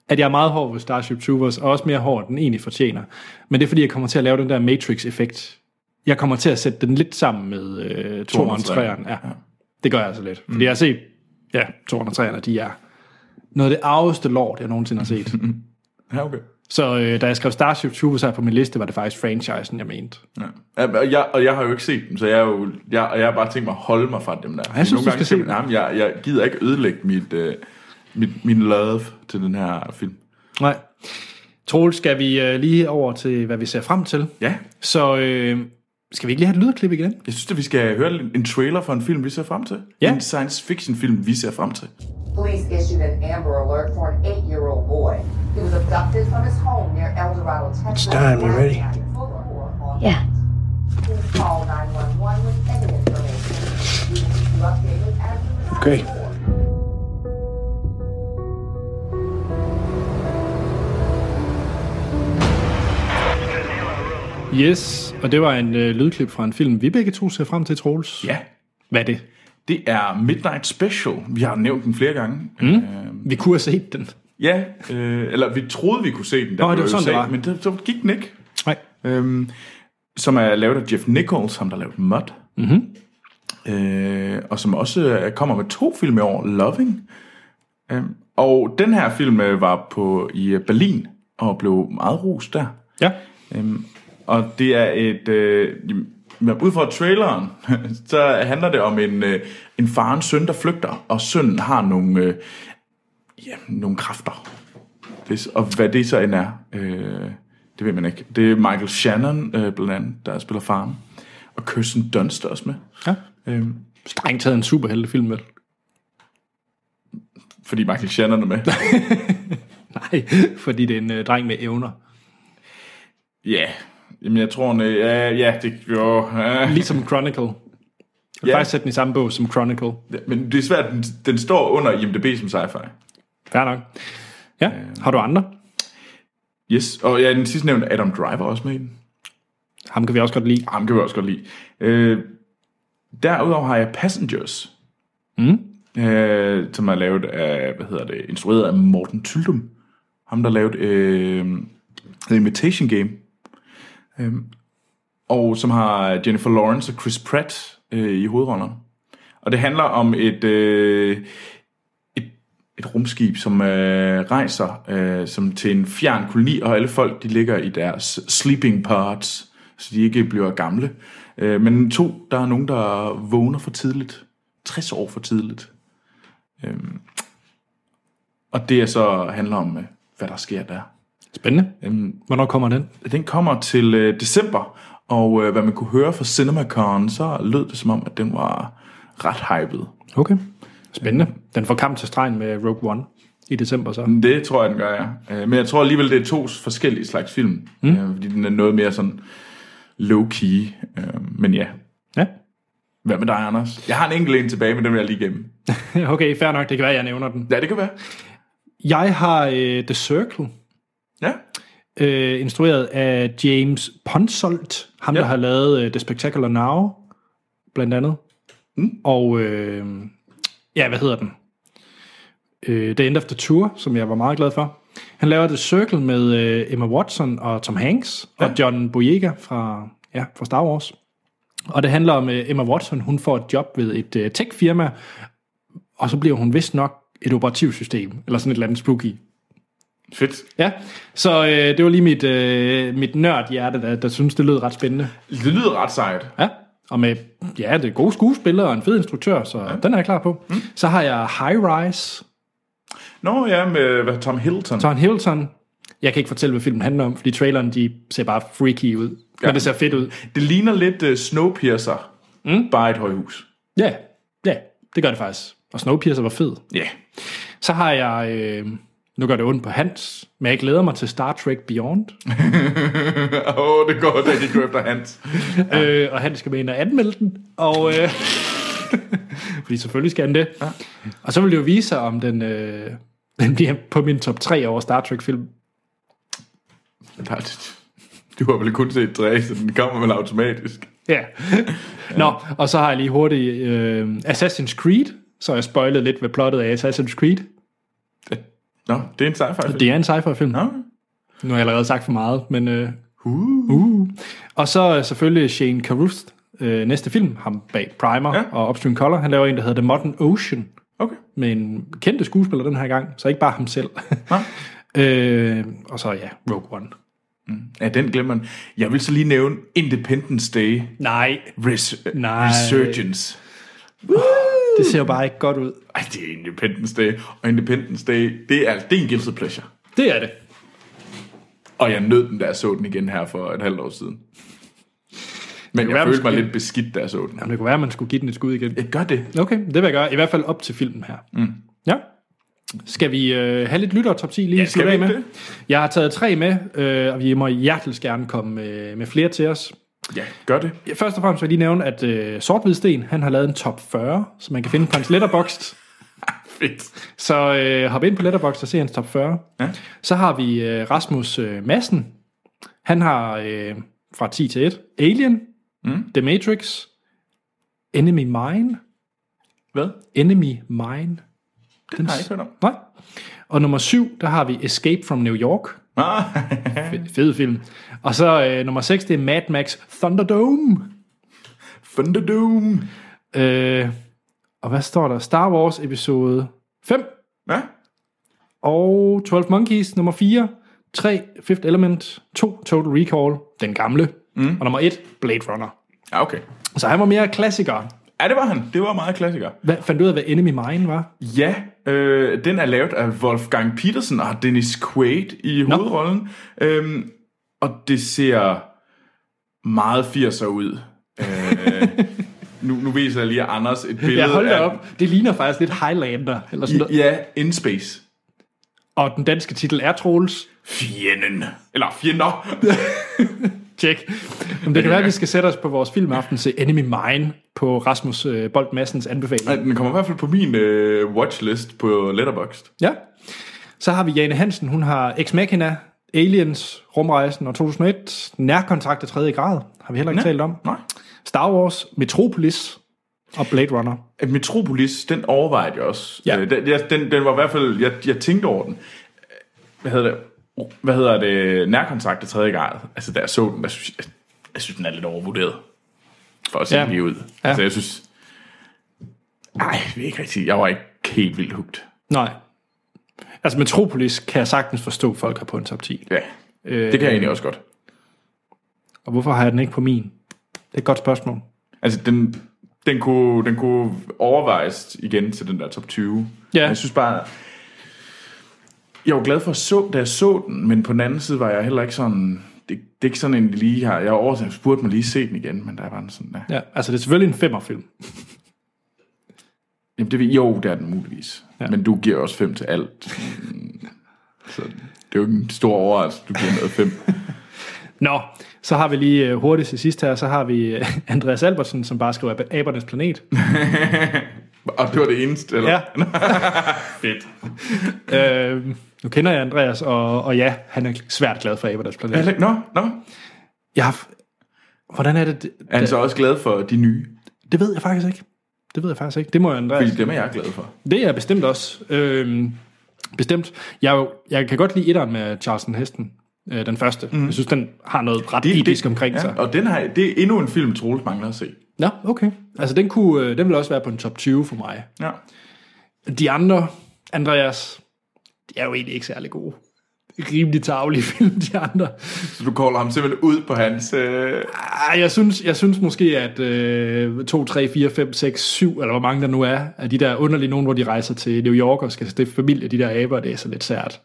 [SPEAKER 1] at jeg er meget hård ved Starship Troopers, og også mere hård, end den egentlig fortjener. Men det er, fordi jeg kommer til at lave den der Matrix-effekt. Jeg kommer til at sætte den lidt sammen med øh, 203'eren. Ja, det gør jeg altså lidt. Fordi jeg har set, ja, 203'erne, de er noget af det arveste lort, jeg nogensinde har set.
[SPEAKER 2] Ja, okay.
[SPEAKER 1] Så øh, da jeg skrev Starship Troopers her på min liste, var det faktisk franchisen, jeg mente.
[SPEAKER 2] Ja. Ja, men- og, jeg, og jeg har jo ikke set dem, så jeg, er jo, jeg, og jeg har bare tænkt mig at holde mig fra dem der.
[SPEAKER 1] jeg synes, du skal se
[SPEAKER 2] dem. Jeg, jeg, jeg gider ikke ødelægge mit, øh, mit, min love til den her film.
[SPEAKER 1] Nej. Troel, skal vi øh, lige over til, hvad vi ser frem til?
[SPEAKER 2] Ja,
[SPEAKER 1] Så øh, skal vi ikke lige have et lydklip igen?
[SPEAKER 2] jeg synes, at vi skal høre en- en trailer for en film, vi ser frem til.
[SPEAKER 1] Ja.
[SPEAKER 2] En science fiction film, vi ser frem til.
[SPEAKER 9] Police issued an Amber Alert for an eight-year-old boy. He was abducted from his home near El Dorado, Texas. It's time. You ready?
[SPEAKER 10] Yeah.
[SPEAKER 9] Please call 911 with any information. We will keep you updated as we receive
[SPEAKER 3] Okay.
[SPEAKER 9] more.
[SPEAKER 1] Yes, og det var en øh, lydklip fra en film, vi begge to ser frem til, Troels.
[SPEAKER 2] Ja,
[SPEAKER 1] Hvad er det?
[SPEAKER 2] det er Midnight Special. Vi har nævnt den flere gange. Mm. Øh,
[SPEAKER 1] Vi kunne have set den.
[SPEAKER 2] ja, øh, eller vi troede, vi kunne se den. Der
[SPEAKER 1] Nå, det var
[SPEAKER 2] blev jo
[SPEAKER 1] sådan, det
[SPEAKER 2] sagt,
[SPEAKER 1] var.
[SPEAKER 2] Men det, så gik den ikke.
[SPEAKER 1] Nej.
[SPEAKER 2] øhm, som er lavet af Jeff Nichols, ham der lavede Mud. Mm-hmm. Øh, og som også øh, kommer med to film i år, Loving. Øhm, og den her film øh, var på i øh, Berlin og blev meget rost der.
[SPEAKER 1] Ja.
[SPEAKER 2] Øhm, og det er et... Øh, men ud fra traileren, så handler det om en, øh, en far og en søn, der flygter, og sønnen har nogle, øh, ja, nogle kræfter. Det, og hvad det så end er, øh, det ved man ikke. Det er Michael Shannon, øh, blandt andet, der spiller faren, og Kirsten Dunst er også med.
[SPEAKER 1] ja.
[SPEAKER 2] Øhm,
[SPEAKER 1] Strengt taget en superheltefilm, vel?
[SPEAKER 2] fordi Michael Shannon er med.
[SPEAKER 1] Nej, fordi det er en øh, dreng med evner.
[SPEAKER 2] Ja, jamen jeg tror, han, øh, ja, ja, det jo, øh.
[SPEAKER 1] Ligesom Chronicle. Jeg vil
[SPEAKER 2] Ja.
[SPEAKER 1] faktisk sætte den i samme bog som Chronicle.
[SPEAKER 2] Men det er svært, den, den står under IMDb som sci-fi.
[SPEAKER 1] Fair nok. Ja, har du andre?
[SPEAKER 2] Yes, og ja, den sidste nævnte Adam Driver også med i den.
[SPEAKER 1] Ham kan vi også godt lide.
[SPEAKER 2] Ham kan vi også godt lide. Øh, derudover har jeg Passengers. Mm. Øh, som er lavet af, hvad hedder det, instrueret af Morten Tyldum. Ham, der lavede øh, The Imitation Game. Øh, og som har Jennifer Lawrence og Chris Pratt øh, i hovedrollerne. Og det handler om et, øh, et, et rumskib, som øh, rejser øh, som til en fjern koloni, og alle folk de ligger i deres sleeping pods, så de ikke bliver gamle. Øh, men to, der er nogen, der vågner for tidligt. 60 år for tidligt. Øh, og det er så handler om, øh, hvad der sker der.
[SPEAKER 1] Spændende.
[SPEAKER 2] Øh,
[SPEAKER 1] Hvornår kommer den?
[SPEAKER 2] den kommer til øh, december, og øh, hvad man kunne høre fra CinemaCon, så lød det som om, at den var ret hyped.
[SPEAKER 1] Okay. Spændende. Den får kamp til stregen med Rogue One i december så.
[SPEAKER 2] Det tror jeg, den gør, ja. Øh, men jeg tror alligevel, det er to forskellige slags film, mm. øh, fordi den er noget mere sådan low-key. Øh, men ja,
[SPEAKER 1] Ja.
[SPEAKER 2] hvad med dig, Anders? Jeg har en enkelt en tilbage, men den vil jeg lige gemme.
[SPEAKER 1] Okay, fair nok. Det kan være, jeg nævner den.
[SPEAKER 2] Ja, det kan være.
[SPEAKER 1] Jeg har øh, The Circle,
[SPEAKER 2] Ja,
[SPEAKER 1] øh, instrueret af James Ponsolt. Ham,
[SPEAKER 2] Ja.
[SPEAKER 1] der har lavet øh, The Spectacular Now, blandt andet. Mm. Og, øh, ja, hvad hedder den? Øh, the End of the Tour, som jeg var meget glad for. Han laver The Circle med øh, Emma Watson og Tom Hanks ja. og John Boyega fra, ja, fra Star Wars. Og det handler om øh, Emma Watson. Hun får et job ved et øh, tech-firma, og så bliver hun vist nok et operativsystem, eller sådan et eller andet spooky.
[SPEAKER 2] fedt.
[SPEAKER 1] Ja, så øh, det var lige mit, øh, mit nørdhjerte, der, der synes det lød ret spændende.
[SPEAKER 2] Det lyder ret sejt.
[SPEAKER 1] Ja, og med ja, det er gode skuespillere og en fed instruktør, så ja. den er jeg klar på. Mm. Så har jeg High Rise,
[SPEAKER 2] Nå ja, med hvad, Tom Hilton.
[SPEAKER 1] Tom Hilton. Jeg kan ikke fortælle, hvad filmen handler om, fordi traileren de ser bare freaky ud. Ja. Men det ser fedt ud.
[SPEAKER 2] Det ligner lidt uh, Snowpiercer, mm. bare et højhus.
[SPEAKER 1] Ja, ja, det gør det faktisk. Og Snowpiercer var fed.
[SPEAKER 2] Ja. Yeah.
[SPEAKER 1] Så har jeg, øh, nu gør det ondt på Hans, men jeg glæder mig til Star Trek Beyond.
[SPEAKER 2] Åh, oh, det går da ikke efter hans.
[SPEAKER 1] Øh, og han skal med ind og anmelde den. Og, øh, fordi selvfølgelig skal han det. Ja. Og så vil det jo vise sig, om den, øh, den bliver på min top 3 over Star Trek-film.
[SPEAKER 2] Der- Du har vel kun set tre, så den kommer vel automatisk.
[SPEAKER 1] Ja. Nå, og så har jeg lige hurtigt øh, Assassin's Creed. Så har jeg spoilet lidt ved plottet af Assassin's Creed.
[SPEAKER 2] Nå, det er en sci-fi film.
[SPEAKER 1] Det er en sci-fi-film.
[SPEAKER 2] Nå,
[SPEAKER 1] Nu har jeg allerede sagt for meget, men... Øh, uh. Uh. Og så øh, selvfølgelig Shane Carruth. Øh, næste film, ham bag Primer
[SPEAKER 2] Ja.
[SPEAKER 1] ja. og Upstream Color. Han laver en, der hedder The Modern Ocean.
[SPEAKER 2] okay.
[SPEAKER 1] Med en kendte skuespiller den her gang, så ikke bare ham selv.
[SPEAKER 2] Nå.
[SPEAKER 1] øh, og så ja, Rogue One.
[SPEAKER 2] Ja, den glemmer man. Jeg vil så lige nævne Independence Day
[SPEAKER 1] Nej,
[SPEAKER 2] Res-
[SPEAKER 1] Nej.
[SPEAKER 2] Resurgence.
[SPEAKER 1] det ser jo bare ikke godt ud.
[SPEAKER 2] Ej, det er Independence Day. Og Independence Day, det er, det er en guilty pleasure.
[SPEAKER 1] Det er det.
[SPEAKER 2] Og jeg nød den, da jeg så den igen her for et halvt år siden. Men
[SPEAKER 1] være,
[SPEAKER 2] jeg følte mig
[SPEAKER 1] måske-
[SPEAKER 2] lidt beskidt, da jeg så den.
[SPEAKER 1] Jamen, det kunne være, at man skulle give den et skud igen.
[SPEAKER 2] Jeg gør det.
[SPEAKER 1] Okay, det vil jeg gøre. I hvert fald op til filmen her. Mm. Ja. Skal vi øh, have lidt lytter top 10 lige ja,
[SPEAKER 2] skal vi
[SPEAKER 1] af
[SPEAKER 2] ikke
[SPEAKER 1] med?
[SPEAKER 2] det?
[SPEAKER 1] Jeg har taget tre med, øh, og vi må hjertelig gerne komme øh, med flere til os.
[SPEAKER 2] Ja, gør det.
[SPEAKER 1] Først og fremmest vil jeg lige nævne, at øh, Sort Sten, han har lavet en top 40, som man kan finde på hans letterboxd.
[SPEAKER 2] Fedt.
[SPEAKER 1] Så øh, hop ind på Letterboxd og se hans top 40.
[SPEAKER 2] Ja.
[SPEAKER 1] Så har vi øh, Rasmus øh, Madsen. Han har øh, fra 10 til 1 Alien, mm. The Matrix, Enemy Mine,
[SPEAKER 2] Hvad?
[SPEAKER 1] Enemy Mine.
[SPEAKER 2] Den har jeg ikke hørt om.
[SPEAKER 1] Nej. Og nummer 7, der har vi Escape from New York.
[SPEAKER 2] Ah,
[SPEAKER 1] Fed, fed film. Og så øh, nummer 6, det er Mad Max Thunderdome.
[SPEAKER 2] Thunderdome.
[SPEAKER 1] Øh, og hvad står der? Star Wars episode 5
[SPEAKER 2] Ja,
[SPEAKER 1] og 12 Monkeys nummer 4, 3 Fifth Element, 2 Total Recall, den gamle, mm. og nummer 1 Blade Runner.
[SPEAKER 2] ja okay.
[SPEAKER 1] Så han var mere klassiker.
[SPEAKER 2] Ja, det var han. Det var meget klassiker.
[SPEAKER 1] Hvad, fandt du ud af, hvad Enemy Mine var?
[SPEAKER 2] Ja, øh, den er lavet af Wolfgang Petersen og Dennis Quaid i hovedrollen. Øhm, og det ser meget 80'er ud. Øh, nu, nu viser jeg lige Anders et billede
[SPEAKER 1] Jeg holdt
[SPEAKER 2] af...
[SPEAKER 1] op. Det ligner faktisk lidt Highlander. Eller sådan noget.
[SPEAKER 2] Ja, In Space.
[SPEAKER 1] Og den danske titel er Troels.
[SPEAKER 2] Fjenden. Eller fjender.
[SPEAKER 1] Tjek. Jamen, det kan være, at vi skal sætte os på vores filmaften til Enemy Mine på Rasmus øh, Bolt Massens
[SPEAKER 2] Nej,
[SPEAKER 1] anbefaling.
[SPEAKER 2] den kommer i hvert fald på min øh, watchlist på Letterboxd.
[SPEAKER 1] Ja. Så har vi Jane Hansen. Hun har Ex Machina, Aliens, Rumrejsen og 2001, Nærkontakt af 3. grad, har vi heller ikke talt om.
[SPEAKER 2] Nej.
[SPEAKER 1] Star Wars, Metropolis og Blade Runner.
[SPEAKER 2] At Metropolis, den overvejede jeg også.
[SPEAKER 1] Ja.
[SPEAKER 2] Øh, den, jeg- den, den var i hvert fald, jeg, jeg tænkte over den. Hvad hedder det? Hvad hedder det? Nærkontakt af tredje grad. Altså, da jeg så den, der synes jeg, jeg synes, den er lidt overvurderet. For at se
[SPEAKER 1] Ja.
[SPEAKER 2] ja. lige ud.
[SPEAKER 1] Ja.
[SPEAKER 2] Altså, jeg synes... Nej, det er ikke rigtigt. Jeg var ikke helt vildt hugt.
[SPEAKER 1] Nej. Altså Metropolis kan jeg sagtens forstå, at folk har på en top 10.
[SPEAKER 2] Ja, øh, det kan jeg egentlig også godt.
[SPEAKER 1] Og hvorfor har jeg den ikke på min? Det er et godt spørgsmål.
[SPEAKER 2] Altså, den, den, kunne, den kunne overvejes igen til den der top 20.
[SPEAKER 1] Ja.
[SPEAKER 2] Jeg synes bare... Jeg var glad for at så, da jeg så den, men på den anden side var jeg heller ikke sådan... Det, det er ikke sådan en lige her. Jeg overtaget spurgte mig lige se den igen, men der var den sådan der. Ja.
[SPEAKER 1] Ja, altså det er selvfølgelig en femmerfilm.
[SPEAKER 2] Jamen, det, ved- jo, det er den muligvis. Ja. Men du giver også fem til alt. Så det er jo ikke en stor overraskelse, du giver noget fem.
[SPEAKER 1] Nå, så har vi lige øh, hurtigt til sidst her, så har vi øh, Andreas Albertsen, som bare skriver "Ab- Abernes Planet.
[SPEAKER 2] Og det var det eneste, eller?
[SPEAKER 1] Ja.
[SPEAKER 2] Fedt.
[SPEAKER 1] øh, nu kender jeg Andreas, og, og ja, han er svært glad for Abernes Planet.
[SPEAKER 2] Eller, nå, nå.
[SPEAKER 1] Jeg har, f- Hvordan er det? Det,
[SPEAKER 2] Er han så også glad for de nye?
[SPEAKER 1] det ved jeg faktisk ikke. Det ved jeg faktisk ikke. Det må jeg, Andreas.
[SPEAKER 2] Fordi dem er jeg glad for.
[SPEAKER 1] Det er jeg bestemt også. Øhm, bestemt. Jeg, er jo- jeg kan godt lide etteren med Charleston Heston. Øh, den første. Mm. Jeg synes, den har noget ret det, episk omkring
[SPEAKER 2] ja,
[SPEAKER 1] sig.
[SPEAKER 2] Og den har, det er endnu en film, Troels mangler at se.
[SPEAKER 1] Nå, okay. Altså, den, kunne, øh, den ville også være på en top 20 for mig.
[SPEAKER 2] Ja.
[SPEAKER 1] De andre, Andreas, de er jo egentlig ikke særlig gode. Rimelig tavlige film, de andre.
[SPEAKER 2] Så du kolder ham simpelthen ud på hans... Øh,
[SPEAKER 1] Ej, jeg synes, jeg synes måske, at øh, 2, 3, 4, 5, 6, 7, eller hvor mange der nu er, af de der underlige nogen, hvor de rejser til New York og skal stifte familie, de der aber, det er så lidt sært.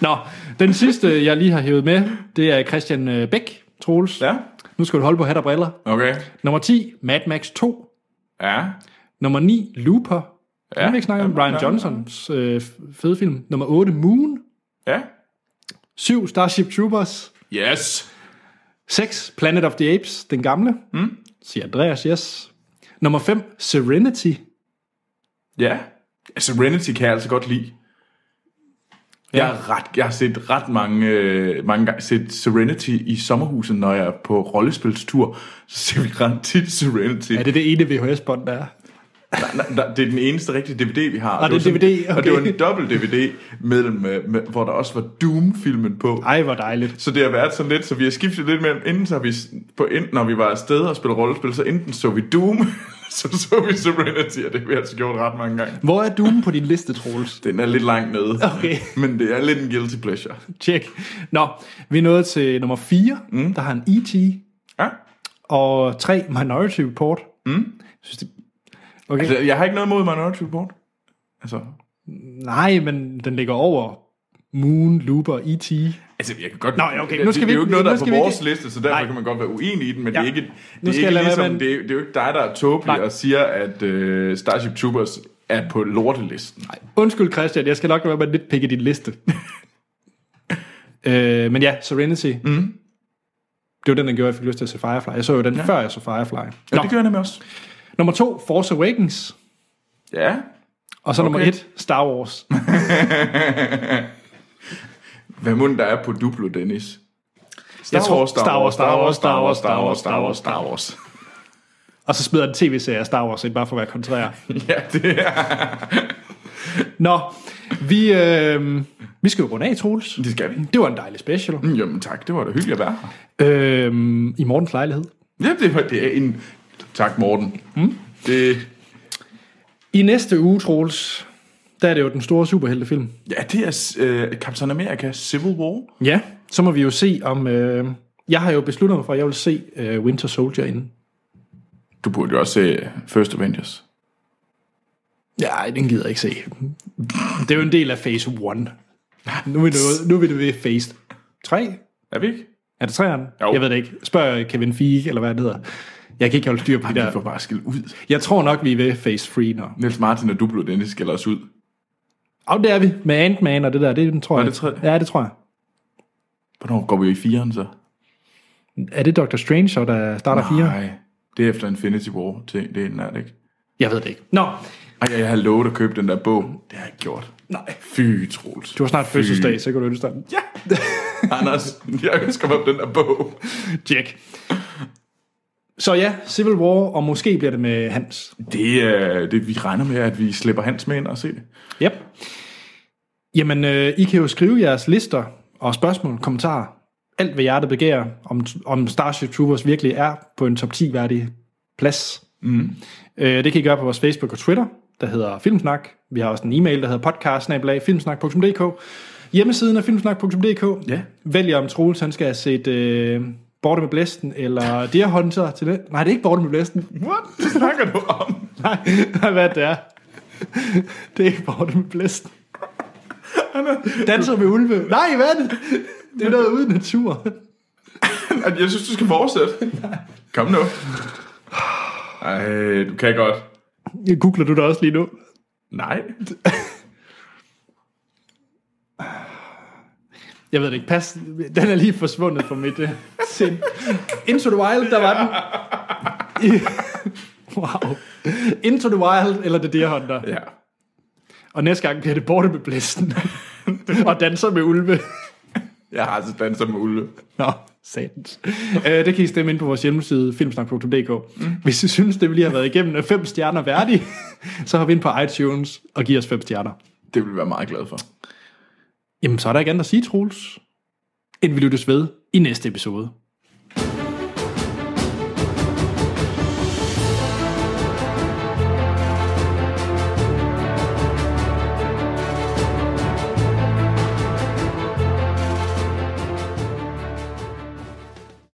[SPEAKER 1] Nå, den sidste, jeg lige har hævet med, det er Christian øh, Bæk, Troels.
[SPEAKER 2] ja,
[SPEAKER 1] Nu skal du holde på hat og briller.
[SPEAKER 2] okay.
[SPEAKER 1] Nummer 10, Mad Max 2.
[SPEAKER 2] Ja,
[SPEAKER 1] Nummer 9, Looper. Ja,
[SPEAKER 2] Ja,
[SPEAKER 1] vi ikke snakke om
[SPEAKER 2] ja,
[SPEAKER 1] Ryan
[SPEAKER 2] ja, ja.
[SPEAKER 1] Johnsons øh, fede film. Nummer 8, Moon.
[SPEAKER 2] ja.
[SPEAKER 1] 7, Starship Troopers.
[SPEAKER 2] Yes.
[SPEAKER 1] 6. Planet of the Apes, den gamle. Mm. Siger Andreas, yes. Nummer 5. Serenity.
[SPEAKER 2] Ja. Serenity kan jeg altså godt lide. altså Jeg, er ret, jeg har set ret mange, øh, mange gange set Serenity i sommerhuset, når jeg er på rollespilstur. Så ser vi ret tit Serenity.
[SPEAKER 1] Er det det ene VHS-bånd, der er?
[SPEAKER 2] Nej, nej, nej, det er den eneste rigtige DVD, vi har.
[SPEAKER 1] det er
[SPEAKER 2] var
[SPEAKER 1] DVD,
[SPEAKER 2] Og det var
[SPEAKER 1] okay.
[SPEAKER 2] en dobbelt DVD, mellem, øh, med, hvor der også var Doom-filmen på.
[SPEAKER 1] Ej, hvor dejligt.
[SPEAKER 2] Så det har været sådan lidt, så vi har skiftet lidt mellem, inden så har vi, s- på, enten, når vi var afsted og spillede rollespil, så enten så vi Doom, så så vi Serenity, og det har vi altså gjort ret mange gange.
[SPEAKER 1] Hvor er Doom på din liste, Troels?
[SPEAKER 2] Den er lidt langt nede,
[SPEAKER 1] Okay.
[SPEAKER 2] men det er lidt en guilty pleasure.
[SPEAKER 1] Tjek. Nå, vi er nået til nummer 4, mm. der har en E.T.
[SPEAKER 2] Ja.
[SPEAKER 1] og 3 Minority Report. Mm. Synes det... Okay.
[SPEAKER 2] Altså,
[SPEAKER 1] Altså...
[SPEAKER 2] jeg har ikke noget imod Minority Report. Altså,
[SPEAKER 1] Nej, men den ligger over Moon, Looper, E E.T.
[SPEAKER 2] altså jeg kan godt...
[SPEAKER 1] Nå, ja, okay,
[SPEAKER 2] det,
[SPEAKER 1] nu skal
[SPEAKER 2] det,
[SPEAKER 1] vi
[SPEAKER 2] det er
[SPEAKER 1] ikke-
[SPEAKER 2] jo ikke noget,
[SPEAKER 1] nu
[SPEAKER 2] der er
[SPEAKER 1] skal
[SPEAKER 2] på
[SPEAKER 1] vi
[SPEAKER 2] vores
[SPEAKER 1] ikke-
[SPEAKER 2] liste, så derfor
[SPEAKER 1] Nej.
[SPEAKER 2] kan man godt være uenig i den, men ja. det
[SPEAKER 1] Ja.
[SPEAKER 2] er ikke,
[SPEAKER 1] Nu skal
[SPEAKER 2] det er
[SPEAKER 1] jeg
[SPEAKER 2] ikke
[SPEAKER 1] lade være
[SPEAKER 2] ligesom,
[SPEAKER 1] med
[SPEAKER 2] det, er, det er jo ikke dig, der er tåbelig
[SPEAKER 1] Nej.
[SPEAKER 2] og siger, at øh, Starship Troopers er på lortelisten. Nej.
[SPEAKER 1] Undskyld, Christian, jeg skal nok være med at nitpikke din liste. øh, men ja, Serenity. Mm. Det var den, der gjorde, at jeg fik lyst til at se Firefly. Jeg så jo den, ja. før jeg så Firefly.
[SPEAKER 2] Ja,
[SPEAKER 1] Nå,
[SPEAKER 2] det gør jeg nemlig også.
[SPEAKER 1] nummer 2, Force Awakens.
[SPEAKER 2] Ja.
[SPEAKER 1] Og så okay. nummer
[SPEAKER 2] Okay.
[SPEAKER 1] 1, Star Wars.
[SPEAKER 2] Hvad mund der er på Duplo, Dennis? Star
[SPEAKER 1] Jeg tror-
[SPEAKER 2] Wars, Star Wars, Star Wars, Star Wars, Star Wars, Star Wars, Star Wars.
[SPEAKER 1] Og så smider den tv-serie af Star Wars ind, bare for at være kontrær.
[SPEAKER 2] Ja, det er...
[SPEAKER 1] Nå, vi, øh, vi skal jo runde af, Troels.
[SPEAKER 2] Det skal vi.
[SPEAKER 1] Det var en dejlig special.
[SPEAKER 2] Mm, Jamen tak, det var da hyggeligt at være her.
[SPEAKER 1] Øh, I Mortens lejlighed.
[SPEAKER 2] Ja, det, var, det er en... Tak, Morten. Mm? Det,
[SPEAKER 1] I næste uge, Troels, der er det jo den store superheltefilm.
[SPEAKER 2] ja, det er øh, Captain America Civil War.
[SPEAKER 1] Ja. Så må vi jo se om... Øh, jeg har jo besluttet mig for, at jeg vil se øh, Winter Soldier inden.
[SPEAKER 2] Du burde jo også se First Avengers.
[SPEAKER 1] Ja, den gider jeg ikke se. Det er jo en del af phase 1. Nu er vi nået, nu er vi nået ved phase 3.
[SPEAKER 2] Er vi ikke?
[SPEAKER 1] Er det 3'eren?
[SPEAKER 2] Jo.
[SPEAKER 1] Jeg ved det ikke. Spørg Kevin Feige, eller hvad det hedder. Jeg kan ikke holde styr på det
[SPEAKER 2] Ah, Ja. Vi får
[SPEAKER 1] der.
[SPEAKER 2] bare skilt ud.
[SPEAKER 1] Jeg tror nok, vi er ved phase 3 nu.
[SPEAKER 2] Niels Martin og Duplo Dennis skælder os ud.
[SPEAKER 1] Og det er vi med Ant-Man og det der. Det tror
[SPEAKER 2] Var
[SPEAKER 1] jeg.
[SPEAKER 2] det tredje?
[SPEAKER 1] Ja, det tror jeg.
[SPEAKER 2] Hvornår går vi i firen så?
[SPEAKER 1] Er det Doctor Strange, så der starter 4?
[SPEAKER 2] Nej, det er efter Infinity War. Det, det er nært ikke.
[SPEAKER 1] Jeg ved det ikke. Nå,
[SPEAKER 2] Ej, jeg har lovet at købe den der bog. Det har jeg ikke gjort.
[SPEAKER 1] Nej.
[SPEAKER 2] Fy, Troels.
[SPEAKER 1] du har snart
[SPEAKER 2] Fy.
[SPEAKER 1] fødselsdag, så kan du ønske dig. Ja.
[SPEAKER 2] Anders, jeg ønsker mig den der bog.
[SPEAKER 1] Jack. Så ja, Civil War, og måske bliver det med Hans.
[SPEAKER 2] Det er det, vi regner med, at vi slipper Hans med ind og se det.
[SPEAKER 1] Yep. Jamen, øh, I kan jo skrive jeres lister og spørgsmål, kommentarer, alt hvad hjertet begærer, om, om Starship Troopers virkelig er på en top 10-værdig plads. Mm. Øh, det kan I gøre på vores Facebook og Twitter, der hedder Filmsnak. Vi har også en e-mail, der hedder podcast-filmsnak.dk. Hjemmesiden er filmsnak.dk.
[SPEAKER 2] Ja.
[SPEAKER 1] Vælg om Troels, han skal have set øh, Borte med Blæsten, eller Deer Hunter til det. Nej, det er ikke Borte med Blæsten.
[SPEAKER 2] What? Hvad snakker du om?
[SPEAKER 1] Nej, nej, hvad det er. Det er ikke Borte med blæsten. Danser med ulve. Nej, hvad er det? Det er noget ude i natur.
[SPEAKER 2] At Jeg synes, du skal fortsætte. Kom nu. Ej, du kan godt.
[SPEAKER 1] Googler du det også lige nu?
[SPEAKER 2] Nej.
[SPEAKER 1] Jeg ved det ikke. Pas. Den er lige forsvundet fra mit uh, sind. Into the Wild, der var den. I, wow. Into the Wild eller The Deer Hunter.
[SPEAKER 2] Ja.
[SPEAKER 1] Og næste gang bliver det Borte med blæsten. Og danser med ulve.
[SPEAKER 2] Jeg har altså danset med ulve.
[SPEAKER 1] Nå, satans. Øh, det kan I stemme ind på vores hjemmeside, filmsnak.dk. Mm. Hvis I synes, det vi lige har været igennem er fem stjerner værdige, så har vi ind på iTunes og giver os fem stjerner.
[SPEAKER 2] Det vil vi være meget glad for.
[SPEAKER 1] Jamen, så er der ikke andet at sige, Troels, end vi lyttes ved i næste episode.